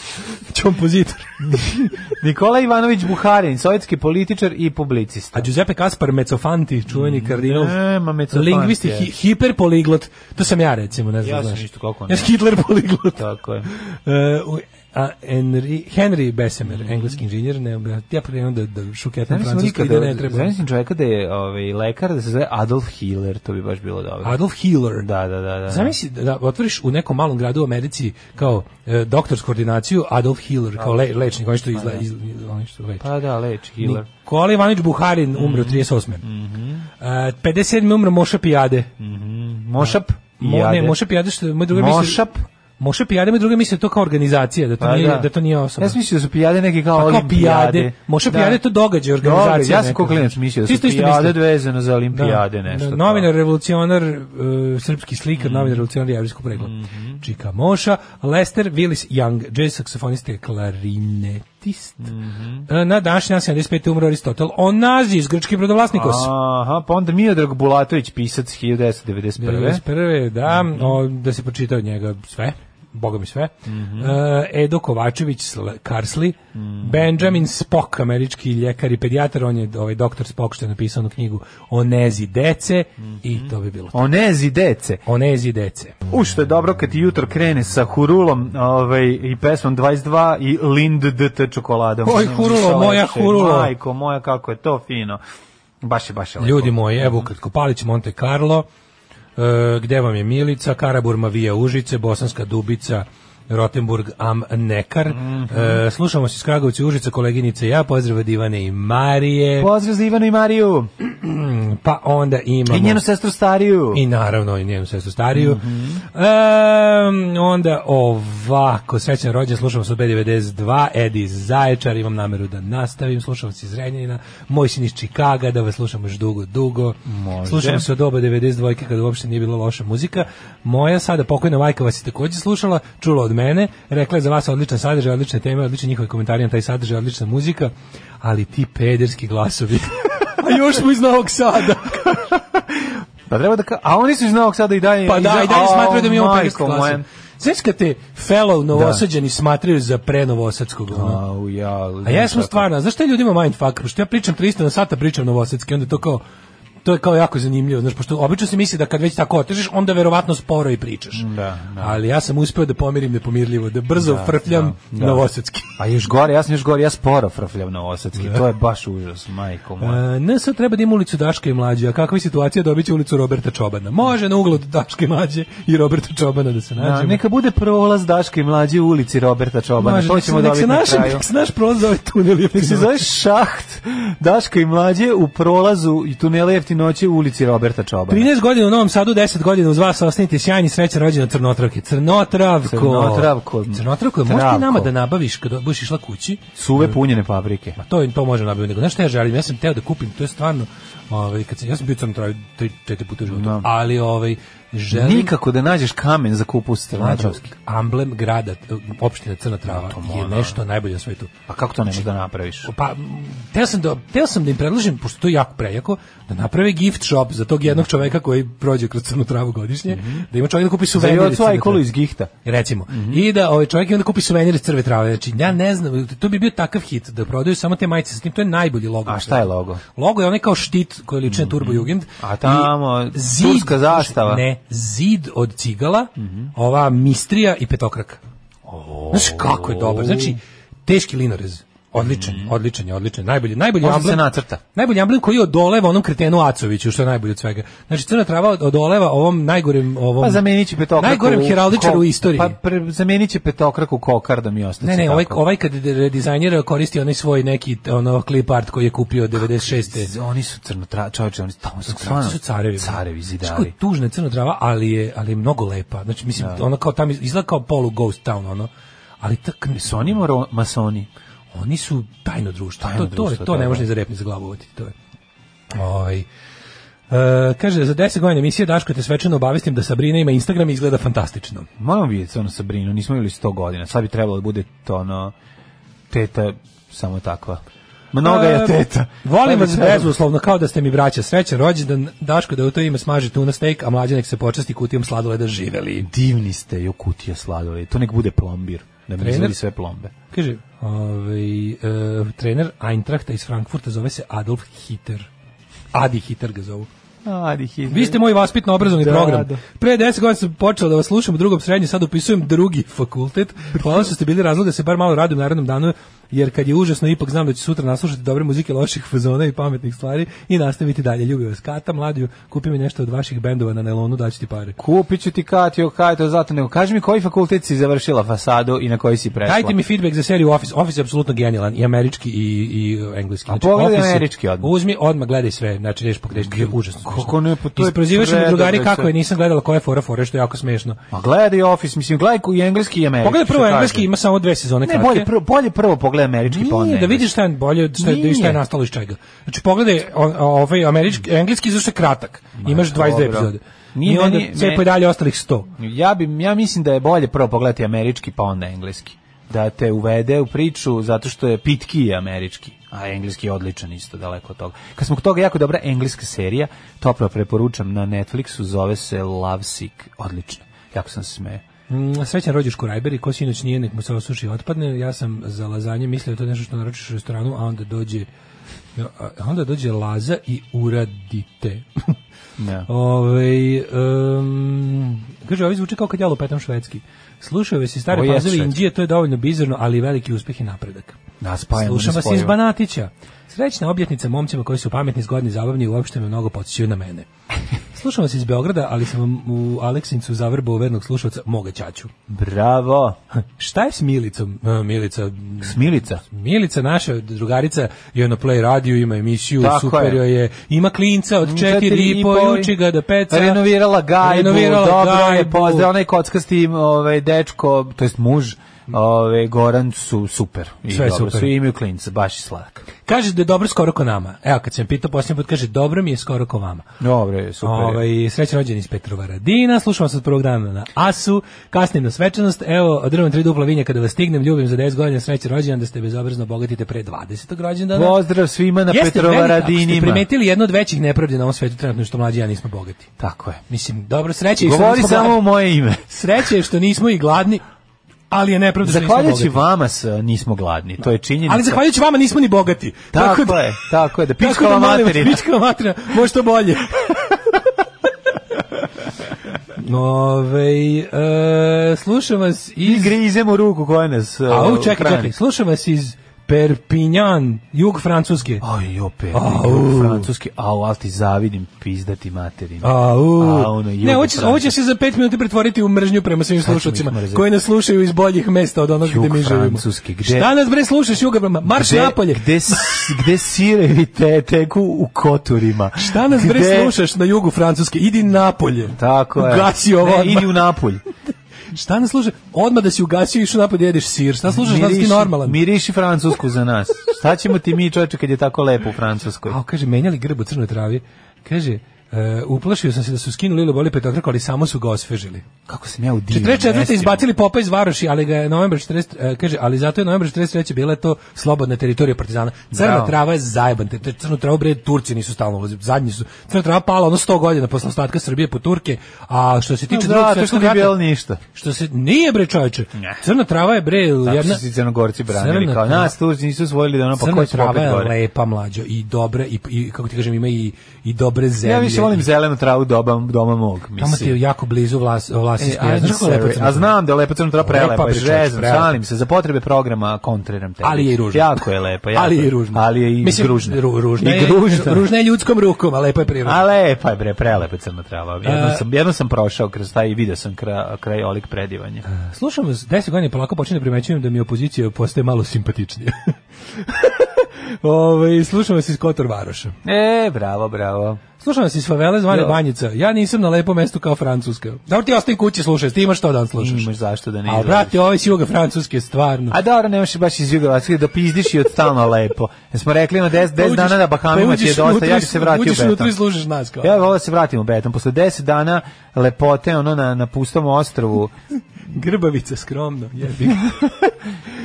H: [LAUGHS] Čompozitor.
G: Nikola Ivanović Buharin, sovjetski političar i publicista.
H: A Giuseppe Kaspar Mezzofanti, čuveni kardinal.
G: E, ma Mezzofanti
H: Lingvisti,
G: je.
H: hi, hiperpoliglot. To sam ja, recimo, ne znam.
G: Ja sam
H: znaš.
G: isto, kako ne.
H: Ja sam Hitler poliglot.
G: Tako je.
H: E, u- a Henry, Henry Bessemer,
G: Mm.
H: engleski inženjer, ne, ja- ja prema da, da šuketam
G: Znam
H: francuski i da ne treba.
G: Zamislim čovjeka da je ovaj, lekar, da se zove Adolf Hitler, to bi baš bilo dobro.
H: Adolf Hitler.
G: Da, da, da. da.
H: Zamisli da- da otvoriš u nekom malom gradu u Americi kao e, doktorsku ordinaciju Adolf Hitler, kao le, lečnik, oni što, izla, iz, oni što leči.
G: Pa da, leči Hitler. Mhm.
H: Nikola Ivanić Buharin umro 38. E, 57. umro Moša Pijade.
G: Mošap i
H: Mo, ne,
G: Jade.
H: Moša Pijade što je moj druga misli.
G: Mošap?
H: Moša Pijade, moj druga misli to kao organizacija, da to
G: Pa
H: nije da, to nije osoba.
G: Ja sam mislio da su pijade neki kao
H: Pa kao
G: olimpijade.
H: pijade. Može pijade je to događaj, organizacija
G: Događaj, Ja sam
H: neka.
G: kao klinac mislio da
H: Ti
G: su
H: isto isto
G: pijade
H: misliš?
G: vezano za olimpijade nešto.
H: da,
G: to. Mhm.
H: novinar, revolucionar, e, srpski slikar, novinar, revolucionar jevrijskog pregla. Čika Moša, Lester Willis Young, jazz saksofonista i klarinetist.
G: Mhm.
H: E, na današnji dan 75. umro Aristotel Onazis, grčki brodovlasnikos.
G: Aha, pa onda Miodrag Bulatović, pisac 1991.
H: 91. da, o, da se pročita od njega sve, boga mi sve. E, Edo Kovačević Sl- Karsli, Benjamin Spock, američki ljekar i pedijatar, on je ovaj doktor Spock što je napisao onu knjigu o nezi dece i to bi bilo. to.
G: Onezi dece.
H: O nezi dece.
G: U što je dobro kad ti jutro krene sa Hurulom ovaj, i pesmom 22 i Lind DT čokoladom.
H: Oj,
G: Mm,
H: Hurulo,
G: ništa
H: moja
G: lepše.
H: Hurulo.
G: Majko moja, kako je to fino. Baš je, baš je lepo.
H: Ljudi moji, evo ukratko, Palić Monte Carlo, e, gde vam je Milica, Karaburma Vija Užice, Bosanska Dubica, Rotenburg am Nekar. E, slušamo se iz Kragovice, Užica, koleginice i ja, pozdrav od Ivane i Marije.
G: Pozdrav za Ivanu i Mariju
H: Pa onda imamo...
G: i njenu sestru Mhm. stariju.
H: I naravno i njenu sestru stariju. Em, onda ovako, srećan rođen, slušam se od B92, Edi iz Zaječara, imam nameru da nastavim, slušam se iz Renjanina, moj sin iz Čikaga, da vas slušam još dugo, dugo.
G: Može.
H: Slušam se od oba 92 kada uopšte nije bila loša muzika. Moja sada pokojna majka vas je takođe slušala, čula od mene, rekla je za vas odličan sadržaj, odlične teme, odlični njihovi komentari na taj sadržaj, odlična muzika, ali ti pederski glasovi. [LAUGHS] A još smo iz Novog Sada.
G: Pa treba da ka... A oni su iz Novog Sada i dalje.
H: Pa da, i dalje
G: A,
H: smatraju da mi imamo
G: majko
H: 50 klasa.
G: moja.
H: Znaš kad te fellow novosađani smatraju za pre novosadskog? ono?
G: Au, ja,
H: A ja sam stvarno, znaš šta je ljudima mindfuck? Pošto ja pričam 300 na sata, pričam novosadski, onda je to kao to je kao jako zanimljivo, znaš, pošto obično se misli da kad već tako otežeš, onda verovatno sporo i pričaš.
G: Da, da.
H: Ali ja sam uspeo da pomirim nepomirljivo, da brzo frfljam
G: da, da.
H: novosadski.
G: A još gore, ja sam još gore, ja sporo frfljam na osetski. To
H: [LAUGHS]
G: je baš užas, majko moja.
H: E, ne sad treba da ima ulicu Daška i Mlađe, a kakva je situacija dobit će ulicu Roberta Čobana. Može na uglu Daške i Mlađe i Roberta Čobana da se nađemo.
G: Da, neka bude prolaz Daške i mlađe u ulici Roberta Čobana.
H: Može,
G: to
H: nek se-
G: ćemo
H: nek
G: dobiti
H: se
G: na
H: naš-
G: kraju.
H: Nek se naš prolaz zove tunel
G: Nek se zove šaht Daška i mlađe u prolazu i tunele jeftinoće u ulici Roberta Čobana.
H: 13 godina u Novom Sadu, 10 godina uz vas, ostanite sjajni, sreća rođena Crnotravke. Crnotravko.
G: Crnotravko.
H: Crnotravko, možeš ti
G: Travko.
H: nama da nabaviš kada budeš išla kući?
G: Suve punjene paprike.
H: Pa to, to može nabaviti. Nego, znaš šta ja želim? Ja sam teo da kupim, to je stvarno... Ovaj, kad sam, ja sam bio u Crnotravi tri, četiri puta u životu,
G: Da.
H: ali ovaj, želim...
G: Nikako da nađeš kamen za kupus Crnotravski.
H: Amblem grada, opština Crna Trava, je nešto najbolje na svetu.
G: Pa kako to ne možeš da napraviš?
H: Pa, m, teo sam, da, teo sam da im predložim, pošto to je jako prejako, da naprave gift shop za tog jednog čoveka koji prođe kroz crnu travu godišnje, da ima čovjek da kupi
G: Za
H: suvenir. iz
G: Jocu
H: crne
G: Ajkolu
H: trave.
G: iz Gihta.
H: Recimo. I da ovaj čovjek ima da kupi suvenir iz crve trave. Znači, ja ne znam, to bi bio takav hit, da prodaju samo te majice s tim, to je najbolji logo.
G: A šta je logo?
H: Logo je onaj kao štit koji liči na Turbo Jugend. znači,
G: A tamo, turska zastava.
H: Ne, zid od cigala, ova mistrija i petokraka. Znaš kako je dobar. Znači, teški linorez. Odličan, odličan je, odličan. Najbolji, najbolji
G: Mhm. Možda
H: amblem.
G: se nacrta.
H: Najbolji amblem koji odoleva onom kretenu Acoviću, što je najbolje od svega. Znači, crna trava od- odoleva ovom najgorem... Ovom,
G: Pa zamenit će petokraku.
H: Najgorem
G: u-
H: heraldičaru u
G: ko-
H: istoriji.
G: Pa pre, zamenit će petokraku kokardom i ostaće
H: Ne, ne, ovaj,
G: tako.
H: ovaj kad redizajnira koristi onaj svoj neki ono clip art koji je kupio 96.
G: Z- Oni su crnotra, čovječe, oni su tamo su
H: Stvarno su carevi.
G: Carevi
H: Znaš koja je
G: zidari.
H: tužna crna trava, ali je, ali je mnogo lepa. Znači, mislim, ona kao tam iz- izgleda kao polu ghost town, ono. Ali tak,
G: Su oni moro, masoni?
H: oni su tajno društvo.
G: Tajno
H: to, to, je-
G: društvo,
H: to
G: da,
H: ne
G: da.
H: može ni za rep ni za glavu uvatiti, To je. Ovaj, e, kaže, za 10 godina emisije Daško te svečano obavestim da Sabrina ima Instagram i izgleda fantastično.
G: Moramo vidjeti ono Sabrinu, nismo imali 100 godina. Sad bi trebalo da bude to ono teta samo takva. Mnoga je
H: E,
G: teta.
H: Volim
G: Sad bi
H: vas
G: trebalo-
H: bezuslovno, kao da ste mi braća. Srećan rođendan, Daško da u to ime smaži tuna steak, a mlađa nek se počasti kutijom sladoleda živeli.
G: Divni ste, jo kutija sladoled. To nek bude plombir. Da mi
H: Trener?
G: izvadi sve plombe.
H: Kaže, ovaj, e, trener Eintrachta iz Frankfurta zove se Adolf Hitler. Adi Hitler ga zovu.
G: Adi,
H: Vi ste moj vaspitno obrazovni
G: Da,
H: program.
G: da.
H: Pre 10 godina sam počeo da vas slušam u drugom srednje, sad upisujem drugi fakultet. Hvala što ste bili razlog da se bar malo radim narednom danu, jer kad je užasno, ipak znam da ću sutra naslušati dobre muzike, loših fazona i pametnih stvari i nastaviti dalje. Ljubim vas. Kata, mladiju, kupi mi nešto od vaših bendova na nelonu, daću ti pare.
G: Kupit ću ti Katio, kaj to zato nego. Kaži mi koji fakultet si završila fasadu i na koji si prešla.
H: Dajte mi feedback za seriju Office. Office je apsolutno genijalan, i američki i, i engleski. Znači,
G: pogledaj
H: Office je-
G: američki odmah.
H: Uzmi odmah, gledaj sve, znači neš pogrešiti, je užasno smešno.
G: Kako ne, pa to je
H: Isprozivaju me
G: predobro
H: drugari
G: sve.
H: kako je, nisam gledala koja je fora fora, što je jako smešno.
G: Ma gledaj Office, mislim, gledaj i engleski i američki.
H: Pogledaj prvo
G: što
H: engleski,
G: kažem.
H: ima samo dve sezone
G: Ne,
H: kratke.
G: bolje prvo, bolje prvo pogledaj američki, pa onda
H: Nije, da
G: engleski.
H: vidiš šta je bolje, šta je, da vidiš šta je
G: Nije.
H: nastalo iz čega. Znači pogledaj o- o- ovaj američki, engleski zašto je kratak. Imaš 22
G: dobro.
H: epizode.
G: Nije
H: I onda
G: meni-
H: sve
G: me-
H: i dalje ostalih 100.
G: Ja, bi, ja mislim da je bolje prvo pogledati američki, pa onda engleski. Da te uvede u priču, zato što je pitki je američki, a engleski je odličan isto, daleko od toga. Kad smo kod toga, jako dobra engleska serija, toplo preporučam na Netflixu, zove se Love Sick, odlično. Jako sam se smeo.
H: Mm, Srećan rođeš Kurajberi, ko sinoć nije, nek mu se osuši i otpadne. Ja sam za lazanje mislio da je to nešto što naručiš u restoranu, a onda dođe a- a onda dođe laza i uradite. [LAUGHS]
G: Ja.
H: Ovaj em, kaže, ovo zvuči kao kad ja lupetam švedski. Slušaju vas i stare
G: Ovo je
H: pazove
G: švedski.
H: Indije, to je dovoljno bizarno, ali veliki uspeh i napredak.
G: Da, spajamo
H: Slušam vas
G: nespojivo.
H: iz
G: [LAUGHS]
H: Banatića. Srećna objetnica momcima koji su pametni, zgodni, zabavni i uopšte me mnogo podsjećaju na mene. Slušam vas iz Beograda, ali sam vam u Aleksincu zavrbao vernog slušalca, moga ćaću. [LAUGHS]
G: Bravo.
H: Šta je s Milicom? E, Milica,
G: Smilica.
H: Milica naša drugarica je na Play radio, ima emisiju,
G: Tako
H: super
G: je. Mm,
H: joj je. Ima klinca od četiri i po, uči ga da peca.
G: Renovirala gajbu,
H: Renovirala
G: dobro je,
H: gajbu.
G: pozdrav, onaj kockasti ovaj, dečko, to jest muž, Ove, Goran su super. I
H: Sve je super.
G: Svi imaju klinca, baš i sladak.
H: Kaže da je dobro skoro ko nama. Evo, kad sam je pitao posljednji put, kaže dobro mi je skoro ko vama.
G: Dobro je, super. je.
H: Ovaj srećan rođendan iz Petrova Radina. Slušam vas od prvog dana na Asu. Kasnim na svečanost. Evo, drvam tri dupla vinja kada vas stignem. Ljubim za 10 godina srećan rođendan da ste bezobrazno bogatite pre 20. rođendana.
G: Pozdrav svima na
H: Jeste
G: Petrova
H: velika, ako ste
G: Radinima.
H: primetili jedno od većih nepravdi na ovom svetu trenutno što mlađi i ja nismo bogati.
G: Tako je.
H: Mislim, dobro, sreće je što
G: Govori
H: nismo
G: samo
H: gladni.
G: u moje ime.
H: Sreće je što nismo i gladni, ali je nepravda što nismo
G: Zahvaljujući
H: bogati.
G: vama s, nismo gladni, to je činjenica.
H: Ali zahvaljujući vama nismo ni bogati.
G: Tako,
H: da-
G: je, tako je, da
H: Tako da,
G: pičkava
H: molim vas,
G: materina.
H: Pičkava materina, može to [LAUGHS] bolje. Ove, e, slušam vas
G: I
H: iz...
G: grizemo ruku koja nas uh,
H: Au, čekaj,
G: hrani.
H: čekaj, slušam vas iz Perpignan, jug Francuske.
G: Aj, opet,
H: Au.
G: francuski, au, ali ti zavidim pizdati materinu.
H: Au.
G: A, ono, jug
H: ne, ovo će, ovo će se za pet minuta pretvoriti u mržnju prema svim
G: ćemo ih
H: slušalcima
G: mrzeti?
H: koji nas slušaju iz boljih mesta od onog
G: Jug
H: gde mi živimo.
G: Francuske, gde-
H: Šta nas bre slušaš, juga, marš
G: Gde-
H: napolje.
G: Gde, s- gde sirevi te, teku u koturima?
H: Šta nas bre
G: Gde-
H: slušaš na jugu Francuske? Idi napolje.
G: Tako je.
H: Gasi ovo
G: Ne,
H: odmah.
G: idi u napolj.
H: Šta ne služe? Odmah da si ugasio i išao napad da jedeš sir. Šta služaš da si ti normalan?
G: miriši francusku za nas. Šta ćemo ti mi, čoveče, kad je tako lepo u Francuskoj?
H: A kaže menjali grb u crnoj travi. Kaže e, uplašio sam se da su skinuli ili boli petokraku, ali samo su ga osvežili.
G: Kako sam ja u divnom
H: 44.
G: mestima.
H: izbacili Popa iz Varoši, ali ga je novembar 40, e, kaže, ali zato je novembar 43. bila je to slobodna teritorija Partizana. Crna
G: Bravo.
H: trava je zajeban, te, te crnu travu bre Turci nisu stalno ulazili, zadnji su. Crna trava pala ono 100 godina posle ostatka Srbije po Turke, a što se tiče
G: No,
H: drugog
G: zato što
H: svetskog
G: nije bilo
H: rata,
G: ništa.
H: što se nije bre čoveče. Crna trava je bre
G: Tako
H: jedna
G: su si crnogorci branili.
H: Crna
G: Kao
H: trava.
G: nas Turci nisu svojili da ono pa
H: Crna
G: ko će
H: trava
G: popet
H: je
G: gore.
H: lepa mlađo i dobre i, i kako ti kažem ima i, i dobre zemlje.
G: Ja više volim zelenu travu doba, doma mog,
H: Tamo ti je
G: mislim.
H: jako blizu vlas,
G: E,
H: vlasinski. E,
G: I'm
H: znaš kako je lepa
G: sorry.
H: crna
G: A
H: trava?
G: znam da je lepa crna trava prelepa,
H: Lepa,
G: je
H: bre, čoveče,
G: žezam,
H: prelepa.
G: šalim se, za potrebe programa kontriram tebe.
H: Ali je i ružna.
G: Jako je lepa, jako
H: ali je i
G: lepa.
H: ružna.
G: Pa Ali je i
H: Mislim,
G: ružna.
H: Ru, ružna,
G: I
H: je,
G: gružna.
H: ružna je ljudskom rukom, a lepa je prirodna.
G: A lepa je bre, prelepa je crna trava. Jednom
H: E,
G: sam, jednom sam prošao kroz taj i video sam kra, kraj olik predivanja.
H: Slušam vas, 10 godina i polako počinjem da primećujem da mi opozicija postaje malo simpatičnija. [LAUGHS] Ove, slušam vas iz Kotor Varoša.
G: E, bravo, bravo.
H: Slušam vas iz favele zvane
G: Jo.
H: Banjica. Ja nisam na lepom mestu kao Francuska. Dobro ti ostajem kući slušaj, ti imaš što dan slušaš.
G: Imaš zašto da ne
H: A
G: izlaziš.
H: brate, ovaj s juga Francuske stvarno.
G: A dobro, nemaš baš iz Jugoslavije da pizdiš i od stalno lepo. Jesmo rekli na 10
H: Da
G: 10 dana na Bahamima ti je dosta, ja bi se vratio u
H: Uđeš pa unutra
G: Beton.
H: i služiš nas kao.
G: Ja bih volao da se vratim u Beton. Posle 10 dana lepote ono na, na pustom ostrovu,
H: Grbavica skromno,
G: [LAUGHS]
H: jebi. ga.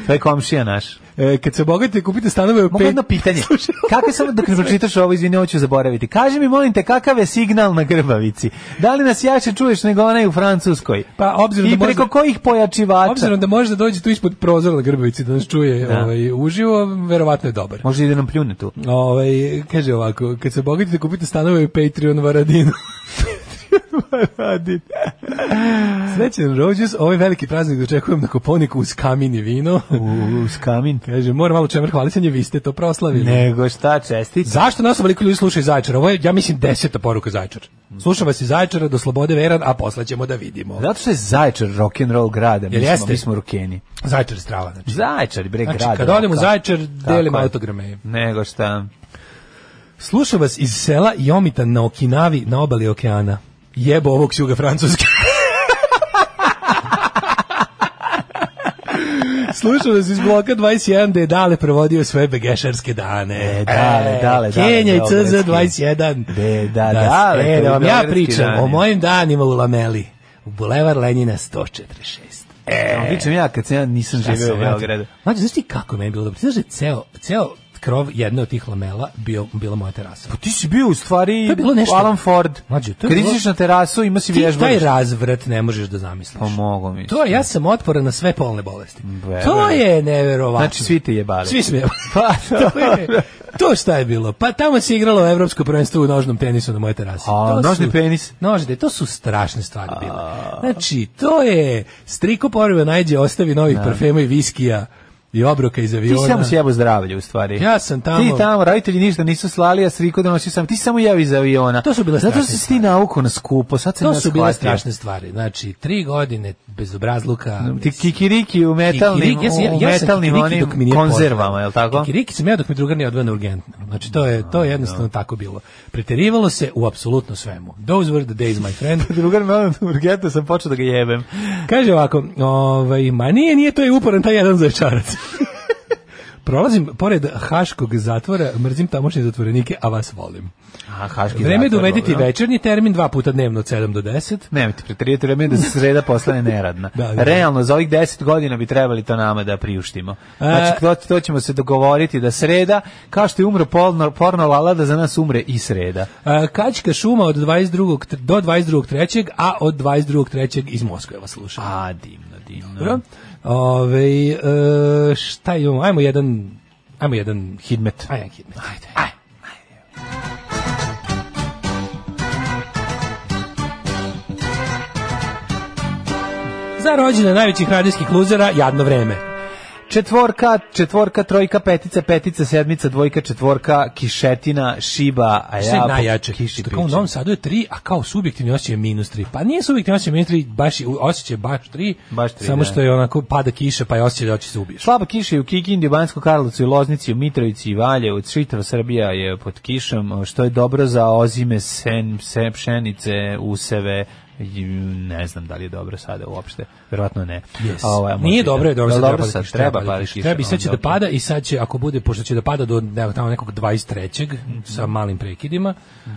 G: to je komšija naš.
H: e, kad se bogatite, kupite stanove u
G: Mogu jedno
H: [LAUGHS]
G: pitanje. Kako sam, dok ne pročitaš ovo, izvini, ovo ću zaboraviti. Kaži mi, molim te, kakav je signal na grbavici? Da li nas jače čuješ nego onaj u Francuskoj?
H: Pa obzirom
G: I
H: da
G: preko
H: može,
G: kojih pojačivača?
H: obzirom da može da dođe tu ispod prozora na Grbavici da nas čuje
G: Da.
H: ovaj, uživo, verovatno je dobar.
G: Može i da nam pljune tu.
H: Ovaj, kaže ovako, kad se bogatite, kupite stanove u Patreon
G: [LAUGHS]
H: Varadinu.
G: Radi.
H: Srećan rođus, ovaj veliki praznik dočekujem na Koponiku uz kamin i vino.
G: U, s kamin.
H: Kaže, moram malo čemer hvalisanje, vi ste to proslavili.
G: Nego šta, čestica.
H: Zašto nas ovoliko ljudi slušaju iz Zaječara? Ovo je, ja mislim, deseta poruka Zaječar. Slušam vas iz Zaječara do Slobode Veran, a posle ćemo da vidimo.
G: Zato što je Zaječar rock and roll grada, mi
H: Jel
G: smo,
H: jeste?
G: mi smo rukeni.
H: Zaječar je strava, znači.
G: Zaječar bre grada.
H: Znači, kad odem u
G: roka.
H: Zaječar,
G: Tako
H: delim
G: je.
H: autograme.
G: Nego šta?
H: Slušam vas iz sela Jomita na Okinavi, na obali okeana. Jebo ovog s juga Francuske. [LAUGHS] Slušam vas iz bloka 21 da je Dale provodio svoje begešarske dane.
G: E, Dale, Dale, Dale,
H: Kenja i CZ
G: beogradski.
H: 21.
G: De, da, Dale,
H: e,
G: to
H: da
G: je
H: vam ja
G: beogradski
H: pričam
G: dani.
H: o mojim danima u Lameli. U Bulevar Lenjina 146.
G: E. Pričam ja kad sam ja nisam
H: Ja
G: živeo
H: sam
G: u
H: vratio.
G: Beogradu.
H: Mlađe, znaš ti kako je meni bilo dobro? Ti Znaš da je ceo, ceo krov jedne od tih lamela bio, bila moja terasa.
G: Ti si bio u stvari
H: To je bilo nešto-
G: Alan Ford.
H: Mlađe, to je
G: Kad
H: bilo-
G: iziš na terasu ima si
H: Ti taj
G: vježbalište.
H: razvrat ne možeš da zamisliš.
G: Pa mogu mi.
H: To je, ja sam otporan na sve polne bolesti.
G: Verujem.
H: To je neverovatno.
G: Znači svi te jebali.
H: [LAUGHS] Svi smo jebali.
G: [LAUGHS] Pa,
H: [LAUGHS] to, je, to šta je bilo? Pa tamo se igralo evropsko prvenstvo u nožnom tenisu na mojoj terasi.
G: A,
H: To
G: nožni
H: su-
G: penis?
H: Nožde, to su strašne stvari bile. Znači, to je striko poriva najđe, ostavi novih parfema i viskija. i obroka iz
G: Ti
H: aviona.
G: samo sjebo zdravlje u stvari.
H: Ja sam tamo-
G: Ti tamo roditelji ništa nisu slali, a sriko donosio sam. Ti si samo jeo iz aviona.
H: To su bile
G: Zato što
H: strašne
G: si ti nauko na skupo, sad sam
H: To
G: ja
H: su bile
G: shvatio.
H: strašne stvari. Znači, tri godine bez obrazluka.
G: Ti kikiriki u metalnim,
H: Kikiriki, ja sam- ja-
G: u
H: ja sam
G: metalnim
H: kikiriki dok mi
G: onim
H: nije
G: konzervama,
H: poznao.
G: je li tako?
H: Kikiriki sam ja dok mi drugar nije odveo na urgentno. Znači, to je, to je jednostavno tako bilo. Preterivalo se u apsolutno svemu. Those were the days, my
G: [LAUGHS]
H: friend.
G: Drugar me odmah na urgentu, sam počeo da ga jebem.
H: Kaže ovako, ovaj, ma nije, nije, to je uporan taj jedan zajčarac. [LAUGHS] Prolazim pored Haškog zatvora, mrzim tamošnje zatvorenike, a vas volim.
G: A, haški
H: Vreme je da
G: zatvor,
H: uvedite
G: dobro.
H: večernji termin dva puta dnevno od 7 do 10.
G: Nemojte preterijeti vreme je da se sreda postane neradna.
H: [LAUGHS] Da, da.
G: Realno, za ovih 10 godina bi trebali to nama da priuštimo.
H: E.
G: Znači, to, to ćemo se dogovoriti da sreda, kao što je umro porno, porno lala, da za nas umre i sreda.
H: E, Kačka šuma od 22. tr- do 22.3. a od 22.3. iz Moskve vas slušam.
G: A, divno, divno.
H: Dobro. Ove, e, šta imamo? Ajmo jedan ajmo jedan hidmet. Ajmo jedan hidmet. Ajde. Ajde. Za rođene najvećih radijskih luzera, jadno vreme.
G: Četvorka, četvorka, trojka, petica, petica, sedmica, dvojka, četvorka, kišetina, šiba, a
H: Sve
G: ja...
H: je najjače.
G: Kiši
H: Što kao u Novom Sadu je 3, a kao subjektivni osjećaj je minus 3. Pa nije subjektivni osjećaj minus 3, baš, je- osjećaj je baš 3,
G: Baš tri,
H: samo
G: da.
H: što je onako pada kiša pa je osjećaj da će se ubiješ.
G: Slaba kiša je u Kikindi, u Banjskoj Karlovcu, u Loznici, u Mitrovici i Valjevu. Čitava Srbija je pod kišom, što je dobro za ozime sen, se, pšenice, useve. I, Ne znam da li je dobro sada uopšte. Verovatno ne.
H: Yes.
G: A ovaj, možda
H: Nije
G: i da-
H: dobro, je dobro,
G: Da,
H: sad
G: dobro
H: pada
G: sad,
H: kiša,
G: treba
H: pada
G: pada
H: kiša.
G: kiša.
H: Treba i sad će da
G: onda ok.
H: pada i sad će, ako bude, pošto će da pada do ne, tamo nekog 23.
G: Mhm.
H: sa malim prekidima,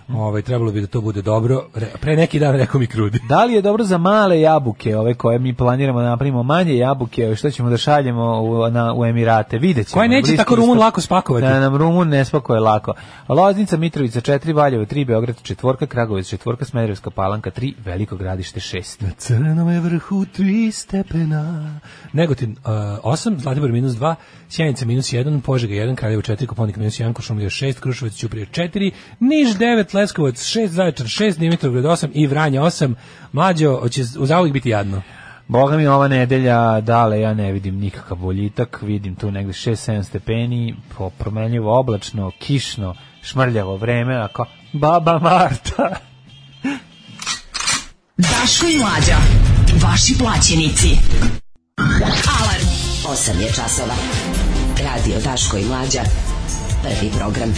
H: ovaj, trebalo bi da to bude dobro. Re, pre neki dan rekao mi krudi.
G: Da li je dobro za male jabuke, ove koje mi planiramo da napravimo manje jabuke, što ćemo da šaljemo u, na, u Emirate? Vidjet ćemo.
H: Koje neće
G: Bliski
H: tako Rumun
G: istok-
H: lako spakovati.
G: Da nam Rumun ne spakuje lako. Loznica, Mitrovica 4, Valjevo 3, Beograd 4, Kragovic 4, Smederevska palanka 3, Veliko gradište [LAUGHS] 6.
H: Na crnom je vrhu tri stepena. Negotin uh, 8, Zlatibor minus 2, Sjenica minus 1, Požega 1, Kraljevo 4, Koponik minus 1, Košumlija 6, Kruševac Ćuprije 4, Niš 9, Leskovac 6, Zaječar 6, Dimitrovgrad 8 i Vranja 8. Mlađo, će zauvijek biti jadno.
G: Boga mi ova nedelja, dale, ja ne vidim nikakav boljitak, vidim tu negde 6-7 stepeni, po- promenljivo oblačno, kišno, šmrljavo vreme, ako baba [LAUGHS] Marta.
F: Daško i Mlađa. Vaši plaćenici. Alarm. 8 je časova. Radio Daško i Mlađa. Prvi program.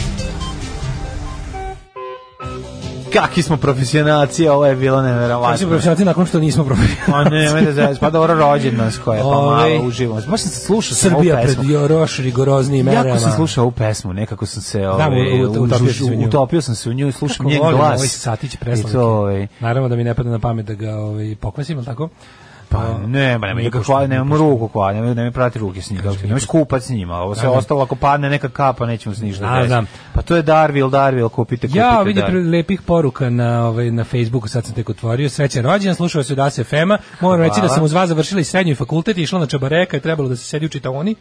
G: Kaki smo profesionalci, ovo je bilo
H: Kako smo
G: neverovatno.
H: profesionalci nakon što nismo
G: [LAUGHS]
H: profesionalci?
G: Pa ne, mene zezati, pa dobro rođen nas koja, pa
H: Ovaj,
G: malo uživamo. Baš sam se slušao sam ovu
H: Srbija pred
G: pesmu.
H: još rigoroznijim merama.
G: Jako sam slušao ovu pesmu, nekako sam se ovaj,
H: u- u- utopio si se u
G: u-
H: nju.
G: utopio sam se u nju i slušam
H: Kako
G: njen
H: volim
G: glas.
H: Ovaj satić
G: I
H: preslatki.
G: to, ovaj,
H: Naravno da mi ne pada na pamet da ga ovaj, pokvasim, ali tako?
G: Pa ne, ma nema
H: Nije
G: nikakva,
H: pošteno,
G: kvar,
H: nije
G: nemam ruku kvar, nemam, nemam prati ruke s njim, kako ti, nemam skupat s njima, ovo sve
H: Da, da.
G: ostalo, ako padne neka kapa, nećemo se ništa
H: Da,
G: desiti.
H: znam.
G: Pa to je Darvil, Darvil, kupite, kupite,
H: Ja vidim
G: Darvil.
H: pre lepih poruka na ovaj na Facebooku, sad sam tek otvorio. Srećan rođendan, slušao se Das FM-a. Moram reći da
G: Hvala.
H: sam uz vas završila i srednju i fakultet i išla na Čabareka i trebalo da se sedi u čitaoni.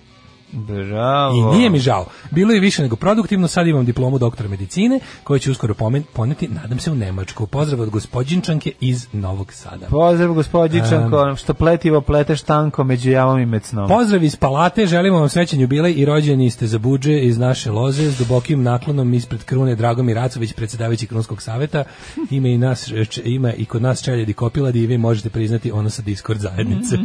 G: Bravo.
H: I nije mi žao. Bilo je više nego produktivno, sad imam diplomu doktora medicine koju ću uskoro pomen- poneti, nadam se, u Nemačku. Pozdrav od gospodinčanke iz Novog Sada.
G: Pozdrav gospodjičanko, što pletivo pleteš tanko među javom i mecnom.
H: Pozdrav iz palate, želimo vam srećan jubilej i rođeni ste za budže iz naše loze s dubokim naklonom ispred krune Dragomir Racović, predsjedavajući Krunskog saveta. Ima i, nas, č- ima i kod nas čeljadi kopiladi i vi možete priznati ono sa Discord
G: [LAUGHS]
H: zajednice.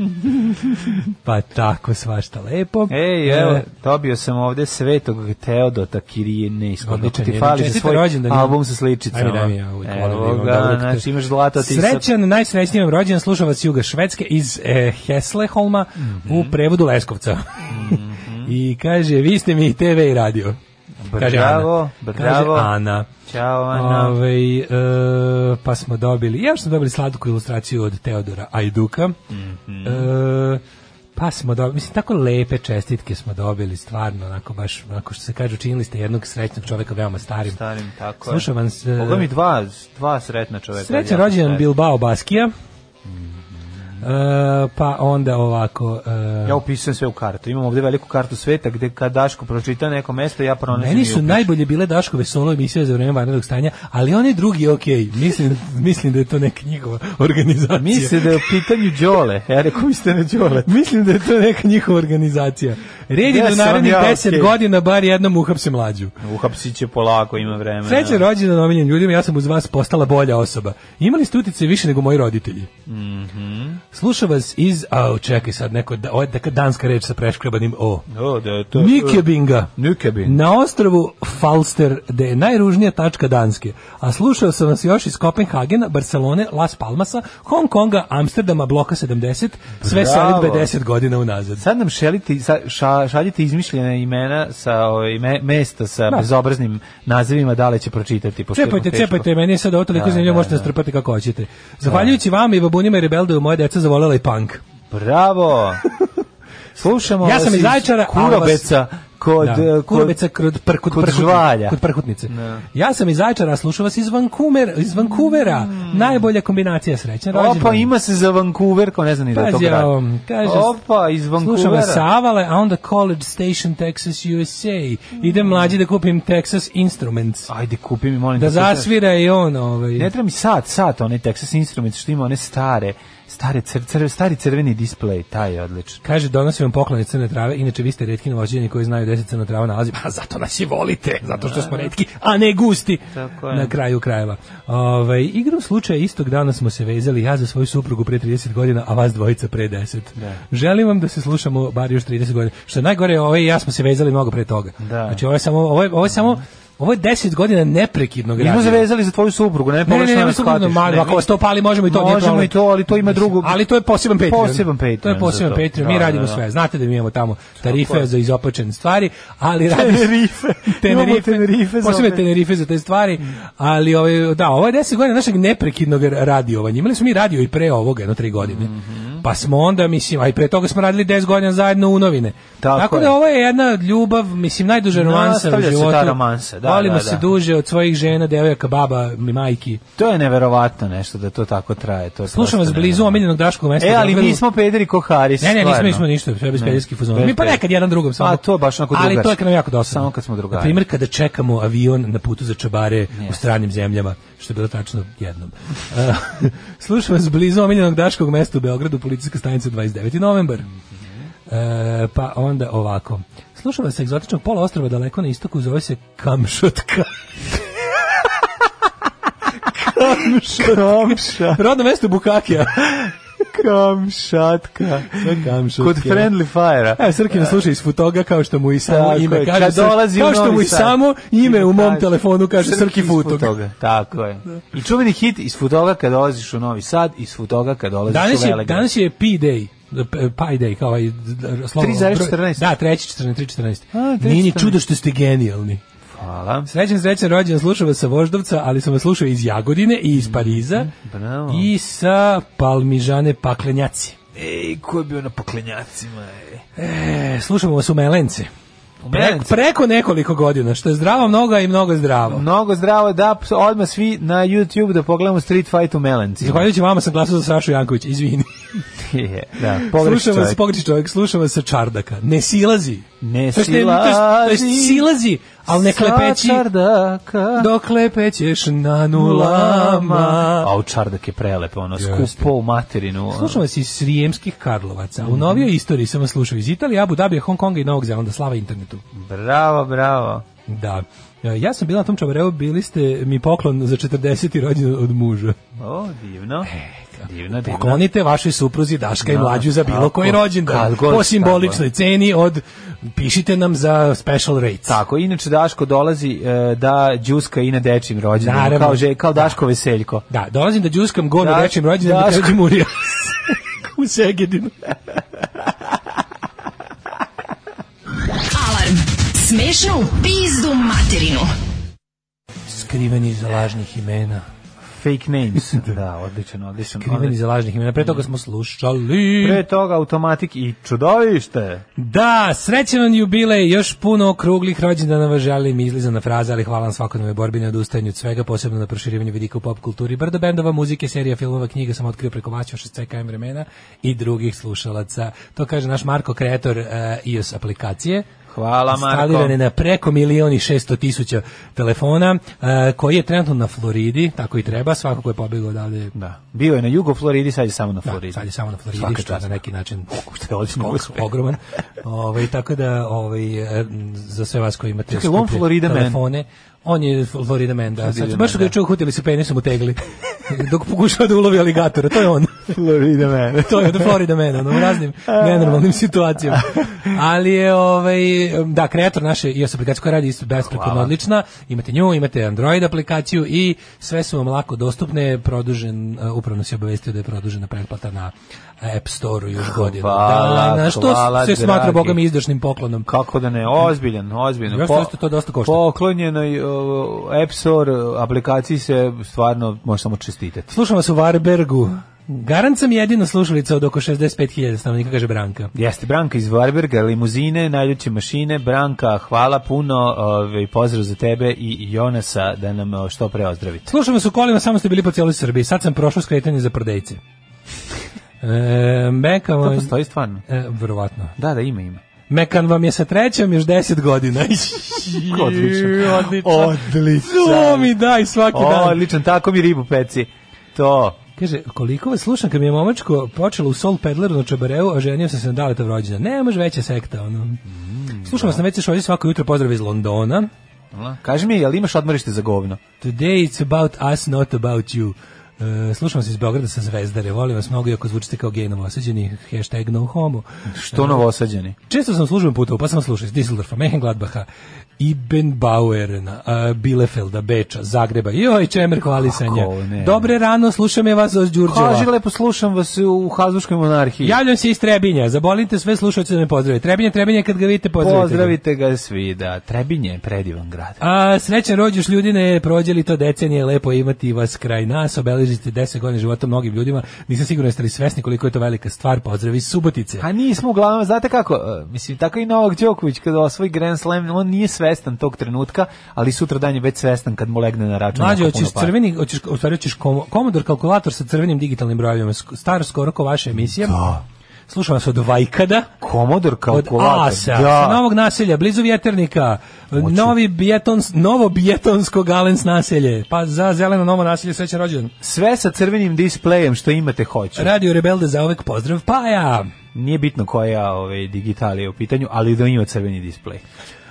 H: pa tako, svašta lepo.
G: Ej, evo,
H: E,
G: dobio sam ovde svetog Teodota Kirije Neiskog. Dok
H: Odličan
G: ti
H: je.
G: fali za
H: Čestite
G: svoj
H: rođendan.
G: album sa sličicama.
H: Ajde, daj mi ja ovaj
G: Evo
H: kolor da imam
G: ga,
H: dobro.
G: znači imaš zlata ti
H: Srećan, najsrećniji vam rođendan, sluša vas Juga Švedske iz e, Hesleholma u
G: Mhm.
H: prevodu Leskovca. [LAUGHS] I kaže, vi ste mi i TV i radio. Kaže
G: Bravo,
H: Ana.
G: bravo.
H: Kaže Ana.
G: Ćao, Ana.
H: Ovaj, e, pa smo dobili, ja smo dobili slatku ilustraciju od Teodora Ajduka.
G: Mhm.
H: E, pa smo dobili, mislim, tako lepe čestitke smo dobili, stvarno, onako baš, onako što se kaže, učinili ste jednog srećnog čoveka veoma starim.
G: Starim, tako
H: Slušam
G: je.
H: vas, e,
G: Boga mi dva, dva sretna čoveka.
H: Srećan
G: jako
H: rođendan
G: sretna.
H: Bilbao Baskija. E, pa onda ovako... e,
G: mm. Ja upisujem sve u kartu. Imam ovde veliku kartu sveta gde kad Daško pročita neko mesto, ja pronađem
H: Meni
G: i
H: su
G: upišem.
H: najbolje bile Daškove solo emisije za vreme vanrednog stanja, ali oni drugi je okej. Mislim, mislim da je to neka njihova organizacija.
G: Misle da je u pitanju Đole. [LAUGHS] Ja rekao, vi ste na Đole.
H: Mislim da je to neka njihova organizacija. Red je
G: Ja
H: da
G: sam
H: narednih
G: ja
H: 10
G: okej.
H: godina bar jednom uhapse mlađu.
G: Uhapsit će polako, ima vremena.
H: Sreće rođendan omiljenim ljudima, ja sam uz vas postala bolja osoba. Imali ste utice više nego moji roditelji. Mm
G: Mhm.
H: Slušao vas iz... Au, čekaj sad, neko, da, ovo je neka danska reč sa preškrebanim O.
G: O, da je to...
H: Nikebinga.
G: Nikebin.
H: Na ostrovu Falster, gde je najružnija tačka Danske, a slušao sam vas još iz Kopenhagena, Barcelone, Las Palmasa, Hong Konga, Amsterdama, Bloka 70, sve
G: Bravo.
H: selitbe 10 godina unazad.
G: Sad nam šelite, sa- ša, šaljite izmišljena imena sa ovaj, me, mesta sa
H: Da.
G: bezobraznim nazivima, da li će pročitati. pošto je
H: Cepajte,
G: teško.
H: cepajte, meni je sad ovo toliko
G: Da,
H: zanimljivo,
G: da,
H: možete
G: da.
H: nas trpati kako hoćete. Zahvaljujući vam i babunima i rebeldaju, moja deca zavolela i punk.
G: Bravo!
H: [LAUGHS]
G: Slušamo
H: Ja sam
G: vas
H: iz Zaječara, ali vas-
G: Kurobeca, kod,
H: da,
G: eh, kod,
H: Kurobeca kod, pr, kod,
G: kod
H: prkutnice,
G: žvalja.
H: Kod prkutnice. Ja sam iz Zajčara, a slušao vas iz Vancouvera. Iz Vancouvera. Najbolja kombinacija srećan rođendan.
G: Mm. Opa, ima se za Vancouver, ko ne zna ni da je to
H: Pazi,
G: grad.
H: ovo, kaže,
G: Opa, iz
H: Slušam
G: Vancouvera.
H: vas sa Avale, a onda College Station, Texas, USA.
G: Mm.
H: Idem mlađi da kupim Texas Instruments.
G: Ajde, kupi mi, molim
H: Da
G: te, slušaj.
H: zasvira i on. Ovaj.
G: Ne treba mi sat, sat, onaj Texas Instruments što ima one stare, stare cr, cr, stari crveni display, taj je odličan.
H: Kaže, donosim vam poklon iz crne trave, inače vi ste retki novođenje koji znaju gde se crna trava [LAUGHS] nalazi, pa zato nas i volite, zato što smo retki, a ne gusti
G: Tako je.
H: na kraju krajeva. Ove, igrom slučaja istog dana smo se vezali, ja za svoju suprugu pre 30 godina, a vas dvojica pre 10. Želim vam da se slušamo bar još 30 godina. Što je najgore, ovaj i ja smo se vezali mnogo pre toga.
G: Da.
H: Znači, ovo je samo, ovo je, ovo je samo, ovo je 10 godina neprekidnog
G: Mi smo se
H: radija.
G: vezali za tvoju suprugu, ne
H: Ne, ne,
G: pogrešno
H: ne,
G: da
H: ne,
G: me
H: sigurno,
G: shvatiš.
H: malo,
G: Ne,
H: ako vas to pali, možemo i to, nije
G: Možemo
H: problem.
G: i to, ali to ima drugu...
H: Ali to je poseban Patreon.
G: Poseban Patreon
H: To je poseban
G: za to.
H: Patreon. Mi
G: Da,
H: radimo
G: da, da.
H: sve. Znate da mi imamo tamo tarife
G: je.
H: za izopačene stvari, ali radi
G: [LAUGHS] Tenerife.
H: [LAUGHS]
G: Imamo Tenerife za Mm.
H: Posebno
G: opet.
H: Tenerife za te stvari, ali ovaj da, ovo je 10 godina našeg neprekidnog radiovanja. Imali smo mi radio i pre ovoga, jedno 3 godine.
G: Mhm.
H: Pa smo onda, mislim, a i pre toga smo radili 10 godina zajedno u novine.
G: Tako je.
H: da ovo je jedna ljubav, mislim, najduža romansa u
G: Nastavlja se
H: životu.
G: ta romansa, da,
H: Volimo
G: da,
H: se
G: da.
H: duže od svojih žena, devojaka, baba, mi majki.
G: To je neverovatno nešto da to tako traje. To je
H: Slušam
G: prosto
H: vas blizu
G: neverovatno.
H: omiljenog Daškog mesta.
G: E, ali
H: Beogradu.
G: mi smo pederi ko Haris.
H: Ne, ne, nismo,
G: stvarno.
H: nismo ništa, sve bez
G: Ne.
H: pederskih fuzona.
G: Bez
H: Mi pa
G: pedera.
H: nekad jedan drugom samo.
G: A to je baš onako
H: Ali to je
G: drugarski.
H: kad nam jako dosadno.
G: Samo kad smo drugari.
H: Na primjer, kada čekamo avion na putu za čabare u stranim zemljama, što je bilo tačno jednom. [LAUGHS] E, Slušam vas blizu omiljenog Daškog mesta u Beogradu, policijska stanica 29. novembar.
G: Mhm.
H: E, pa onda ovako. Slušam vas sa egzotičnog pola ostrava daleko na istoku, zove se Kamšotka. [LAUGHS]
G: Kamša,
H: Rodno mesto Bukakija.
G: [LAUGHS] kamšatka.
H: Sve Kamšotke.
G: Kod Friendly Fire-a.
H: Pa Evo, Srki nas sluša iz Futoga, kao što mu i samo
G: Tako
H: ime
G: je,
H: kaže.
G: kad
H: Srki-
G: dolazi u
H: kao što
G: Novi
H: mu i
G: Sad.
H: samo ime u mom
G: Kaže,
H: telefonu kaže Srki
G: iz
H: Futog.
G: Futoga, Tako je. I čuveni hit iz Futoga kad dolaziš u Novi Sad, iz Futoga kad dolaziš
H: Danas
G: u
H: je,
G: Velegrad.
H: danas je P-Day. Pi Day, kao ovaj d- slovo.
G: 3,14.
H: Da, 3,14, 3,14.
G: A, 3,14.
H: Nije ni čudo što ste genijalni.
G: Hvala.
H: Srećan, srećan rođen, slušao vas sa Voždovca, ali sam vas slušao iz Jagodine i iz Pariza
G: Mm, bravo.
H: i sa Palmižane Paklenjaci.
G: Ej, ko je bio na poklenjacima, ej?
H: E, slušamo vas u Melence. Preko,
G: Melence.
H: preko nekoliko godina, što je zdravo mnogo i mnogo zdravo.
G: Mnogo zdravo, da, ps- odmah svi na YouTube da pogledamo Street Fight u Melenci.
H: Zahvaljujući vama sam glasao za Sašu Jankovića, izvini.
G: [LAUGHS] Je,
H: [LAUGHS]
G: da,
H: Slušam
G: pogrešan
H: vas,
G: čovjek.
H: pogreši čovjek, slušam vas sa čardaka. Ne silazi.
G: Ne
H: To jest to jest- To jest
G: silazi.
H: silazi, ali ne klepeći.
G: Sa čardaka.
H: Dokle pećeš na nulama.
G: A u čardak je prelepo, ono, skupo u materinu. ono.
H: Slušam vas iz Srijemskih Karlovaca. U novijoj
G: Mhm.
H: istoriji sam vas slušao iz Italije, Abu Dhabija, Hong Konga i Novog Zelanda. Slava internetu.
G: Bravo, bravo.
H: Da. E, Ja sam bila na tom čabareu, bili ste mi poklon za 40. rođendan od muža.
G: O, divno.
H: E.
G: Divno, divno.
H: Poklonite vašoj supruzi Daška i
G: Da,
H: mlađu za bilo
G: tako.
H: koji
G: Kad
H: rođendan.
G: god,
H: Po
G: tako.
H: simboličnoj ceni od pišite nam za special rates.
G: Tako, inače Daško dolazi e, da đuska i na dečim rođendanima,
H: Naravno.
G: kao, že, kao Daško Veseljko.
H: Da, dolazim da džuskam go na
G: Daš-
H: dečjem rođendan
G: Daško.
H: i tražim urija. u Segedinu.
F: Alarm. Smešno u pizdu materinu.
H: Skriveni iza lažnih imena.
G: Fake
H: [LAUGHS]
G: Names. da, odličan, odličan.
H: Krimen
G: odličan.
H: iz lažnih imena. Pre toga smo slušali...
G: Pre toga automatik i čudovište.
H: Da, srećan vam jubilej, još puno okruglih rođendana vas želim, izlizana fraza, ali hvala vam svakodnevnoj borbi na odustajanju od svega, posebno na proširivanju vidika u pop kulturi, brdo bendova, muzike, serija, filmova, knjiga sam otkrio preko vas još iz CKM vremena i drugih slušalaca. To kaže naš Marko, kreator uh, iOS aplikacije.
G: Hvala, Marko.
H: Instalirane na preko milion i šesto tisuća telefona, e, koji je trenutno na Floridi, tako i treba, svako ko je pobegao odavde.
G: Da. Bio je na jugo Floridi, sad je samo na Floridi.
H: Da, sad je samo na Floridi,
G: Svaka
H: što je
G: čast.
H: na neki
G: [LAUGHS]
H: način
G: Što je odlično
H: skok
G: uspeh.
H: ogroman. Ovaj tako da ovaj e, za sve vas koji imate
G: Čekaj, je on
H: skuplje
G: Florida man?
H: telefone, on je Fl- Florida man, da.
G: Florida
H: Sad, baš
G: man,
H: ga
G: da.
H: čuo hutili su penisom u tegli.
G: [LAUGHS]
H: Dok pokušava da ulovi aligatora, to je on.
G: Florida, man.
H: [LAUGHS] to je od Florida man, ono, u raznim nenormalnim situacijama. Ali je, ovaj, da, kreator naše iOS aplikacije koja radi isto besprekodno odlična, imate nju, imate Android aplikaciju i sve su vam lako dostupne, produžen, e, upravno se obavestio da je produžena pretplata na App Store-u još godinu.
G: Hvala,
H: dana, što
G: hvala,
H: se smatra,
G: dragi.
H: boga mi, izdašnim poklonom.
G: Kako da ne, ozbiljan, ozbiljan.
H: Još dosta to dosta košta.
G: Poklonjenoj o, App Store aplikaciji se stvarno može samo čestitati.
H: Slušam vas u Varbergu. Garant sam jedina slušalica od oko 65.000 stanovnika, kaže Branka.
G: Jeste, Branka iz Varberga, limuzine, najljuće mašine. Branka, hvala puno i pozdrav za tebe i Jonasa da nam o, što pre ozdravite.
H: Slušam vas u kolima, samo ste bili po cijeloj Srbiji. Sad sam prošao skretanje za prodejce. E, mekan
G: To
H: vam...
G: postoji stvarno.
H: E, verovatno.
G: Da, da, ima, ima.
H: Mekan vam je sa trećom još 10
G: [LAUGHS]
H: godina.
G: Odličan.
H: Odlično.
G: Odličan.
H: To mi daj svaki dan.
G: Odličan, tako mi ribu peci. To.
H: Kaže, koliko vas slušam kad mi je momačko počelo u Soul Pedleru na Čabareu, a ženio sam se na Daletov rođena. Ne može veća sekta, ono.
G: Mm,
H: Slušam vas na veće šolje svako jutro, pozdrav iz Londona.
G: Kaži mi, jel imaš odmorište za govno?
H: Today it's about us, not about you. E, slušam vas iz Beograda sa Zvezdare. Volim vas mnogo, iako zvučite kao gejnom osađeni. Hashtag no homo.
G: Što novosađeni?
H: Često sam služben putovao, pa sam vas slušao iz Düsseldorfa, Mehengladbacha, Ibenbauerna, e, Bielefelda, Beča, Zagreba. Joj, čemer hvalisanja.
G: Kako ne?
H: Dobre rano, slušam je vas od Đurđeva.
G: Kaži, lepo slušam vas u Hazbuškoj monarhiji.
H: Javljam se iz Trebinja. Zabolite sve slušalce da me pozdrave. Trebinje, Trebinje, kad ga vidite, pozdravite. ga.
G: Pozdravite ga svi, da. Trebinje je predivan grad.
H: A, srećan rođeš ljudine, prođeli to decenije, lepo je imati vas kraj nas, obeležite 10 godina života mnogim ljudima, nisam siguran jeste li svesni koliko je to velika stvar, pozdravi iz Subotice.
G: A Pa nismo uglavnom, znate kako, e, mislim, tako i Novak Đoković kada osvoji Grand Slam, on nije svestan tog trenutka, ali sutra dan je već svestan kad mu legne na račun.
H: Mlađe,
G: jako puno
H: hoćeš
G: para.
H: crveni, hoćeš, u stvari hoćeš komo- komodor kalkulator sa crvenim digitalnim brojevima, sk- star skoro ko vaša emisija. Da. Slušam vas od Vajkada,
G: Komodor
H: od
G: kalkulator.
H: Asa, sa
G: da.
H: novog naselja, blizu vjeternika, novi bijetons, novo bijetonsko galens naselje, pa za zeleno novo naselje srećan rođen.
G: Sve sa crvenim displejem što imate hoću.
H: Radio Rebelde za uvek pozdrav, pa ja!
G: Nije bitno koja ove, digitalija u pitanju, ali da ima crveni displej.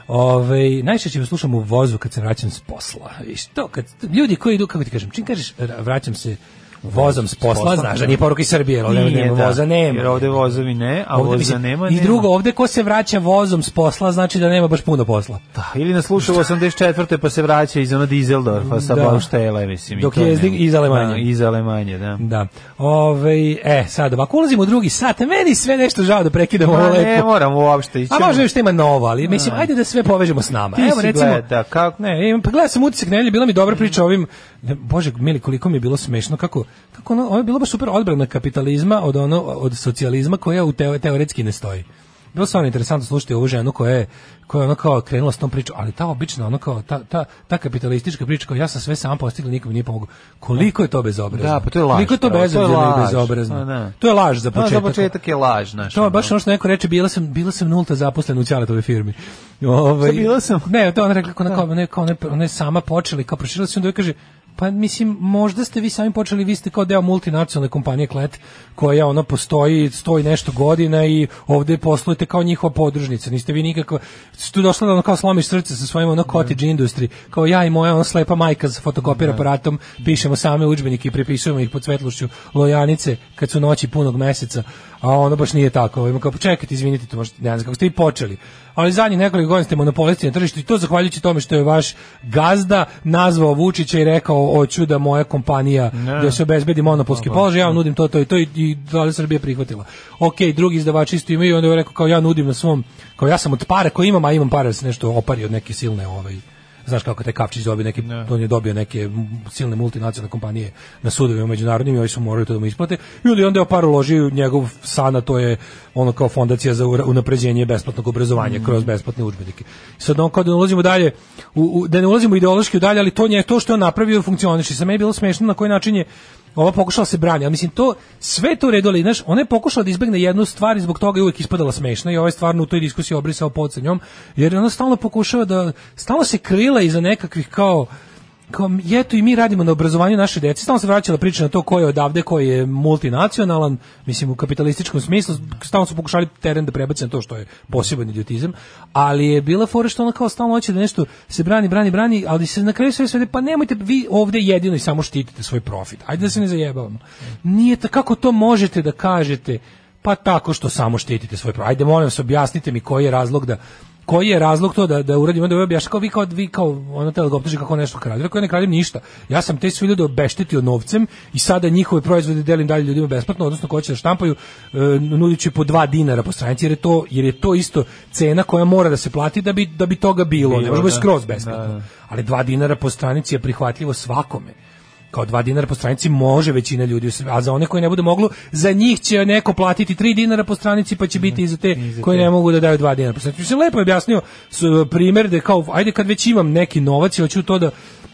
H: Ove, najčešće vas slušam u vozu kad se vraćam s posla. I što, kad, ljudi koji idu, kako ti kažem, čim kažeš ra- vraćam se vozom s posla,
G: posla,
H: znaš
G: da.
H: da nije poruka iz Srbije, jer ovde
G: Nije,
H: nema
G: da,
H: voza nema.
G: Jer ovde vozovi ne, a
H: Ovde,
G: voza
H: mislim,
G: nema.
H: I
G: nema.
H: drugo, ovde ko se vraća vozom s posla, znači da nema baš puno posla.
G: Da, Pa, ili nas sluša u 84. pa se vraća iz ono Dizeldorfa sa
H: Da.
G: da. Bauštele, mislim. i
H: Dok
G: to
H: je
G: ne
H: iz-
G: mogu.
H: iz Alemanje.
G: Da, iz Alemanje, da.
H: Da. Ove, e, sad ovako ulazimo u drugi sat. Meni sve nešto žao da prekidamo ovo
G: Ma
H: lepo.
G: ne moram uopšte ići.
H: A možda još tema novo, ali mislim, ajde da sve povežemo s nama.
G: Ti
H: Evo,
G: si
H: recimo,
G: gleda, kako-
H: Ne, imam, pa gledao sam utisak nedelje, bila mi dobra priča o ovim, ne, bože, mili, koliko mi je bilo smešno, kako, kako ono, ovo je bilo baš super odbrana kapitalizma od ono, od socijalizma koja u teo, teoretski ne stoji. Bilo stvarno interesantno slušati ovu ženu koja je, koja je ono kao krenula s tom pričom, ali ta obična ono kao, ta, ta, ta kapitalistička priča kao ja sam sve sam postigla, nikom nije pomogao. Koliko je to bezobrazno?
G: Da, pa to je laž,
H: Koliko je to
G: pravo, to je
H: bezobrazno i
G: laž.
H: bezobrazno?
G: Pa da.
H: To je laž za
G: No,
H: početak.
G: za početak je laž, znaš.
H: To je
G: ono.
H: baš ono što neko reče, bila sam, bila sam nulta zaposlena u Ćaletovoj firmi. Ovaj,
G: Šta bila sam?
H: Ne, to ona rekla, kao ona, kao, ne, kao, ona, ona je sama počela i kao proširila se, onda joj kaže, pa mislim, možda ste vi sami počeli, vi ste kao deo multinacionalne kompanije Klet, koja ona postoji, stoji nešto godina i ovde poslujete kao njihova podružnica, niste vi nikakva, tu došla da ono kao slomiš srce sa svojim ono cottage industry, kao ja i moja ona slepa majka sa fotokopir aparatom, pišemo same udžbenike i prepisujemo ih pod svetlošću lojanice kad su noći punog meseca, a ono baš nije tako. Ima kao, čekajte, izvinite, to možete, ne znam kako ste i počeli. Ali zadnjih nekoliko godina ste monopolisti na tržištu i to zahvaljujući tome što je vaš gazda nazvao Vučića i rekao, hoću da moja kompanija, da se obezbedi monopolski položaj, ja vam nudim to, to i to i, i Vlada Srbije prihvatila. Ok, drugi izdavači isto imaju, onda je rekao, kao ja nudim na svom, kao ja sam od para koje imam, a imam para da se nešto opari od neke silne ovaj, znaš kako taj Kapčić dobio neke,
G: Ne.
H: on je dobio neke m, silne multinacionalne kompanije na sudovima međunarodnim i ovi su morali to da mu isplate. Ili onda je par uložio u njegov sana, to je ono kao fondacija za ura- unapređenje besplatnog obrazovanja kroz besplatne udžbenike. Sad on kao da ne ulazimo dalje, u, u- da ne ulazimo ideološki u dalje, ali to nje to što je on napravio funkcioniše. Sa meni je bilo smešno na koji način je ova pokušala se brani, ali mislim to sve je to u redu, ali znaš, ona je pokušala da izbegne jednu stvar i zbog toga je uvijek ispadala smešna i ovaj je stvarno u toj diskusiji obrisao pod sa njom, jer ona stalno pokušava da, stalno se krila iza nekakvih kao, kao i eto i mi radimo na obrazovanju naše dece, stalno se vraćala priča na to ko je odavde, ko je multinacionalan, mislim u kapitalističkom smislu, stalno su pokušali teren da prebace na to što je poseban idiotizam, ali je bila fora što ona kao stalno hoće da nešto se brani, brani, brani, ali se na kraju sve svede, pa nemojte vi ovde jedino i samo štitite svoj profit, ajde da se ne zajebavamo. Nije to, kako to možete da kažete, pa tako što samo štitite svoj profit. Ajde, molim vas, objasnite mi koji je razlog da koji je razlog to da da uradimo da objašnjava kao vi kao vi kao ono te optuži kako nešto krađe. Rekao ja ne krađem ništa. Ja sam te sve ljude obeštetio novcem i sada njihove proizvode delim dalje ljudima besplatno, odnosno ko će da štampaju e, nudiću po 2 dinara po stranici jer je to jer je to isto cena koja mora da se plati da bi da bi toga bilo. ne
G: Bilo,
H: može da bude
G: da.
H: skroz besplatno.
G: Da, da.
H: Ali 2 dinara po stranici je prihvatljivo svakome. Kao 2 dinara po stranici može većina ljudi, u Srbiji, a za one koji ne bude moglo, za njih će neko platiti 3 dinara po stranici pa će biti i za te
G: Mhm. za
H: koji
G: te.
H: ne mogu da daju 2 dinara po stranici. Mislim, lepo je objasnio s, primer da je kao, ajde kad već imam neki novac i hoću to da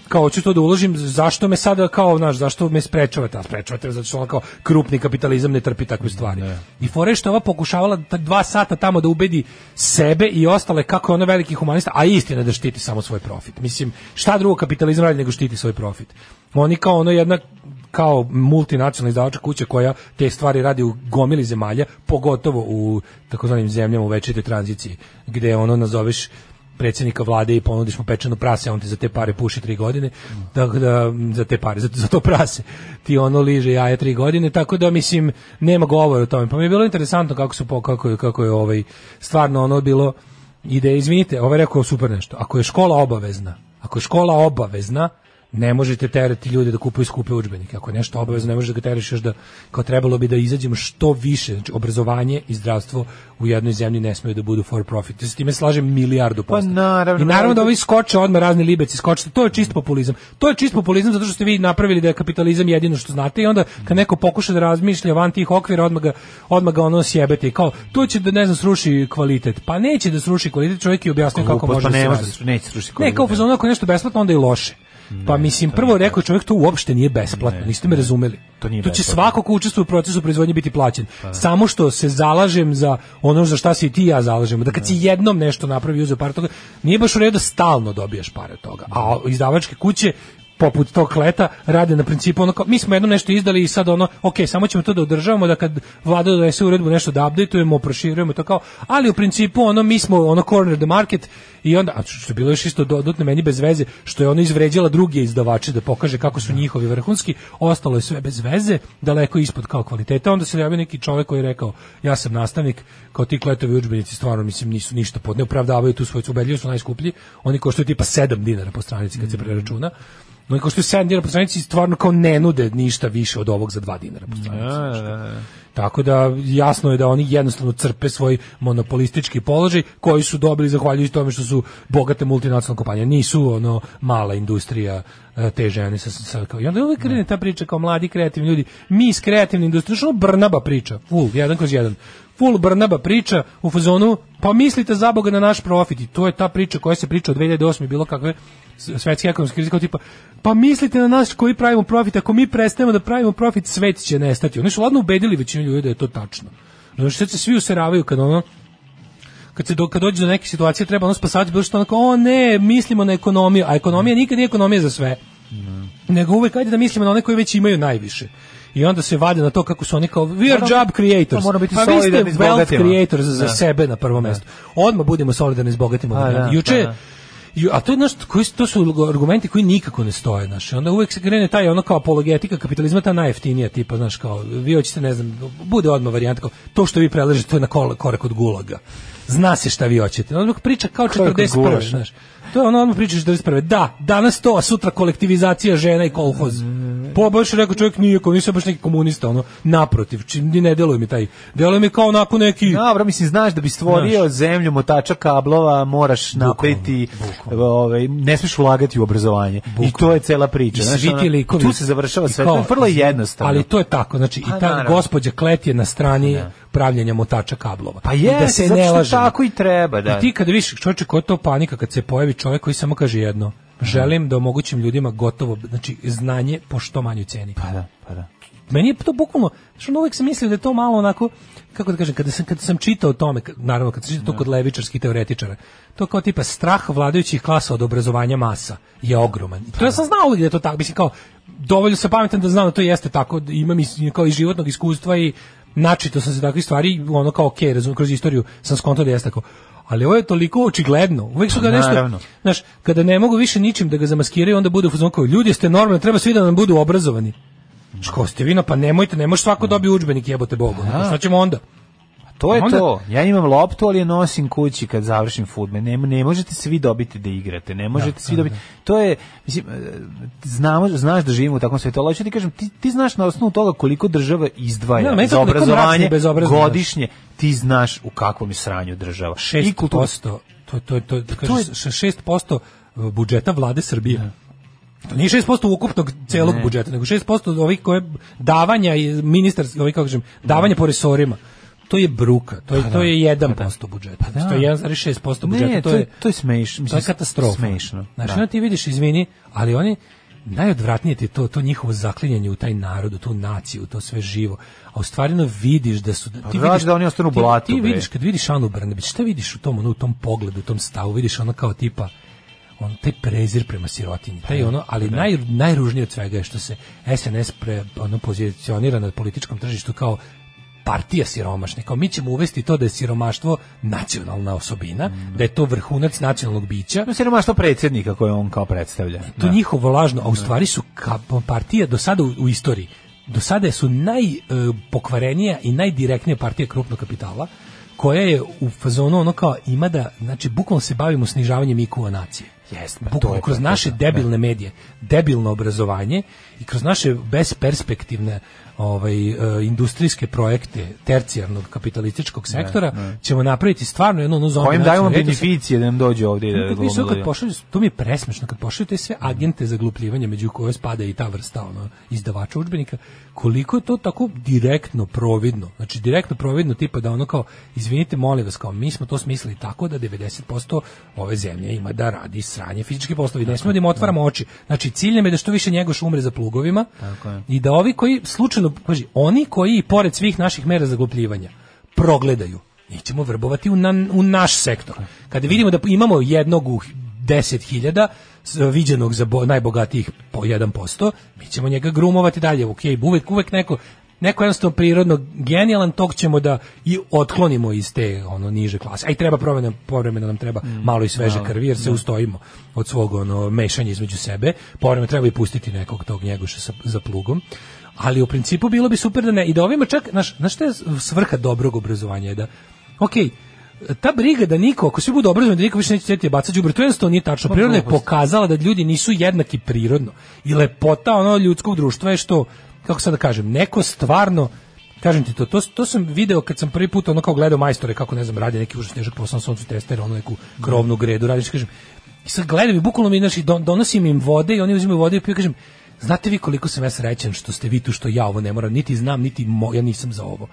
H: kao hoću to da uložim, zašto me sada kao, znaš, zašto me sprečavate, a sprečavate me zato što ono kao krupni kapitalizam ne trpi takve stvari. I fore što je ova pokušavala ta dva sata tamo da ubedi sebe i ostale kako je ona veliki humanista, a istina je da štiti samo svoj profit. Mislim, šta drugo kapitalizam radi nego štiti svoj profit? Oni kao ono jedna kao multinacionalna izdavača kuća koja te stvari radi u gomili zemalja, pogotovo u takozvanim zemljama u večitoj tranziciji, gde ono nazoveš predsjednika vlade i ponudiš mu pečeno prase, a on ti za te pare puši tri godine, tako da, m, za te pare, za, za to prase, ti ono liže jaja tri godine, tako da, mislim, nema govora o tome. Pa mi je bilo interesantno kako su, po- kako, je, kako je ovaj, stvarno ono bilo, ide, izvinite, ovaj rekao super nešto, ako je škola obavezna, ako je škola obavezna, ne možete terati ljude da kupuju skupe udžbenike. Ako je nešto obavezno, ne možeš da ga teraš još da kao trebalo bi da izađemo što više. Znači, obrazovanje i zdravstvo u jednoj zemlji ne smeju da budu for profit. Ja se s time slažem milijardu posto.
G: naravno.
H: I naravno da ovi skoče odmah razni libeci, skoče. To je čist populizam. To je čist populizam zato što ste vi napravili da je kapitalizam jedino što znate i onda kad neko pokuša da razmišlja van tih okvira, odmah ga, odmah ga ono sjebete i kao, to će da ne znam sruši kvalitet. Pa neće da sruši kvalitet, čovjek je objasnio kako
G: Glupost,
H: može
G: pa
H: da se
G: ne može
H: radi.
G: da se- neće srušiti
H: Ne, kao u
G: kvalitet.
H: fazonu ako je nešto besplatno onda je loše. Pa mislim prvo je rekao čovjek to uopšte nije besplatno, niste me razumeli.
G: to nije
H: tu će
G: besplatno. Pa
H: svako ko učestvuje u procesu proizvodnje biti plaćen. Samo što se zalažem za ono za šta se i ti i ja zalažemo, da kad si jednom nešto napravi i uzeo par toga, nije baš u redu da stalno dobijaš pare od toga. A izdavačke kuće poput tog kleta rade na principu ono kao, mi smo jednom nešto izdali i sad ono ok, samo ćemo to da održavamo da kad vlada donese uredbu nešto da updateujemo, proširujemo to kao, ali u principu ono mi smo ono corner the market i onda a što je bilo još isto dodatno meni bez veze što je ono izvređala druge izdavače da pokaže kako su njihovi vrhunski, ostalo je sve bez veze, daleko ispod kao kvaliteta. Onda se javio neki čovjek koji je rekao ja sam nastavnik, kao ti kletovi udžbenici stvarno mislim nisu ništa pod ne opravdavaju tu svoju ubedljivo su najskuplji, oni koštaju tipa 7 dinara po stranici kad se preračuna. Oni koštaju 7 dinara po stranici i stvarno kao ne nude ništa više od ovog za 2 dinara po stranici.
G: Da, da, da.
H: Tako da jasno je da oni jednostavno crpe svoj monopolistički položaj koji su dobili zahvaljujući tome što su bogate multinacionalne kompanije. Nisu ono mala industrija e, te žene sa, sa kao, i onda uvek krene ta priča kao mladi kreativni ljudi. Mi iz kreativne industrije, što ono Brnaba priča, full, jedan kroz jedan. Full Brnaba priča u fazonu, pa mislite za Boga na naš profit i to je ta priča koja se priča od 2008. bilo kakve s- svetske ekonomske krize, kao tipa, pa mislite na nas koji pravimo profit, ako mi prestanemo da pravimo profit, svet će nestati. Oni su ladno ubedili većinu ljudi da je to tačno. Znači, sad se svi useravaju kad ono, kad se do, kad dođe do neke situacije treba ono spasati bilo što onako, o ne, mislimo na ekonomiju, a ekonomija nikad nije ekonomija za sve. Nego uvek ajde da mislimo na one koji već imaju najviše. I onda se vade na to kako su oni kao we are
G: Moramo-
H: job
G: Pa
H: creators.
G: moramo biti
H: pa vi ste
G: solidarni s
H: wealth
G: bogatima.
H: creators za
G: Da.
H: sebe na prvo mesto. Odmah budemo solidarni s bogatima.
G: A, da,
H: Juče
G: da, da.
H: Ju, a to je znaš, koji su- to su argumenti koji nikako ne stoje, znaš. I onda uvek se krene taj ono kao apologetika kapitalizma ta najjeftinija tipa, znaš, kao vi hoćete ne znam, bude odmah varijanta kao to što vi predlažete to je na kol- korak od gulaga. Zna se šta vi hoćete. Onda priča kao
G: Korak od
H: 41.
G: gulaša.
H: znaš. To je ono odmah priča 41. Da, danas to, a sutra kolektivizacija žena i kolhoz. Po baš je rekao čovjek nije komunista, nisam baš neki komunista, ono, naprotiv, čim ni ne deluje mi taj. Deluje mi kao onako neki
G: Dobro, mislim, znaš da bi stvorio zemlju motača kablova, moraš napeti, ovaj, ne smiješ ulagati u obrazovanje. I to je cela priča.
H: I
G: znaš,
H: svi
G: ono,
H: ti likovi.
G: Tu se završava
H: I
G: sve.
H: kao-
G: To je vrlo jednostavno.
H: Ali to je tako, znači
G: Pa,
H: i ta
G: naravno.
H: gospođa Klet je na strani pravljenja motača kablova.
G: Pa
H: I
G: je,
H: da se
G: zato
H: ne
G: što
H: lažemo.
G: tako i treba, da.
H: I ti kada vidiš čovječe koja je to panika kad se pojavi čovjek koji samo kaže jedno, želim da omogućim ljudima gotovo, znači znanje po što manjoj ceni.
G: Pa da, pa da.
H: Meni je to bukvalno, što uvek sam mislio da je to malo onako, kako da kažem, kada sam, kada sam čitao o tome, ka- naravno kada sam čitao to kod levičarskih teoretičara, to kao tipa strah vladajućih klasa od obrazovanja masa je ogroman. I to ja sam znao uvijek da je to tako, mislim kao, dovoljno sam pametan da znam da to jeste tako, da imam i, kao i životnog iskustva i načito sam se takvih stvari, ono kao okej, razum, kroz istoriju sam skontao da jeste tako. Ali ovo je toliko očigledno. Uvijek su ga
G: Naravno.
H: nešto, znaš, kada ne mogu više ničim da ga zamaskiraju, onda bude u fazonu kao, ljudi ste normalni, treba svi da nam budu obrazovani. Ško ste vi, no, pa nemojte, ne može svako dobije udžbenik, jebote bogu. Pa Šta ćemo onda?
G: Mm. To je
H: Onda-
G: to. Ja imam loptu, ali je nosim kući kad završim fudbal. Ne, ne možete svi dobiti da igrate. Ne možete svi dobiti. To je mislim e, znamo znaš da živimo u takvom svetu. ali hoću ti kažem ti, ti znaš na osnovu toga koliko država izdvaja
H: Da, meni je to
G: za
H: toliko mračno
G: obrazovanje
H: i bezobrazno, znaš.
G: godišnje. Ti znaš u kakvom je sranju država. I
H: 6%,
G: kultura.
H: to, to, to, to, kažeš, 6% e, budžeta vlade Srbije. To nije 6% ukupnog celog budžeta, nego 6% od ovih koje davanja i ministar, ovih kako kažem, davanja po resorima. To je bruka,
G: Pa
H: to je, to je 1% budžeta. To je 1,6% budžeta.
G: Ne,
H: to,
G: to je-
H: je,
G: to je smešno,
H: To
G: mislim,
H: je katastrofa.
G: smešno,
H: Znači,
G: da.
H: onda ti vidiš, izvini, ali oni najodvratnije ti je to, to njihovo zaklinjanje u taj narod, u tu naciju, u to sve živo. A u stvari ono vidiš da su... Da, ti
G: vrati
H: vidiš
G: Pa da oni ostanu u
H: ti-
G: blatu,
H: Ti
G: bre.
H: vidiš kad vidiš Anu Brnabić, šta vidiš u tom, ono, u tom pogledu, u tom stavu, vidiš ono kao tipa on taj prezir prema sirotinji, taj ono, ali naj, najružnije od svega je što se SNS pre, ono, pozicionira na političkom tržištu kao partija siromašnih, kao mi ćemo uvesti to da je siromaštvo nacionalna osobina, da je to vrhunac nacionalnog bića,
G: Ima siromaštvo predsjednika koje on kao predstavlja.
H: to njihovo lažno, a u stvari su ka- partija do sada u, u istoriji, do sada su najpokvarenija i najdirektnija partija krupnog kapitala, koja je u fazonu ono kao ima da, znači bukvalno se bavimo snižavanjem IQ-a nacije.
G: Jeste, ma, to
H: Bukvalno
G: je
H: kroz
G: to,
H: naše
G: to, to,
H: debilne medije, debilno obrazovanje i kroz naše besperspektivne ovaj, e, industrijske projekte tercijarnog kapitalističkog sektora ćemo napraviti stvarno jednu ono, onu zonu.
G: Kojim dajemo
H: nacionalnu elite sa-
G: beneficije da nam dođe ovdje i da
H: znači, Kad
G: glumimo
H: vidiš to kad
G: ljudi.
H: pošalju, to mi je presmešno, kad pošalju te sve agente za glupljivanje, među koje spada i ta vrsta ono, izdavača udžbenika, koliko je to tako direktno providno, znači direktno providno tipa da ono kao, izvinite, molim vas, kao mi smo to smislili tako da 90% ove zemlje ima da radi sranje fizički poslovi, ne smemo da im otvaramo oči. Znači cilj nam je da što više njegoš umre za plugovima i da ovi koji slučajno, paži, oni koji i pored svih naših mera zaglupljivanja progledaju, njih ćemo vrbovati u, na- u naš sektor. Kada vidimo da imamo jednog u 10.000 s- viđenog za bo- najbogatijih po 1%, mi ćemo njega grumovati dalje. Ok, uvek, uvek neko neko jednostavno prirodno genijalan, tog ćemo da i otklonimo iz te ono niže klase. A i treba promena, povremeno nam treba malo i sveže krvi, jer se ustojimo od svog ono, mešanja između sebe. Povremeno treba i pustiti nekog tog njegoša sa, za plugom ali u principu bilo bi super da ne i da ovima čak znaš, znaš šta je svrha dobrog obrazovanja je da ok, ta briga da niko, ako svi budu obrazovani, da niko više neće cijeti bacati đubre, to jednostavno nije tačno. Priroda je pokazala da ljudi nisu jednaki prirodno. I lepota ono ljudskog društva je što, kako sad da kažem, neko stvarno, kažem ti to, to, to sam video kad sam prvi put ono kao gledao majstore, kako ne znam, radi neki užasni težak posao na suncu tester, ono neku krovnu gredu, radiš, kažem, i sad gledam i bukvalno mi, znači, donosim im vode i oni uzimaju vode i piju, kažem, znate vi koliko sam ja srećen što ste vi tu, što ja ovo ne moram, niti znam, niti mo, ja nisam za ovo.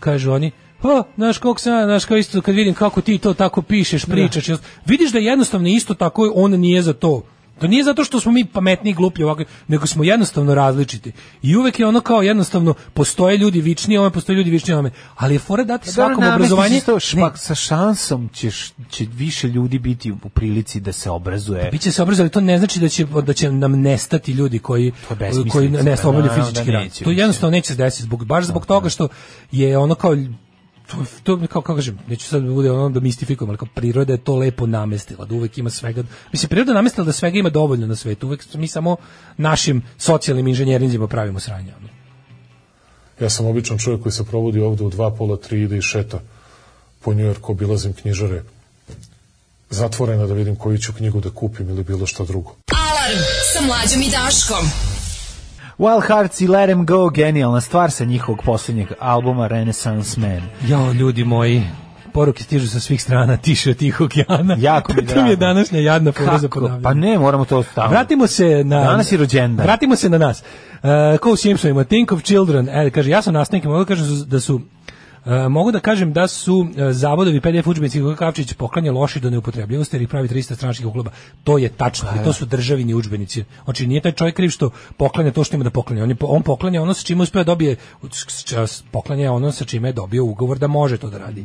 H: Kažu oni, pa, znaš koliko sam, ja, znaš kao isto, kad vidim kako ti to tako pišeš, pričaš, jel- vidiš da jednostavno isto tako, on nije za to. To nije zato što smo mi pametni i gluplji ovako, nego smo jednostavno različiti. I uvek je ono kao jednostavno, postoje ljudi vičniji, ome postoje ljudi vičniji, ome. Ali je fora dati svakom
G: namestiš
H: obrazovanje...
G: isto
H: Ne,
G: špak, sa šansom ćeš, će više ljudi biti u prilici da se obrazuje.
H: Biće se obrazovali, to ne znači da će, da će nam nestati ljudi koji,
G: To je besmislica,
H: koji ne
G: pa
H: obavljaju
G: naravno
H: fizički
G: da
H: rad.
G: neće
H: To
G: više.
H: jednostavno neće se desiti, zbog, baš zbog toga što je ono kao to, to kao, kako kažem, neću sad da bude ono da mistifikujem, ali kao priroda je to lepo namestila, da uvek ima svega, mislim, priroda je namestila da svega ima dovoljno na svetu, uvek mi samo našim socijalnim inženjerinjima pravimo sranje. ono.
J: Ja sam običan čovjek koji se provodi ovde u dva, pola, tri, ide i šeta po Njujorku, obilazim knjižare zatvorena da vidim koju ću knjigu da kupim ili bilo šta drugo.
F: Alarm sa mlađom i Daškom.
G: Wild Hearts i Let 'Em Go, genijalna stvar sa njihovog posljednjeg albuma Renaissance Man.
H: Jao, ljudi moji, poruke stižu sa svih strana, tiše od tih okeana.
G: Jako mi
H: [LAUGHS] To mi je
G: drago.
H: današnja jadna fora za
G: Kako?
H: ponavljanje.
G: Pa ne, moramo to staviti.
H: Vratimo se na...
G: Danas je rođendan.
H: Vratimo se na nas. Uh, ko u Simpsonima, Think of Children. E, kaže, ja sam nastavnik, i mogu da kažem su- da su e, mogu da kažem da su e, zavodovi PDF udžbenici koje Kavčić poklanja loši do neupotrebljivosti jer ih pravi 300 stranačkih uklaba. To je tačno,
G: Pa
H: jer to su državini udžbenici. Znači nije taj čovjek kriv što poklanja to što ima da poklanja. On, je, po- on poklanja ono sa čime uspeo dobije s- s- poklanja ono sa čime je dobio ugovor da može to da radi. E,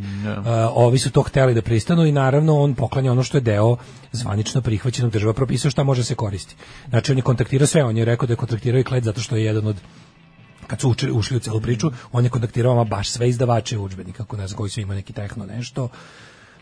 H: ovi su to hteli da pristanu i naravno on poklanja ono što je deo zvanično prihvaćenog država propisao šta može se koristiti. Znači on je kontaktirao sve, on je rekao da je kontaktirao i Kled zato što je jedan od kad su uči- ušli u celu priču, on je kontaktirao ama baš sve izdavače udžbenika, kako nas koji su ima neki tehno nešto.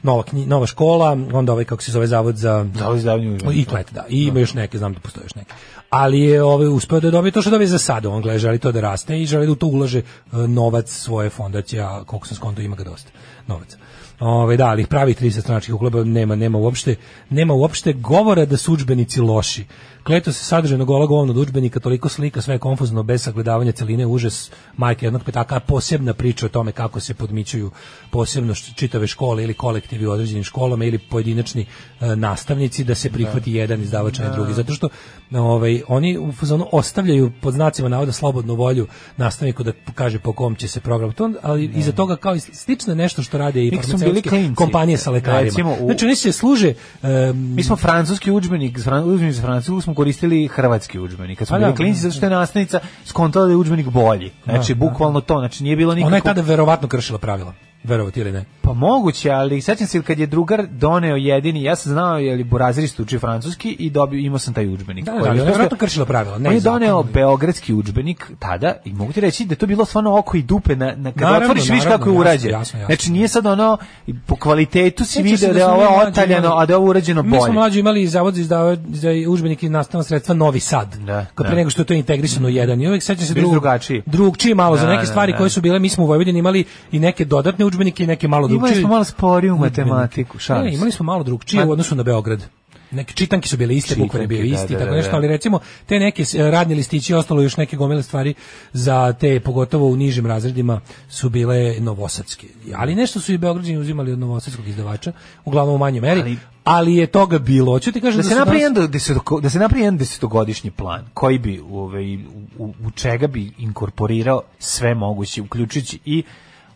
H: Nova, knji- nova škola, onda ovaj kako se zove zavod za
G: Zavod za izdavanje udžbenika.
H: I klet, da. I ima još neke, znam da postoje još neke. Ali je ovaj uspeo da dobije to što dobije za sada, on gleda želi to da raste i želi da u to ulaže e, novac svoje fondacije, a koliko sam skonto ima ga dosta novaca. Ove, da, ali ih pravi 30 stranačkih ukleba nema, nema uopšte, nema uopšte govora da su udžbenici loši. Kleto se sadržajno gola govno od udžbenika, toliko slika, sve je konfuzno, bez sagledavanja celine, užas majke jednog petaka, a posebna priča o tome kako se podmićuju posebno št- čitave škole ili kolektivi u određenim školama ili pojedinačni e, nastavnici da se prihvati jedan izdavač a ne drugi zato što e, ovaj oni u fazonu ostavljaju pod znacima navoda slobodnu volju nastavniku da kaže po kom će se program to on- ali iza toga kao i slično je nešto što rade i
G: Mi smo bili
H: farmaceutske
G: klinci.
H: kompanije sa lekarima
G: Recimo, u-
H: znači oni se služe em,
G: Mi smo francuski udžbenik, s fran- udžbenik za Francusku smo koristili hrvatski udžbenik. Kad smo
H: Pa da.
G: bili klinci, zato što je nastavnica skontala da je udžbenik bolji. Znači, bukvalno to, znači nije bilo nikako...
H: ona je tada verovatno kršila pravila verovati ili ne
G: Pa moguće, ali sećam se kad je drugar doneo jedini, ja sam znao je li Burazirist uči francuski i dobio, imao sam taj udžbenik.
H: Da,
G: koji
H: da,
G: je
H: ali
G: postojao-
H: verovatno kršila pravila, ne
G: on je
H: zakon,
G: doneo
H: ali-
G: beogradski udžbenik tada i mogu ti reći da je to bilo stvarno oko i dupe na, na kada
H: Naravno,
G: otvoriš vidiš kako je
H: naravno,
G: urađen.
H: jasno, jasno, jasno.
G: Znači nije sad ono i po kvalitetu si
H: Sjećaš se
G: video da je
H: smo mi
G: ovo
H: mlađi
G: otaljano,
H: imali-
G: a da je ovo urađeno
H: Mi smo
G: ono bolje.
H: mlađi imali zavod za izdava za udžbenike i nastavna sredstva Novi Sad.
G: Da,
H: kad pre
G: da.
H: nego što je to integrisano u jedan. I uvek sećam se
G: Bili
H: drugog,
G: drugačiji.
H: Drugčiji malo za
G: Da,
H: neke
G: da,
H: stvari
G: da.
H: koje su bile, mi smo u Vojvodini imali i neke dodatne udžbenike i neke malo drugčije.
G: Imali smo malo sporiju
H: udžbenike.
G: matematiku, šalim
H: Ne,
G: se.
H: E, imali smo malo drugčije
G: Ma-
H: u odnosu na Beograd. Neke čitanke su bile iste,
G: Čitanke,
H: bukvalno je bio
G: da,
H: isti,
G: da,
H: tako
G: da,
H: nešto,
G: da.
H: ali recimo te neke e, radni listići i ostalo još neke gomile stvari za te, pogotovo u nižim razredima, su bile novosadske. Ali nešto su i Beograđani uzimali od novosadskog izdavača, uglavnom u manjoj meri, ali,
G: Ali-
H: je toga bilo. Hoću ti kažem
G: da
H: da,
G: se
H: su
G: napravi
H: danas-
G: jedan deseto- da se napravi jedan desetogodišnji plan koji bi ovaj, u, u čega bi inkorporirao sve moguće uključujući i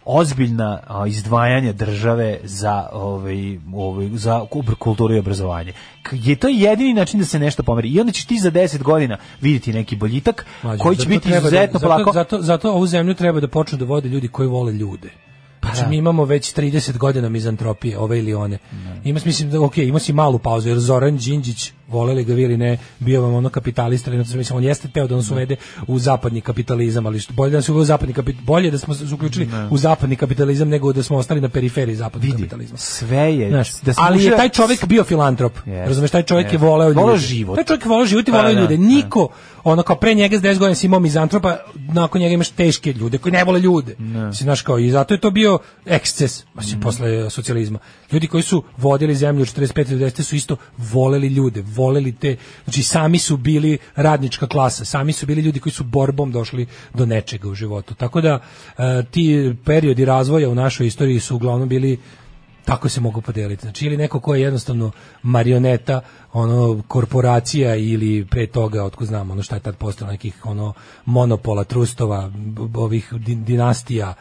G: ozbiljna a, izdvajanja države za ovaj ovaj za kub- kulturu i obrazovanje. K- Je to jedini način da se nešto pomeri. I onda ćeš ti za 10 godina vidjeti neki boljitak
H: Mlađe,
G: koji će
H: zato
G: biti
H: treba da-
G: izuzetno
H: zato-
G: polako.
H: Zato, zato ovu zemlju treba da počnu da vode ljudi koji vole ljude.
G: Pa
H: Znači, mi imamo već 30 godina mizantropije, ove ili one. Ima, mislim, da, ok, ima si malu pauzu, jer Zoran Đinđić, voleli ga vi ili ne, bio vam ono kapitalista, ali mislim, on jeste teo da nas uvede u zapadni kapitalizam, ali što, bolje da nas uvede u zapadni kapitalizam, bolje da smo se uključili u zapadni kapitalizam nego da smo ostali na periferiji zapadnog
G: Vidi,
H: kapitalizma.
G: sve je...
H: Znaš,
G: da se
H: ali je
G: uživa-
H: taj čovjek bio filantrop.
G: Jeste,
H: Razumeš, taj čovjek je
G: jeste.
H: voleo ljude.
G: Voleo život.
H: Taj čovjek je voleo život i
G: Pa,
H: voleo
G: da,
H: ljude.
G: da.
H: Niko, ono kao pre njega s 10 godina si imao mizantropa, nakon njega imaš teške ljude koji ne vole ljude. Si, znaš, kao, I zato je to bio eksces,
G: Mm.
H: mislim, posle socijalizma. Ljudi koji su vodili zemlju od 45 do 90 su isto voleli ljude, voleli te, znači sami su bili radnička klasa, sami su bili ljudi koji su borbom došli do nečega u životu. Tako da e, ti periodi razvoja u našoj istoriji su uglavnom bili tako se mogu podeliti. Znači ili neko ko je jednostavno marioneta, ono korporacija ili pre toga otko znamo, ono šta je tad postalo nekih ono monopola, trustova, b- b- ovih di- dinastija,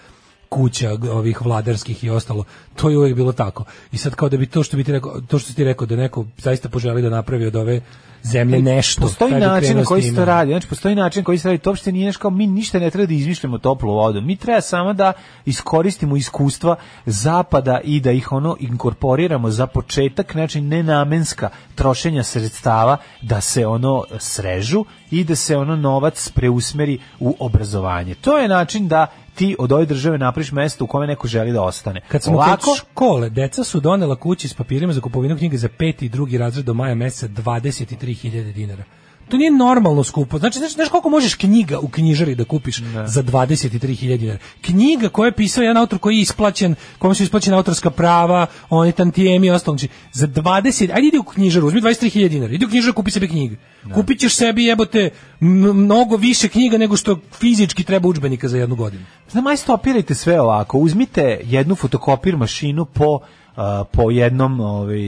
H: kuća g- ovih vladarskih i ostalo. To je uvek bilo tako. I sad kao da bi to što bi ti rekao, to što si ti rekao da neko zaista poželi da napravi od ove zemlje nešto.
G: E, Postoji
H: taj bi
G: način
H: krenuo
G: na
H: s
G: koji se
H: time.
G: to radi. Znači, postoji način na koji se radi. To uopšte nije nešto kao mi ništa ne treba da izmišljamo toplu vodu. Mi treba samo da iskoristimo iskustva zapada i da ih ono inkorporiramo za početak, znači nenamenska trošenja sredstava da se ono srežu i da se ono novac preusmeri u obrazovanje. To je način da ti od ove države napriš mesto u kome neko želi da ostane.
H: Kad smo
G: Ovako-
H: kod škole, deca su donela kući s papirima za kupovinu knjige za peti i drugi razred do maja meseca 23.000 3000 dinara. To nije normalno skupo. Znači, znaš, znaš koliko možeš knjiga u knjižari da kupiš za 23.000 dinara? Knjiga koja je pisao jedan autor koji je isplaćen, kome su isplaćena autorska prava, oni tantijemi i ostalo. Znači, za 20... Ajde idi u knjižaru, uzmi 23.000 dinara. Idi u knjižaru, kupi sebi knjige. Kupit ćeš sebi, jebote, m- mnogo više knjiga nego što fizički treba udžbenika za jednu godinu.
G: Znam, aj stopirajte sve ovako. Uzmite jednu fotokopir mašinu po a, po jednom ovaj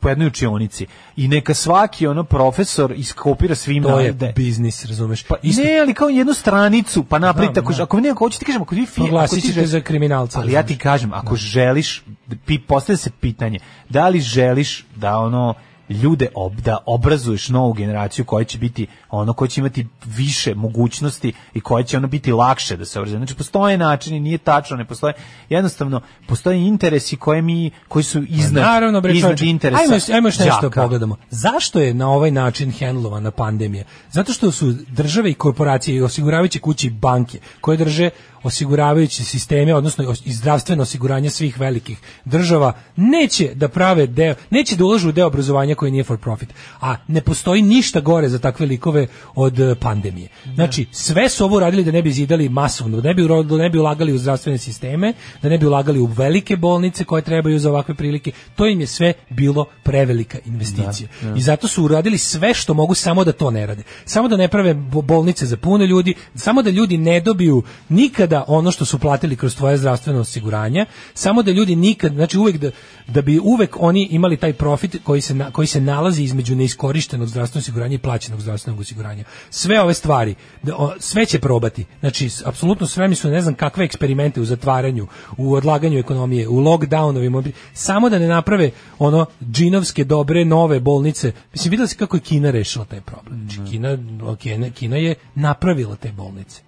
G: po jednoj učionici i neka svaki ono profesor iskopira svim
H: To je
G: navode.
H: biznis, razumeš?
G: pa
H: Isto-
G: ne ali kao jednu stranicu pa napravite
H: Znam,
G: ako
H: da.
G: ako ne ako hoćeš ti kažem ako vi fi- ako
H: Proglasit
G: ti
H: ćete
G: žel-
H: za kriminalca,
G: ali ja ti
H: razumeš.
G: kažem ako želiš pi postavlja se pitanje da li želiš da ono ljude ob, da obrazuješ novu generaciju koja će biti ono koja će imati više mogućnosti i koja će ono biti lakše da se obrazuje. Znači postoje načini, nije tačno, ne postoje. Jednostavno postoje interesi koje mi koji su iznad
H: Pa Naravno, bre,
G: iznad
H: čovječe.
G: interesa.
H: Ajmo, još- ajmo još nešto da
G: đaka.
H: pogledamo. Zašto je na ovaj način hendlovana pandemija? Zato što su države i korporacije i osiguravajuće kuće i banke koje drže osiguravajuće sisteme, odnosno os- i zdravstveno osiguranje svih velikih država, neće da prave deo, neće da ulažu u deo obrazovanja koji nije for profit. A ne postoji ništa gore za takve likove od e, pandemije. Znači, sve su ovo radili da ne bi zidali masovno, da ne bi, uro- da ne bi ulagali u zdravstvene sisteme, da ne bi ulagali u velike bolnice koje trebaju za ovakve prilike. To im je sve bilo prevelika investicija. I zato su uradili sve što mogu samo da to ne rade. Samo da ne prave bo- bolnice za puno ljudi, samo da ljudi ne dobiju nikada ono što su platili kroz tvoje zdravstveno osiguranje, samo da ljudi nikad, znači uvek da, da bi uvek oni imali taj profit koji se, na- koji se nalazi između neiskorištenog zdravstvenog osiguranja i plaćenog zdravstvenog osiguranja. Sve ove stvari, da, o, sve će probati. Znači, s- apsolutno spremni su na ne znam kakve eksperimente u zatvaranju, u odlaganju ekonomije, u lockdownovima, obi- samo da ne naprave ono džinovske dobre nove bolnice. Mislim, vidjeli se kako je Kina rešila taj problem. Znači, Kina, Kina, Kina je napravila te bolnice.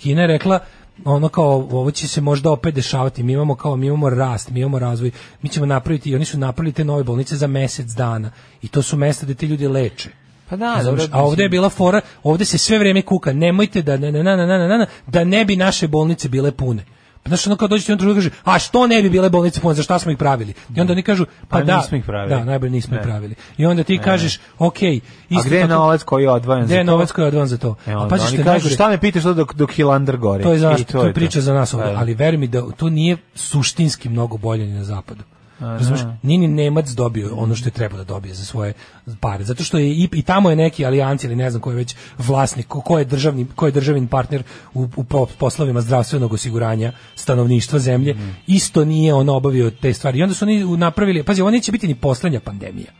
H: Kina je rekla ono kao ovo će se možda opet dešavati. Mi imamo kao mi imamo rast, mi imamo razvoj. Mi ćemo napraviti i oni su napravili te nove bolnice za mesec dana i to su mesta gde ti ljudi leče.
G: Pa da,
H: Razumeš?
G: dobro,
H: a ovde je bila fora, ovde se sve vreme kuka, nemojte da ne, ne, ne, ne, ne, ne, ne, da ne bi naše bolnice bile pune. Pa znaš, ono kao dođete i on kaže, a što ne bi bile bolnice pune, za šta smo ih pravili? I onda oni kažu, pa,
G: Pa
H: da,
G: nismo ih pravili.
H: da, najbolje nismo
G: Ne.
H: ih pravili. I onda ti kažeš, okej,
G: A
H: isto
G: gde je
H: tako-
G: novac koji je odvojen
H: gde
G: za
H: je
G: to?
H: novac koji je odvan za to?
G: E,
H: a
G: onda
H: pazi
G: oni
H: što je
G: kažu,
H: najgore-
G: šta me pitaš to dok, dok Hilander gori?
H: to je za nas,
G: I
H: to je priča za nas ovde,
G: Da.
H: ali veruj mi da to nije suštinski mnogo bolje ni na zapadu. Razumeš? Nije ni Nemac dobio ono što je trebao da dobije za svoje pare. Zato što je i, i tamo je neki alijanci ili ne znam ko je već vlasnik, ko, ko je državni, ko je državni partner u, u po- poslovima zdravstvenog osiguranja stanovništva zemlje, isto nije on obavio te stvari. I onda su oni napravili, pazi, ovo neće biti ni poslednja pandemija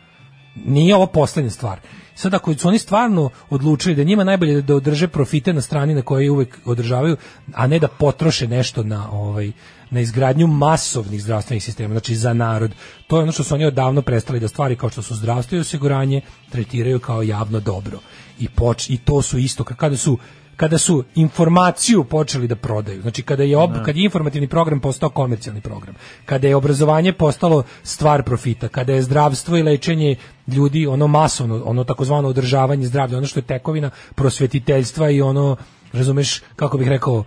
H: nije ovo poslednja stvar. Sad ako su oni stvarno odlučili da je njima najbolje da održe profite na strani na koje uvek održavaju, a ne da potroše nešto na ovaj na izgradnju masovnih zdravstvenih sistema, znači za narod. To je ono što su oni odavno prestali da stvari kao što su zdravstvo i osiguranje tretiraju kao javno dobro. I, poč, i to su isto ka- kada su kada su informaciju počeli da prodaju. Znači kada je ob, kad je informativni program postao komercijalni program, kada je obrazovanje postalo stvar profita, kada je zdravstvo i lečenje ljudi ono masovno, ono takozvano održavanje zdravlja, ono što je tekovina prosvetiteljstva i ono razumeš kako bih rekao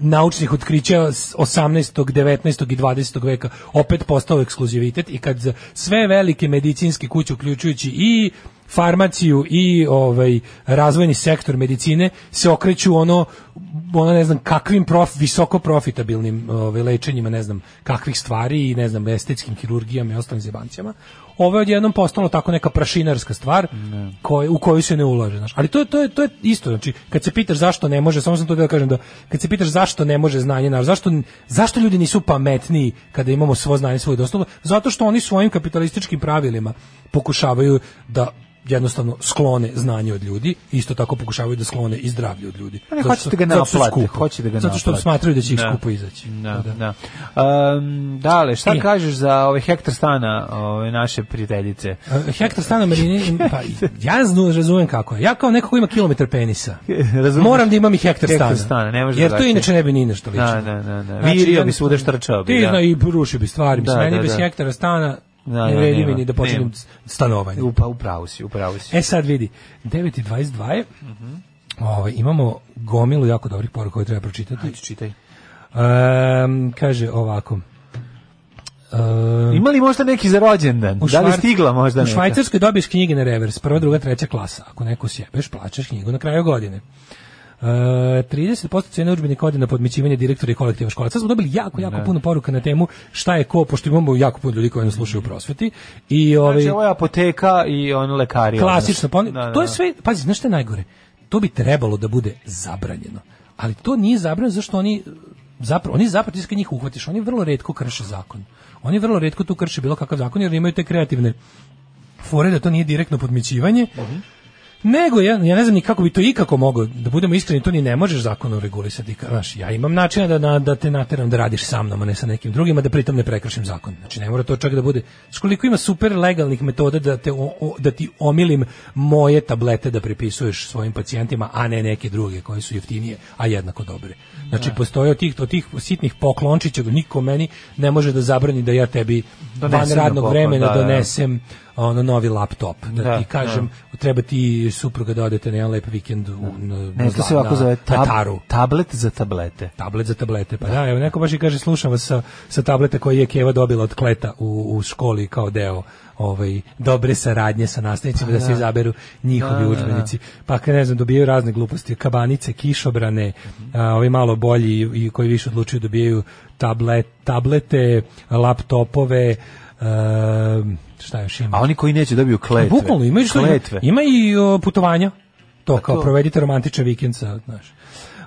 H: naučnih otkrića s 18., 19. i 20. veka opet postao ekskluzivitet i kad za sve velike medicinske kuće uključujući i farmaciju i ovaj razvojni sektor medicine se okreću ono ono ne znam kakvim prof, visoko profitabilnim ovaj lečenjima ne znam kakvih stvari i ne znam estetskim hirurgijama i ostalim zebancijama ovo je odjednom postalo tako neka prašinarska stvar koje, u koju se ne ulaže. Znaš. Ali to, je- to, je, to je isto. Znači, kad se pitaš zašto ne može, samo sam to da kažem, da, kad se pitaš zašto ne može znanje, naš, zašto, zašto ljudi nisu pametniji kada imamo svo znanje svoje dostupno, zato što oni svojim kapitalističkim pravilima pokušavaju da jednostavno sklone znanje od ljudi, isto tako pokušavaju da sklone i zdravlje od ljudi.
G: Pa ne,
H: Zato što-
G: hoćete ga
H: zato što je
G: naplate,
H: skupo.
G: hoćete ga
H: Zato što
G: naplate.
H: smatraju da će ih
G: Da.
H: skupo izaći.
G: Da,
H: Da.
G: da. Um, dale, šta
H: E.
G: kažeš za ove hektar stana ove naše prijateljice?
H: E, Hektar stana meni, pa ja znu, razumem kako je. Ja kao neko ko ima kilometar penisa.
G: [LAUGHS] Razumeš?
H: Moram da imam i hektar
G: Hektar
H: stana.
G: stana, ne može
H: Jer to
G: drugačije.
H: inače ne bi ni nešto lično.
G: Da, da, da, da. Virio bi svuda štrčao bi,
H: Znači, Ti
G: da.
H: zna i rušio bi stvari. Mislim,
G: Da,
H: meni
G: da,
H: bez
G: da.
H: hektara stana
G: Da,
H: ne
G: da,
H: vredi mi
G: nema,
H: ni da počinjem
G: nema.
H: stanovanje.
G: Upa, upravo pa, si, upravo si.
H: E sad vidi, 9.22 je. Ovaj, imamo gomilu jako dobrih poruka koje treba pročitati.
G: Ajde, čitaj.
H: Um, kaže ovako. Uh,
G: Ima li možda neki za rođendan? Da li
H: Švar-
G: stigla možda
H: U
G: neka?
H: Švajcarskoj dobiješ knjige na revers, prva, druga, treća klasa. Ako neku sjebeš, plaćaš knjigu na kraju godine. Uh, 30% cene udžbenika ode na podmićivanje direktora i kolektiva škola. Sad smo dobili jako, jako puno poruka na temu šta je ko, pošto imamo jako puno ljudi koji nas slušaju u prosveti. I, ovaj,
G: Znači, ovo je apoteka i on lekari. ono,
H: klasično. Pa, oni-
G: Da, da,
H: to je
G: da.
H: sve, pazi, znaš šta je najgore? To bi trebalo da bude zabranjeno. Ali to nije zabranjeno zašto oni zapravo, oni zapravo ti se kad njih uhvatiš, oni vrlo redko krše zakon. Oni vrlo redko tu krše bilo kakav zakon jer imaju te kreativne fore da to nije direktno podmićivanje.
G: Mhm.
H: Nego ja, ja ne znam ni kako bi to ikako moglo, da budemo iskreni, to ni ne možeš zakonom regulisati. Ka- Znaš, ja imam načina da, na- da te nateram da radiš sa mnom, a ne sa nekim drugima, da pritom ne prekršim zakon. Znači, ne mora to čak da bude... Znaš, koliko ima super legalnih metoda da, te, o- o- da ti omilim moje tablete da prepisuješ svojim pacijentima, a ne neke druge koje su jeftinije, a jednako dobre. Znači, postoje od tih, od tih sitnih poklončića, niko meni ne može da zabrani da ja tebi van
G: Donesem na
H: radnog
G: poklon,
H: vremena
G: da, da.
H: donesem ono novi laptop, da,
G: Da,
H: ti kažem treba ti supruga da odete na jedan lep vikend u, na,
G: Ne, to se ovako zove tab,
H: Tataru.
G: tablet za tablete.
H: Tablet za tablete, pa da, evo neko baš i kaže slušam vas sa, sa tableta koji je Keva dobila od Kleta u, u školi kao deo ovaj, dobre saradnje sa nastavnicima
G: Pa
H: da, se izaberu njihovi udžbenici. Pa kad ne znam, dobijaju razne gluposti, kabanice, kišobrane, a, ovi malo bolji i- i koji više odlučuju dobijaju tablet, tablete, laptopove, em, šta još ima?
G: A oni koji neće dobiju kletve.
H: Bukvalno ima i što ima,
G: kletve.
H: ima i o, putovanja. To kao
G: to-
H: provedite romantičan vikend sa, znaš.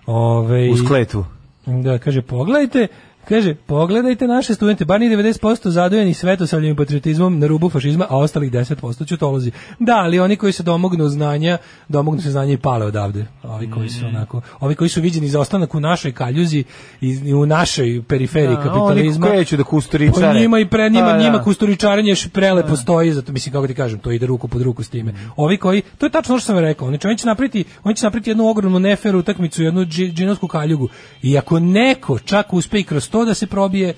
H: Ovaj
G: Uz kletvu.
H: Da, kaže pogledajte, kaže pogledajte naše studente, bar njih 90% zadojeni svetosavljem i patriotizmom na rubu fašizma, a ostalih 10% čutolozi. Da, ali oni koji se domognu znanja, domognu se znanja i pale odavde. Ovi koji
G: Mm.
H: su onako, ovi koji su viđeni za ostanak u našoj kaljuzi i i u našoj periferiji kapitalizma.
G: Oni kreću da kustoričare.
H: Pa njima i pre njima,
G: Pa, da.
H: njima kustoričarenje još prelepo stoji, zato mislim kako ti kažem, to ide ruku pod ruku s time. Ovi koji, to je tačno ono što sam rekao, znači oni će napriti, oni će napriti jednu ogromnu neferu utakmicu, jednu dži- džinovsku kaljugu. I ako neko čak uspe i kroz to da se probije,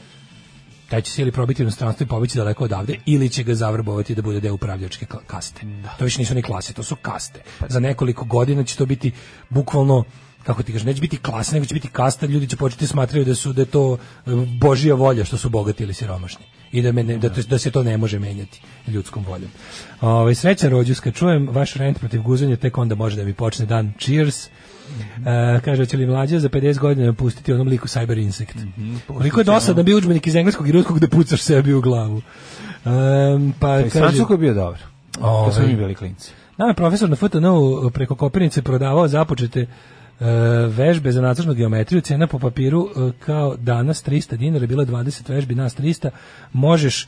H: taj će se ili probiti u inostranstvo i pobeći daleko odavde, ili će ga zavrbovati da bude deo upravljačke kla- kaste. To više nisu ni klase, to su kaste. Za nekoliko godina će to biti bukvalno kako ti kažeš, neće biti klasa, nego će biti kasta, ljudi će početi da smatraju da su da je to e, božija volja što su bogati ili siromašni i da, me ne- da, to- da se to ne može menjati ljudskom voljom. Ovaj srećan rođuska, čujem vaš rent protiv guzanja, tek onda može da mi počne dan. Cheers. E, kaže, će li mlađa za 50 godina napustiti onom liku Cyber Insect? Koliko je dosadno bio udžbenik iz engleskog i ruskog da pucaš sebi u glavu. Em, pa
G: Pa iz
H: kaže,
G: Francuska je bio dobar. Kad smo
H: Ovaj.
G: mi bili klinci.
H: nam je profesor na FTN preko Kopirnice prodavao započete e, vežbe za nacrtnu geometriju, cena po papiru e, kao danas 300 dinara, bilo je 20 vežbi, nas 300, možeš e,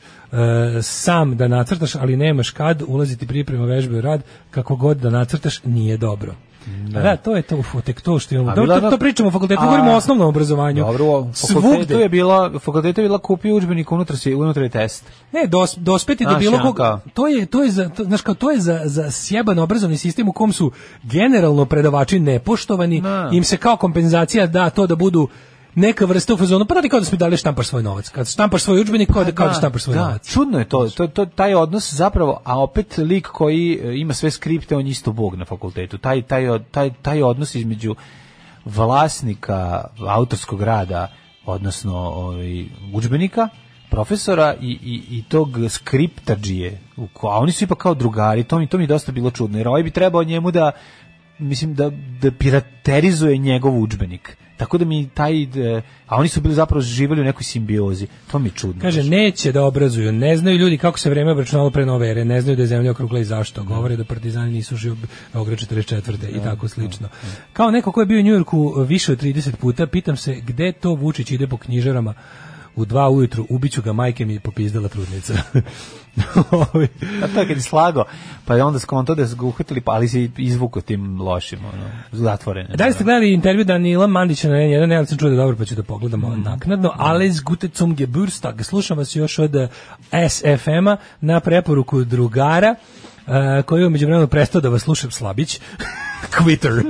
H: sam da nacrtaš, ali nemaš kad ulaziti priprema vežbe u rad, kako god da nacrtaš, nije dobro. Da. to je to, uf, tek to što imamo.
G: A
H: Dobro,
G: bila
H: to,
G: ona-
H: to pričamo o fakultetu,
G: A,
H: govorimo o osnovnom obrazovanju.
G: Dobro,
H: Svugde-
G: fakultetu je bila, fakultetu je bila kupio udžbenik unutra se unutra je test.
H: Ne, E, dos, dospeti do
G: Znaš,
H: bilo
G: ono
H: koga.
G: kao-
H: To je to je za to, znaš kao to je za za sjeban obrazovni sistem u kom su generalno predavači nepoštovani,
G: Da.
H: im se kao kompenzacija da to da budu neka vrsta u fazonu, pa da ti kao da smo dali štampaš svoj novac. Kad štampaš svoj udžbenik, kao da, kao da štampaš svoj
G: Pa da,
H: novac.
G: Čudno je to, to, to, taj odnos zapravo, a opet lik koji e, ima sve skripte, on je isto bog na fakultetu. Taj, taj, od- taj, taj odnos između vlasnika autorskog rada, odnosno ovaj, udžbenika, profesora i, i, i tog skriptadžije, u ko- a oni su ipak kao drugari, to mi, to mi je dosta bilo čudno, jer ovaj bi trebao njemu da mislim da, da piraterizuje njegov udžbenik. Tako da mi taj, e, a oni su bili zapravo živjeli u nekoj simbiozi. To mi je čudno.
H: Kaže, neće da obrazuju, ne znaju ljudi kako se vreme obračunalo pre nove ere, ne znaju da je zemlja okrugla i zašto, govore da partizani nisu živi ogre 44. i tako slično. Kao neko ko je bio u Njujorku više od 30 puta, pitam se gde to Vučić ide po knjižarama u dva ujutru, ubiću ga, majke mi je popizdala trudnica. Ovaj,
G: A to je kad je slago, pa je onda skonto da su ga uhvatili, pa ali se izvuko tim lošim, ono, zatvorenjem.
H: da li ste gledali intervju Danila Mandića na N1, ja sam čuo da je dobro, pa ću da pogledam naknadno, ali s Gutecom Geburstag, slušam vas još od eh, SFM-a na preporuku drugara, eh, koji je umeđu vremenu prestao da vas slušam slabić, [LAUGHS] Twitter.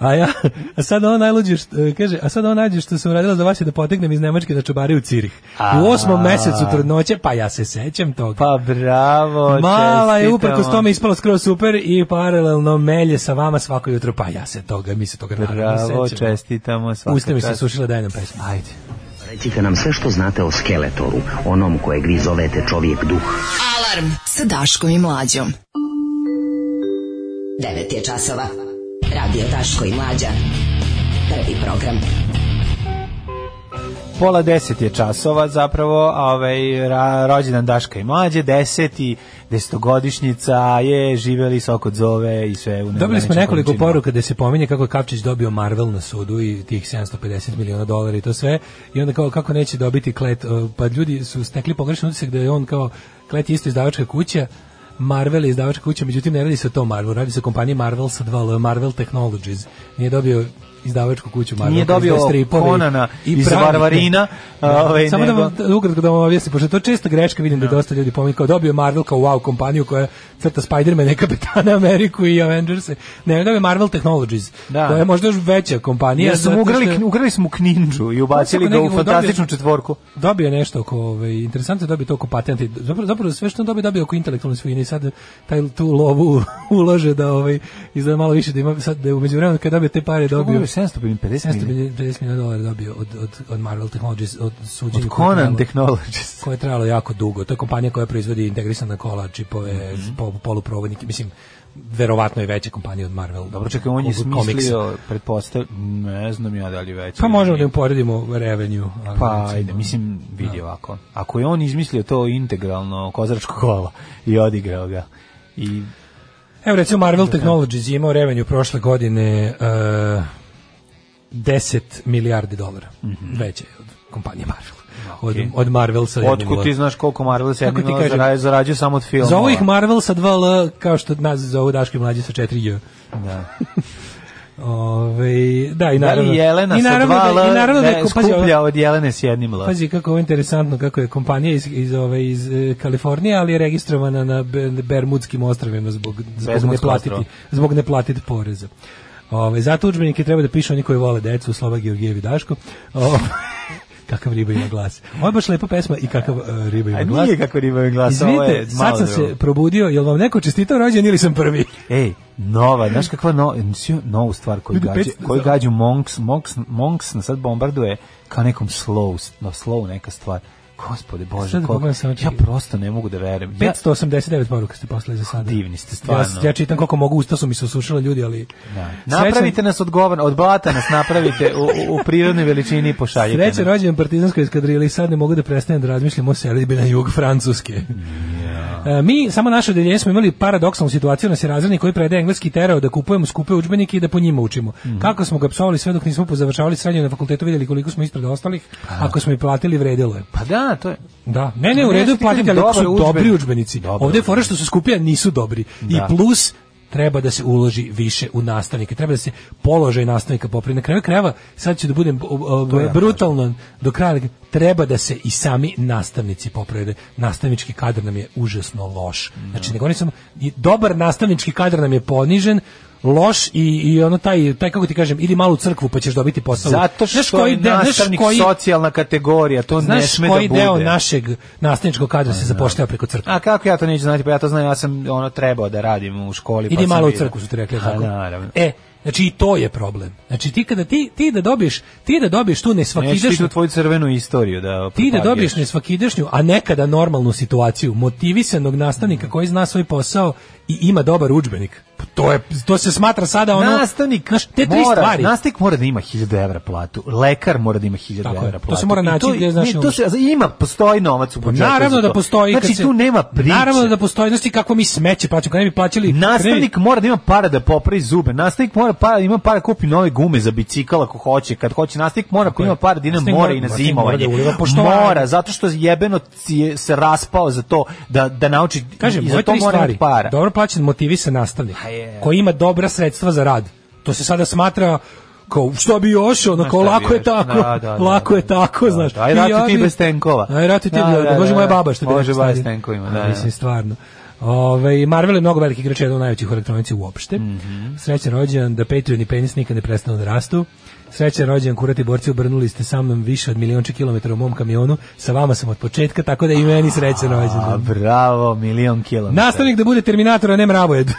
H: A ja, a sad ono najluđe, što, eh, kaže, a sad ono najluđe što sam uradila za vas je da potegnem iz Nemačke na čubare u Cirih. U osmom mesecu trudnoće, pa ja se sećam toga.
G: Pa bravo,
H: Mala je
G: čestitamo.
H: uprkos tome ispala skroz super i paralelno melje sa vama svako jutro. Pa ja se toga, mi se toga naravno
G: Bravo,
H: sećamo.
G: čestitamo. svaka
H: Usta mi se
G: čast.
H: sušila, daj nam pesmu.
G: Ajde.
C: Recite nam sve što znate o Skeletoru, onom kojeg vi zovete čovjek duh.
F: Alarm sa Daškom i Mlađom. 9 je časova. Radio Daško i Mlađa. Prvi program.
G: Pola deset je časova zapravo, a ovaj, ra, rođendan Daška i mlađe, deseti, desetogodišnjica je, živeli sok od zove i sve. U
H: Dobili smo
G: neograničenim
H: nekoliko
G: količinama.
H: poruka gde se pominje kako je Kapčić dobio Marvel na sudu i tih 750 miliona dolara i to sve i onda kao kako neće dobiti klet e, pa ljudi su stekli pogrešan utisak da je on kao klet je isto izdavačka kuća Marvel je izdavačka kuća, međutim ne radi se o tom Marvel, radi se o kompaniji Marvel sa 2 L, Marvel Technologies. Nije dobio izdavačku kuću Marvel.
G: Nije
H: koja
G: dobio
H: izdaje stripove i-
G: Conana
H: i
G: iz
H: pravi-
G: Varvarina,
H: Da.
G: ovaj,
H: Samo da
G: nego-
H: vam ukratko da vam objasnim, pošto je to česta greška, vidim da dosta ljudi pominje kao dobio Marvel kao wow kompaniju koja crta Spider-Man, Kapetana Ameriku i Avengers. Ne, dobio Marvel Technologies,
G: Da.
H: koja je možda još veća kompanija.
G: Jer su mu
H: zato
G: ugrali,
H: što je-
G: kn- ugrali smo kninđu i ubacili
H: Svako
G: ga u
H: neki mu
G: fantastičnu
H: dobio-
G: četvorku.
H: Dobio je nešto oko, ovaj, interesantno je dobio to oko patenti. Zapravo, zapravo sve što on dobio, dobio oko intelektualne svojine i sad taj, tu lovu [LAUGHS] ulože da ovaj, izgleda malo više, da ima sad, da je umeđu vremenu kad dobio te pare dobio...
G: 750 milijuna.
H: 750 miliona dolara dobio od, od, od Marvel Technologies, od suđenja.
G: Od
H: koje je
G: Conan
H: trajalo-
G: Technologies.
H: koje je trajalo jako dugo. To je kompanija koja proizvodi integrisana kola, čipove,
G: Mhm.
H: pol- poluprovodnike, mislim, verovatno je veća kompanija od Marvel.
G: Dobro, čekaj, on je
H: od komiksa.
G: smislio, pretpostavljam, ne znam ja da li već.
H: Pa možemo da im poredimo revenue. ali
G: Pa,
H: recimo-
G: ajde, mislim, vidi ovako. Ako je on izmislio to integralno kozaračko kola i odigrao ga, i
H: Evo recimo Marvel Technologies je imao revenju prošle godine uh, 10 milijardi dolara. Veće je od kompanije Marvel. Od,
G: Mhm. Okej.
H: od Marvel sa
G: otkud ti znaš koliko Marvel se
H: Kako ti
G: jednima
H: kažem?
G: zarađuje, zarađuje samo od filmova?
H: Za ovih Marvel sa 2L, kao što nas zovu Daški mlađi sa 4J.
G: Da.
H: [LAUGHS] Ove, da, i
G: Da
H: naravno.
G: li Jelena
H: i naravno
G: sa dva
H: da, i
G: L
H: naravno da, je-
G: ne,
H: pazi, ovo-
G: skuplja od Jelene s jednim L?
H: Pazi kako je ovo interesantno kako je kompanija iz iz ove iz e, Kalifornije, ali je registrovana na Be- Bermudskim ostrvima zbog zbog
G: Bermudsko
H: ne platiti,
G: ostrvo.
H: zbog ne platiti poreza. Ove, zato udžbenike treba da pišu oni koji vole decu, Slova Georgijevi Daško. Ove, [LAUGHS] kakav riba ima glas. Ovo je baš lepa pesma i kakav e, riba ima
G: A
H: glas.
G: nije kako ribaju glas, ovo Pa je
H: Izvinite,
G: malo
H: sad sam
G: drugo.
H: se probudio, jel vam neko čestitao rođen ili sam prvi?
G: Ej, nova, znaš kakva no, mislim, novu stvar koju
H: Ljudi,
G: gađu,
H: pet-
G: koju gađu Monks, Monks, Monks nas sad bombarduje kao nekom slow, no slow neka stvar. Gospode Bože,
H: Sad da
G: koliko-
H: pogledam samo
G: ja
H: čekaj.
G: prosto ne mogu da verujem. Ja,
H: 589 poruka ste poslali za sada.
G: Divni ste, stvarno.
H: Ja, ja čitam koliko mogu, usta su mi se osušila ljudi, ali...
G: da.
H: Srećan-
G: Napravite nas od govna, od blata nas napravite u, u- u prirodnoj veličini i pošaljite
H: Sreće
G: nam.
H: rođen partizanskoj eskadrili, sad ne mogu da prestanem da razmišljam o selidbi na jug Francuske. E, Mi, samo naše odeljenje, smo imali paradoksalnu situaciju, nas je razrednik koji predaje engleski terao da kupujemo skupe udžbenike i da po njima učimo.
G: Mhm.
H: Kako smo ga psovali sve dok nismo pozavršavali srednje na fakultetu, vidjeli koliko smo ispred ostalih, ako smo i platili, vredilo je.
G: Pa da, to je.
H: Da, ne, ne, u
G: Ne,
H: redu je
G: ti kažem,
H: platiti, ali ako su
G: dobar
H: dobri
G: udžbenik.
H: udžbenici.
G: Dobar
H: Ovde je fora što su skuplji, a nisu dobri.
G: Da.
H: I plus treba da se uloži više u nastavnike, treba da se položaj nastavnika popravi. Na kraju krajeva, sad ću da budem o, o, brutalno do kraja, treba da se i sami nastavnici poprave. Nastavnički kadar nam je užasno loš. Znači, ne govorim samo, i dobar nastavnički kadar nam je ponižen, loš i, i ono taj, taj kako ti kažem, idi malo u crkvu pa ćeš dobiti posao.
G: Zato
H: Znaš
G: što
H: koji
G: je
H: de- znaš
G: nastavnik
H: koji-
G: socijalna kategorija, to ne
H: Znaš
G: sme da bude.
H: koji deo našeg nastavničkog kadra se zapošljava preko crkve?
G: A kako ja to neću znati, pa ja to znam, ja sam ono trebao da radim u školi. pa
H: Idi
G: sam
H: malo u
G: vidio.
H: crkvu, su ti rekli.
G: A,
H: tako?
G: naravno.
H: E, znači i to je problem. Znači ti kada ti, ti da dobiješ, ti da dobiješ tu
G: Neću ti tu
H: nesvakidašnju,
G: tvoju crvenu istoriju da
H: Pa ti da
G: propagiraš.
H: dobiješ nesvakidašnju, a nekada normalnu situaciju, motivisanog
G: Mm.
H: nastavnika koji zna svoj posao i ima dobar udžbenik. Pa To, je, to se smatra sada ono...
G: nastavnik
H: znaš, te tri
G: mora,
H: stvari.
G: Nastavnik mora da ima 1000 evra platu. Lekar mora da ima 1000
H: Tako je.
G: evra
H: To se
G: platu.
H: mora
G: I
H: naći
G: to-
H: gdje, znaš,
G: ne, to
H: ono- Pa
G: se ima postoji novac u budžetu.
H: Naravno
G: za
H: da
G: to.
H: postoji. kad
G: Znači
H: se-
G: tu nema priče.
H: Naravno da postoji. Znači kako mi smeće plaćamo, kad ne bi plaćali... kad ne bi-
G: Nastavnik mora da ima para da popravi zube. Nastavnik mora para, ima para da kupi nove gume za bicikl ako hoće. Kad hoće nastavnik mora ako
H: je.
G: ima para da ide na
H: Nastavnik
G: more
H: mora-
G: i na
H: nastavnik mora da
G: zimovanje.
H: uliva poštovanje.
G: Mora, zato što jebeno ci je se raspao za to da da nauči
H: Kažem,
G: i
H: ove
G: za to
H: tri
G: mora
H: stvari,
G: imati para.
H: dobro plaćen motivisan nastavnik,
G: Pa je.
H: koji ima dobra sredstva za rad. To se sada smatra kao što bi još ono
G: Znaš
H: kao
G: šta
H: lako
G: bi
H: je
G: još?
H: tako
G: Da, da, da,
H: lako je
G: da.
H: tako
G: Da,
H: znaš
G: da, aj
H: I
G: ratu
H: ja
G: ti
H: bi-
G: bez tenkova.
H: aj ratu ti
G: Da,
H: da,
G: da, da,
H: može moja
G: da.
H: baba što bi
G: Može
H: rekla
G: baš
H: stari.
G: tenkovima, da,
H: A,
G: da.
H: mislim stvarno Ove, Marvel je mnogo velikih igrača, jedan od najvećih u elektronici uopšte.
G: Mhm.
H: Srećan rođendan da Patreon i penis nikad ne prestanu da rastu. Srećan rođendan kurati borci, obrnuli ste sa mnom više od milionče kilometara u mom kamionu. Sa vama sam od početka, tako da i meni srećan
G: A
H: rođendan.
G: bravo, milion kilometara.
H: Nastavnik da bude Terminator, a ne mravojed.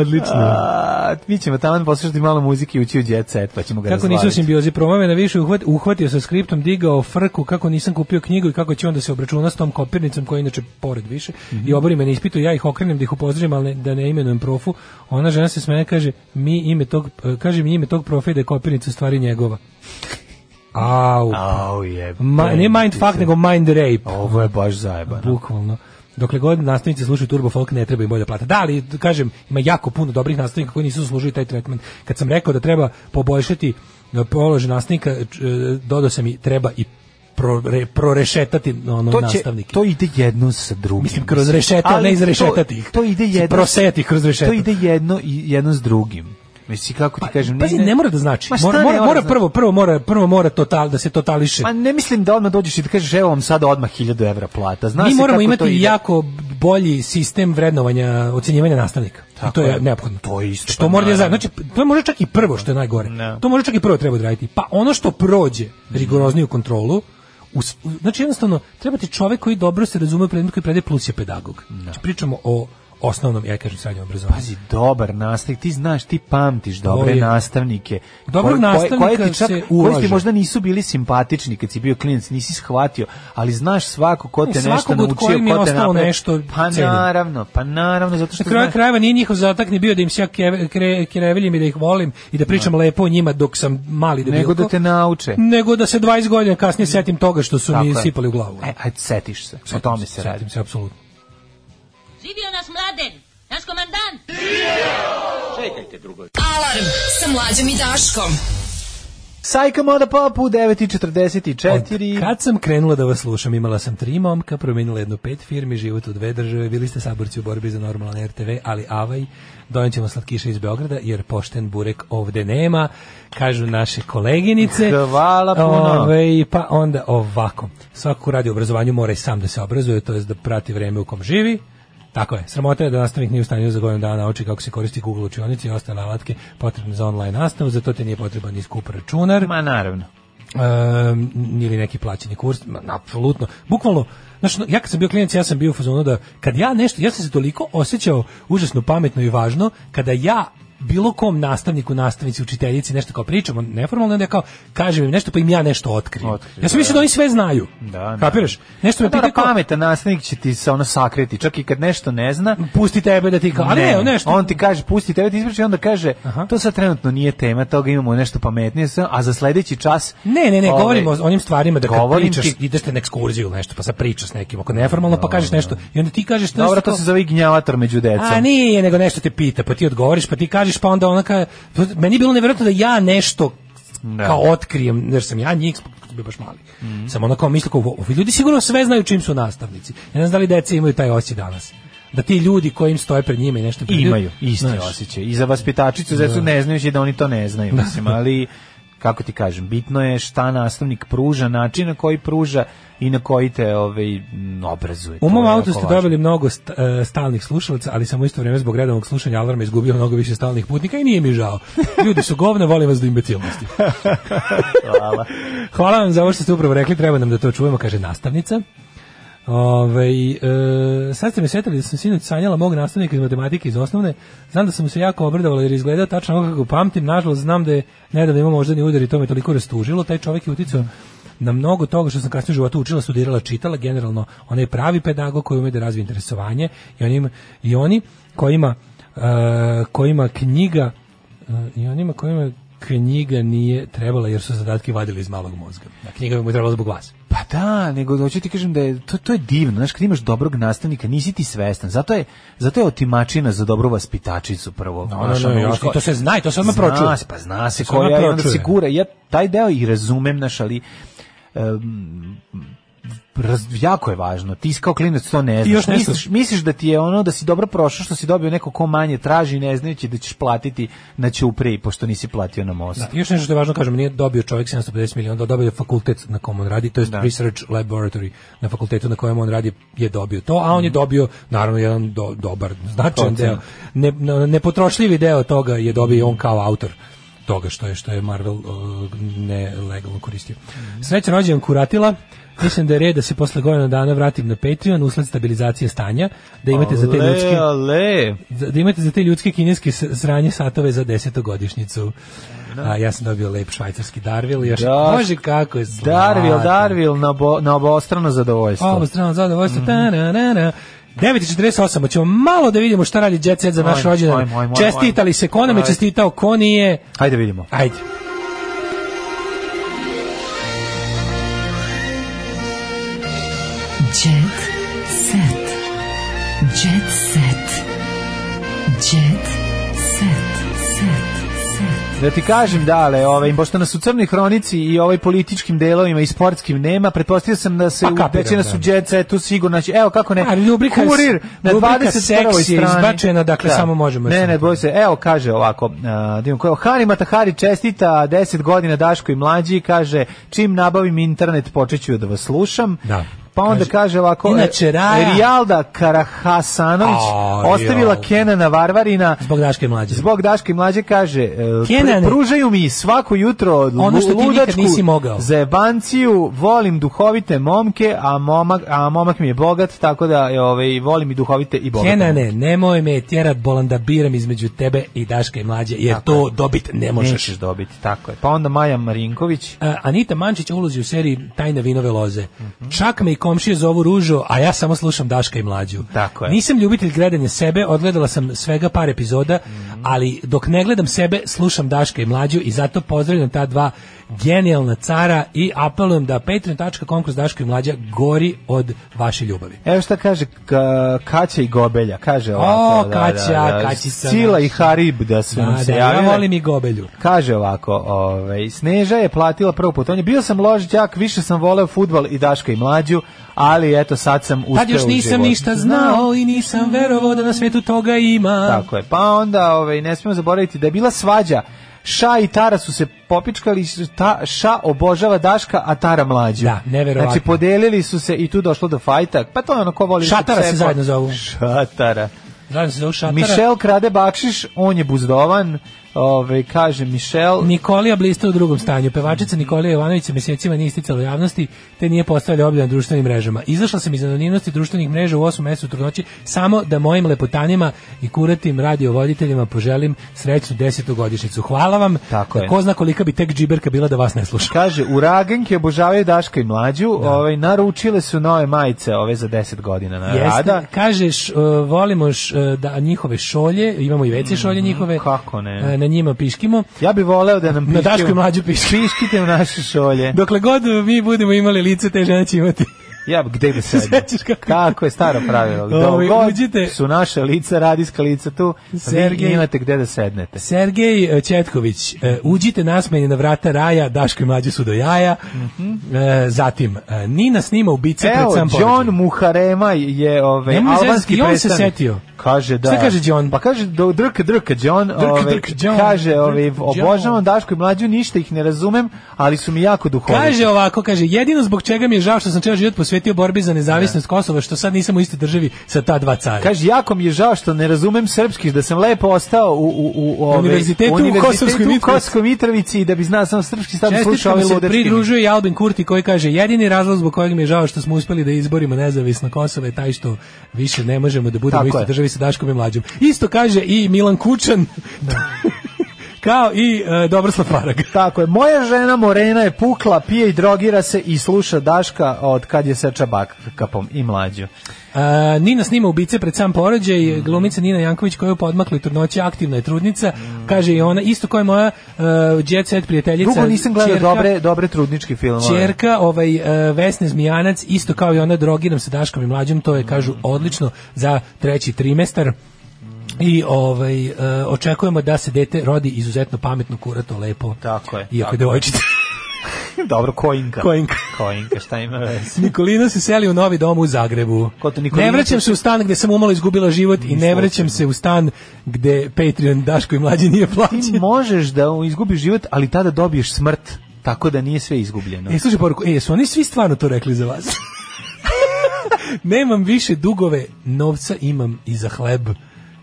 H: Odlično.
G: A, a mi ćemo tamo poslušati malo muzike i ući u jet set, pa ćemo ga
H: Kako
G: razvaliti.
H: nisu simbiozi promove na više uhvat, uhvatio sa skriptom, digao frku, kako nisam kupio knjigu i kako će onda se obračuna s tom kopirnicom koja je inače pored više i obori me na ispitu, ja ih okrenem da ih upozorim, ali ne, da ne imenujem profu. Ona žena se smeje kaže mi ime tog eh, kaže mi ime tog profa i da je kopirnica u stvari [LAUGHS] njegova. Au.
G: Au, jebe.
H: Ma, ne mind fuck, nego mind rape.
G: Ovo je baš zajebano.
H: Bukvalno. Dokle god nastavnici slušaju Turbo Folk ne treba im bolja plata. Da, ali kažem, ima jako puno dobrih nastavnika koji nisu zaslužili taj tretman. Kad sam rekao da treba poboljšati e, položaj nastavnika, č- e, dodao sam i treba i pro, re, prorešetati ono,
G: To, će,
H: nastavnike.
G: to ide jedno sa drugim.
H: Mislim, kroz rešeta,
G: Ali
H: ne iz
G: to-
H: rešetati ih.
G: To ide jedno...
H: Proseti ih kroz rešeta.
G: To ide jedno, i jedno s drugim. Mislim, kako ti kažem...
H: Pa, Pazi, ne mora da znači.
G: Ma šta
H: Mora,
G: ne
H: mora, mora
G: znači?
H: prvo, prvo mora, prvo mora total, da se totališe.
G: Ma ne mislim da odmah dođeš i da kažeš evo vam sada odmah 1000 evra plata. Zna
H: Mi
G: se
H: moramo
G: kako to
H: imati
G: ide.
H: jako bolji sistem vrednovanja, ocjenjivanja nastavnika. I to
G: Tako
H: je,
G: je.
H: neophodno.
G: To je isto,
H: Što
G: pa
H: mora da je
G: naravno.
H: zajedno. Znači, to je možda čak i prvo što je najgore.
G: Ne.
H: To možda čak i prvo treba odraditi. Pa ono što prođe rigorozniju kontrolu, us- u- znači jednostavno, treba ti čovek koji dobro se razume u predmet koji predaje plus je pedagog. Znači, pričamo o osnovnom, ja kažem srednjem obrazovanju.
G: Pazi, dobar nastavnik, ti znaš, ti pamtiš dobre
H: To je.
G: nastavnike.
H: Dobrog
G: koje- koje- koje
H: nastavnika
G: ti čak,
H: se
G: koji ti
H: ulaže.
G: možda nisu bili simpatični kad si bio klinac, nisi shvatio, ali znaš svako ko te
H: Ne,
G: nešto
H: svakog od
G: naučio, ko
H: kojeg mi je
G: te
H: ostalo
G: napravio.
H: nešto
G: Pa
H: cenim.
G: naravno, pa naravno, zato što
H: Na kraju
G: znaš-
H: krajeva nije njihov zadatak ni bio da im se ja keve- kre- kreveljim i da ih volim i da pričam lepo o njima dok sam mali debilko.
G: nego da te nauče.
H: nego da se 20 godina kasnije setim toga što su
G: Tako
H: mi
G: je.
H: sipali u glavu.
G: E, ajde, setiš se. O
H: Setim
G: tome se radi.
H: Setim se, apsolutno.
B: Živio naš mladen, naš komandant.
F: Alarm sa mlađom i Daškom.
G: Sajka Moda Popu, 9.44.
H: Od Kad sam krenula da vas slušam, imala sam tri momka, promenila jedno pet firmi, život u dve države, bili ste saborci u borbi za normalan RTV, ali avaj, donijet ćemo slatkiše iz Beograda, jer pošten burek ovde nema, kažu naše koleginice.
G: Hvala puno.
H: Ove, pa onda ovako, svako ko radi u obrazovanju mora i sam da se obrazuje, to jest da prati vreme u kom živi, Tako je, sramota je da nastavnik nije u stanju za godinu dana oči kako se koristi Google učionici i ostale alatke potrebne za online nastavu, zato te nije potreban ni skup računar
G: Ma naravno.
H: um, ili neki plaćeni kurs, ma, apsolutno. Bukvalno, znaš, no, ja kad sam bio klinac, ja sam bio u fazonu da kad ja nešto, ja sam se toliko osjećao užasno pametno i važno, kada ja bilo kom nastavniku, nastavnici, učiteljici nešto kao pričamo neformalno, onda ja kao kažem im nešto pa im ja nešto otkrijem.
G: Otkrijem,
H: ja sam mislio da oni sve znaju.
G: Da, da.
H: Kapiraš? Nešto me
G: Pa
H: pita
G: da,
H: kao,
G: pametan nastavnik će ti se ono sakriti, čak i kad nešto ne zna,
H: pusti tebe da ti kao, a ne, nešto.
G: On ti kaže, pusti tebe, ti ispriča i onda kaže,
H: Aha.
G: to sad trenutno nije tema, toga imamo nešto pametnije, sa- a za sledeći čas...
H: Ne, ne, ne,
G: ovaj,
H: govorimo o onim stvarima da kad
G: govorim
H: pričaš,
G: ti-
H: ideš te na ekskurziju ili nešto, pa se pričaš s nekim, ako neformalno, pa kažeš nešto. I onda ti kažeš... nešto
G: Dobro, to
H: kao-
G: se zove i gnjavator među decom.
H: A nije, nego nešto te pita, pa ti odgovoriš, pa ti kažeš, pa onda ona ka... Meni je bilo nevjerojatno da ja nešto
G: Da.
H: kao otkrijem, jer sam ja njih, sam bio baš mali. Sam ona kao mislila, kao, ovi ljudi sigurno sve znaju čim su nastavnici. Ja ne znam da li deca imaju taj osjećaj danas. Da ti ljudi koji im stoje pred njima i nešto... pred-
G: Imaju isti
H: Znaš.
G: osjećaj. I za vaspitačicu, zato su ne znajući da oni to ne znaju, mislim, ali kako ti kažem, bitno je šta nastavnik pruža, način na koji pruža i na koji te ovaj, m, obrazuje.
H: U mom
G: To je
H: autu
G: jako
H: ste
G: važno.
H: dobili mnogo st- e, stalnih slušalaca, ali sam u isto vrijeme zbog redovnog slušanja alarma izgubio mnogo više stalnih putnika i nije mi žao. Ljudi su govne, volim vas do imbecilnosti.
G: [LAUGHS] Hvala.
H: Hvala vam za ovo što ste upravo rekli, treba nam da to čujemo, kaže nastavnica. Ove, e, sad ste me sjetili da sam sinoć sanjala mog nastavnika iz matematike iz osnovne. Znam da sam se jako obradovala jer je izgledao tačno onako kako pamtim. Nažalost, znam da je nedavno imao moždani udar i to me toliko rastužilo. Taj čovjek je uticao na mnogo toga što sam kasnije u životu učila, studirala, čitala. Generalno, ona je pravi pedagog koji ume da razvije interesovanje i, onim, i oni kojima, e, kojima knjiga e, i onima kojima knjiga nije trebala jer su zadatke vadili iz malog mozga. A knjiga bi mu trebala zbog vas.
G: Pa da, nego hoću ti kažem da je to to je divno, znaš, kad imaš dobrog nastavnika, nisi ti svestan. Zato je zato je otimačina za dobru vaspitačicu prvo.
H: No,
G: znaš,
H: no, no,
G: ono,
H: jasno,
G: uško-
H: i to se zna i to se odmah
G: Zna
H: pročuje.
G: se, pa zna se
H: To se odmah
G: koja je i onda se
H: pročuje.
G: gura. Ja taj deo i razumem, znaš, ali em, raz- jako je važno. Ti kao klinac to ne znaš.
H: još nešto.
G: misliš, misliš da ti je ono da si dobro prošao što si dobio neko ko manje traži ne znajući da ćeš platiti na ćupriji pošto nisi platio na most.
H: Da, i još nešto što je važno kažem, nije dobio čovjek 750 miliona, dobio je fakultet na kom on radi, to je
G: Da.
H: research laboratory na fakultetu na kojem on radi je dobio to, a on je dobio naravno jedan do- dobar, značajan
G: Mhm. Procen. Mhm.
H: deo, ne, no, nepotrošljivi deo toga je dobio on kao autor toga što je što je Marvel uh, nelegalno koristio.
G: Mhm.
H: Srećan rođendan Kuratila. Mislim da je red da se posle godina dana vratim na Patreon usled stabilizacije stanja, da imate za te ljudske
G: Ale,
H: za- da imate za te ljudske kineske s- sranje satove za desetogodišnjicu. A ja sam dobio lep švajcarski Darvil još.
G: Da.
H: Bože kako je
G: Darvil,
H: slatan.
G: Darvil na, bo, na obostrano zadovoljstvo.
H: Ovo strano zadovoljstvo. Mm -hmm. 9.48, hoćemo malo da vidimo šta radi Jet Set za naš
G: Ajmo,
H: rođendan.
G: ajmo, ajmo,
H: Čestitali
G: ajmo.
H: se, ko nam je
G: Ajde.
H: čestitao, ko nije.
G: Hajde vidimo.
H: Ajde.
F: Jet set. Jet set. Jet set. Set. Set.
G: Da ti kažem, dale, ovaj, pošto nas u crnoj hronici i ovaj političkim delovima i sportskim nema, pretpostavio sam da se
H: Pa
G: pa,
H: kapiram,
G: u nas
H: da.
G: u jet setu sigurno će, evo kako ne,
H: A, rubrika-
G: kurir na
H: rubrika
G: 21.
H: seks je
G: strani.
H: izbačena, dakle, samo možemo još
G: Ne, ne,
H: samo
G: boj se, evo kaže ovako, uh, da imam koje- Hari Matahari čestita 10 godina Daško i mlađi, kaže, čim nabavim internet počeću da vas slušam.
H: Da.
G: Pa onda
H: Kaže,
G: kaže, ovako,
H: inače, Raja-
G: Rijalda Karahasanović
H: A,
G: ostavila
H: jao.
G: Kenana Varvarina
H: Zbog Daške mlađe.
G: Zbog Daške i mlađe kaže, e,
H: Kenane.
G: pru- pružaju mi svako jutro
H: Ono što ti nikad
G: ludačku
H: nisi mogao.
G: zajebanciju, volim duhovite momke, a momak, a momak mi je bogat, tako da je, ovaj, volim i duhovite i bogate.
H: Kenane, nemoj me tjerat bolan da biram između tebe i Daška i mlađe, jer
G: Tako
H: to
G: je.
H: dobit ne možeš.
G: Nećeš dobiti, tako je. Pa onda Maja Marinković,
H: A, E, Anita Mančić u ulozi u seriji Tajne vinove loze. Čak me i komšije zovu Ružo, a ja samo slušam Daška i Mlađu.
G: Tako je.
H: Nisam ljubitelj gledanja sebe, odgledala sam svega par epizoda, ali dok ne gledam sebe, slušam Daška i Mlađu i zato pozdravljam ta dva genijalna cara i apelujem da patreon.com kroz Daška i Mlađa gori od vaše ljubavi.
G: Evo šta kaže ka, Kaća i Gobelja, kaže ovako.
H: Kaća, Kaćica
G: Sila
H: naša.
G: i Harib da su nam
H: Da,
G: se
H: da, ja
G: javile.
H: volim i Gobelju.
G: Kaže ovako, ovaj, Sneža je platila prvo putovanje. Bio sam ložđak, više sam voleo futbal i Daška i mlađu, ali eto sad sam uspeo
H: Tad još
G: u
H: nisam
G: životu.
H: ništa znao i nisam verovao da na svetu toga ima.
G: Tako je. Pa onda ovaj, ne smijemo zaboraviti da je bila svađa. Ša i Tara su se popičkali, ta, Ša obožava Daška, a Tara mlađu.
H: Da, neverovatno.
G: Znači, podelili su se i tu došlo do fajta. Pa to je ono ko voli...
H: Šatara se
G: pse, ko-
H: zajedno zovu.
G: Šatara.
H: Znam se zove Šatara.
G: Mišel krade bakšiš, on je buzdovan. Ove, kaže Mišel...
H: Nikolija blista u drugom stanju. Pevačica Nikolija Jovanović se mjesecima nije isticala u javnosti, te nije postavljala objave na društvenim mrežama. Izašla sam iz anonimnosti društvenih mreža u 8 mjesecu trudnoći samo da mojim lepotanjima i kuratim radiovoditeljima poželim srećnu desetogodišnjicu. Hvala vam.
G: Tako je.
H: Ko zna kolika bi tek džiberka bila da vas ne sluša.
G: Kaže, uragenke obožavaju Daška i mlađu, ovaj, naručile su nove majice ove za 10 godina na rada.
H: Jeste, kažeš, e, volimo š, e, da njihove šolje, imamo i veće šolje njihove.
G: Mhm, kako ne.
H: e, Na njima piškimo.
G: Ja bih voleo da nam
H: Na
G: piškiju-
H: Dašku i mlađu piški.
G: piškite u naše šolje.
H: Dokle god mi budemo imali lice, te žene će imati.
G: Ja, gde da sedem?
H: [LAUGHS] Sećaš kako-
G: Tako je staro pravilo. Gde
H: Ovaj,
G: god
H: uđite-
G: su naše lica, radijska lica tu,
H: Sergej-
G: vi imate gde da sednete.
H: Sergej e, Četković, e, uđite nasmeni na vrata raja, Daško i mlađe su do jaja. E, Zatim, e, Nina snima ubice pred
G: Mhm. Evo,
H: sam
G: John
H: porođaj.
G: Muharema je ovaj,
H: Nemoj mi zezati,
G: albanski
H: i on se
G: predstavnik.
H: setio.
G: Kaže da.
H: Šta kaže John?
G: Pa kaže do drka drka John, ovaj,
H: drka, John,
G: kaže ovaj
H: drka, John.
G: obožavam Dašku i mlađu, ništa ih ne razumem, ali su mi jako duhoviti.
H: Kaže ovako, kaže, jedino zbog čega mi je žao što sam ceo život posvetio borbi za nezavisnost Kosova, što sad nisam u istoj državi sa ta dva cara.
G: Kaže, jako mi je žao što ne razumem srpski, da sam lepo ostao u, u, u, ove,
H: Univerzitetu u Kosovskoj
G: u
H: Mitrovici.
G: Kosovskoj Mitrovici i da bi znao samo srpski stav slušao
H: Čestitkama
G: ove
H: se
G: ludečke.
H: pridružuje i Albin Kurti koji kaže jedini razlog zbog kojeg mi je žao što smo uspeli da izborimo nezavisno Kosovo je taj što više ne možemo da budemo u
G: Tako
H: istoj
G: je.
H: državi sa Daškom i Mlađom. Isto kaže i Milan Kučan [LAUGHS] kao i e, Dobroslav Farag.
G: Tako je, moja žena Morena je pukla, pije i drogira se i sluša Daška od kad je seča bakapom i mlađu.
H: A, Nina snima ubice pred sam porođaj, glumica Nina Janković koja je u podmakloj trudnoći aktivna je trudnica, kaže i ona, isto koja je moja uh, jet set prijateljica.
G: Dugo nisam gledao
H: ćerka-
G: dobre, dobre trudničke filmove.
H: Čerka, ovaj e, Vesne Zmijanac, isto kao i ona drogiram se Daškom i mlađom, to je kažu odlično za treći trimestar. I ovaj e, očekujemo da se dete rodi izuzetno pametno, kurato, lepo.
G: Tako je,
H: Iako
G: tako
H: je
G: je.
H: devojčica. [LAUGHS]
G: Dobro, Koinka.
H: Koinka.
G: Koinka, šta ima veze?
H: [LAUGHS] Nikolina se seli u novi dom u Zagrebu.
G: Ko to, Nikolina?
H: ne vraćam se u stan gde sam umalo izgubila život i ne vraćam se u stan gde Patreon Daško i mlađi nije
G: Ti
H: plaćen.
G: možeš da izgubiš život, ali tada dobiješ smrt, tako da nije sve izgubljeno.
H: E, slušaj poruku, e, su oni svi stvarno to rekli za
G: [LAUGHS]
H: vas? Nemam više dugove, novca imam i za hleb.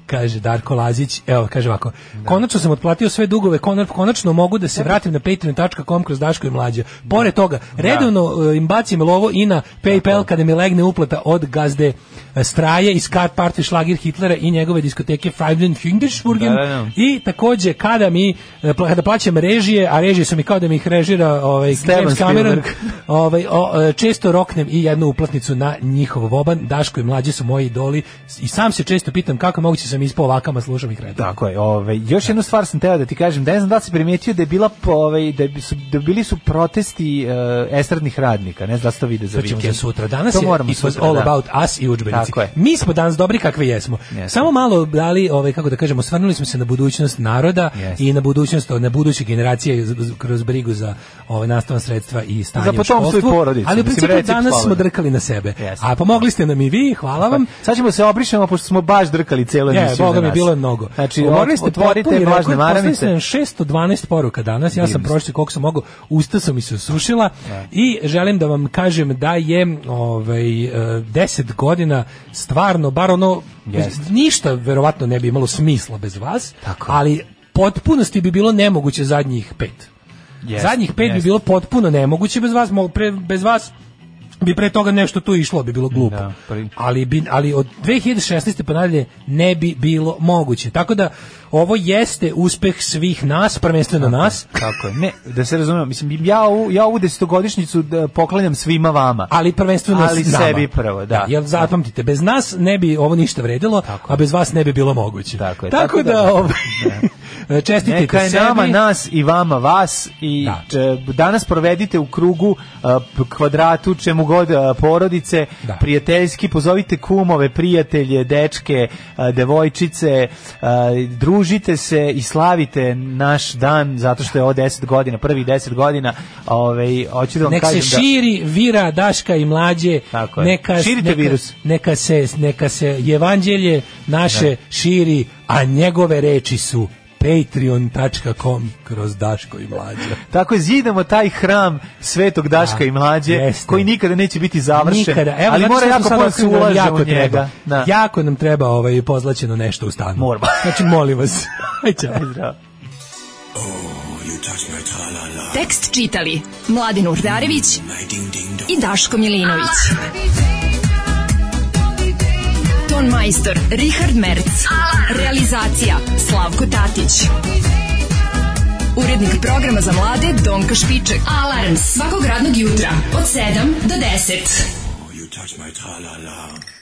H: Kaže Darko Lazić, evo, kaže ovako. Konačno sam otplatio sve dugove, konar- konačno mogu da se vratim na patreon.com kroz Daško i mlađe. Pored toga, redovno e, im bacim lovo i na PayPal kada mi legne uplata od gazde e, Straje iz Kart Party Schlager Hitlera i njegove diskoteke Freiblen Fingersburgen
G: Da, da, da.
H: i takođe kada mi e, pla- kada plaćam režije, a režije su mi kao da mi ih režira ovaj
G: Steven
H: James Cameron,
G: Spielberg.
H: [LAUGHS] ovaj, o, e, često roknem i jednu uplatnicu na njihov voban. Daško i mlađi su moji idoli i sam se često pitam kako je moguće sam ispao ovakama, slušam ih redom.
G: Tako je. Ove, još jednu stvar sam teo da ti kažem, da ne znam da li si primetio da je bila po- ovaj da bi su da bili su protesti e, estradnih radnika, ne znam da ste to vide za
H: To ćemo
G: vikend.
H: za sutra. Danas
G: to
H: je
G: moramo
H: it was
G: sutra,
H: all
G: da.
H: about us i udžbenici.
G: Tako je.
H: Mi smo danas dobri kakvi jesmo.
G: Jesmo.
H: Samo malo dali, ovaj kako da kažemo, osvrnuli smo se na budućnost naroda
G: Jeste.
H: i na budućnost na buduće generacije z- z- kroz brigu za ovaj nastavna sredstva i stanje
G: Za
H: u
G: potomstvo i
H: školstvu.
G: porodicu,
H: Ali u
G: mislim,
H: principu
G: recept
H: danas smo
G: slobodan.
H: drkali na sebe.
G: Jeste.
H: A pomogli ste nam i vi, hvala vam.
G: Pa, Sad ćemo se obrišemo pošto smo baš drkali celo
H: Je,
G: emisiju. za
H: boga mi
G: nas.
H: bilo je mnogo.
G: Znači,
H: Govorili
G: ot- otvorite vlažne maramice.
H: 612 poruka danas. Ja sam
G: Divno.
H: pročitao koliko sam mogao. Usta su mi se osušila i želim da vam kažem da je ovaj e, 10 godina stvarno bar ono
G: Jeste.
H: bez- ništa verovatno ne bi imalo smisla bez vas,
G: Tako je.
H: ali potpunosti bi bilo nemoguće zadnjih pet.
G: Jeste,
H: Zadnjih pet bi
G: jeste.
H: bilo potpuno nemoguće bez vas, mo- pre, bez vas bi pre toga nešto tu išlo, bi bilo glupo.
G: Da, pa pri-
H: ali, bi, ali od 2016. pa nadalje ne bi bilo moguće. Tako da ovo jeste uspeh svih nas, prvenstveno nas,
G: Tako je. Ne, da se razumemo, mislim ja ovu, ja ovu desetogodišnjicu da poklanjam svima vama.
H: ali prvenstveno
G: Ali
H: s nama.
G: sebi prvo, da.
H: Jer zapamtite, bez nas ne bi ovo ništa vredilo, a bez vas ne bi bilo moguće.
G: Tako je,
H: Tako,
G: tako
H: da,
G: da-
H: ovaj, [LAUGHS] čestitite
G: Neka je
H: sebi.
G: nama nas i vama vas i
H: Da.
G: če- danas provedite u krugu a, p- kvadratu čemu god a, porodice
H: Da.
G: prijateljski pozovite kumove prijatelje dečke a, devojčice a, družite se i slavite naš dan zato što je ovo 10 godina prvih 10 godina ovaj hoću da vam
H: Nek se
G: kažem da
H: širi vira Daška i mlađe.
G: Tako je.
H: Neka,
G: Širite
H: neka,
G: virus.
H: Neka se, neka se evanđelje naše širi, a njegove reči su patreon.com kroz Daško i mlađe.
G: Tako je, zidamo taj hram Svetog Daška
H: Da,
G: i Mlađe,
H: jeste.
G: koji nikada neće biti završen,
H: Nikada. Evo,
G: ali
H: znate
G: mora
H: šta
G: jako
H: smo sad
G: puno se
H: otkrili da nam
G: ulaže
H: jako
G: u njega.
H: Treba.
G: Da.
H: Jako nam treba ovaj, pozlaćeno nešto u stanu.
G: Moramo.
H: Znači, molim
G: [LAUGHS]
H: vas. Aj, ćao.
G: Zdravo.
F: Tekst čitali Mladin Urdarević i Daško Milinović. Ton majstor Richard Merc. Realizacija Slavko Tatić. Urednik programa za mlade Donka Špiček. Alarms svakog radnog jutra od 7 do 10.
D: Oh, you touch my tra-la-la.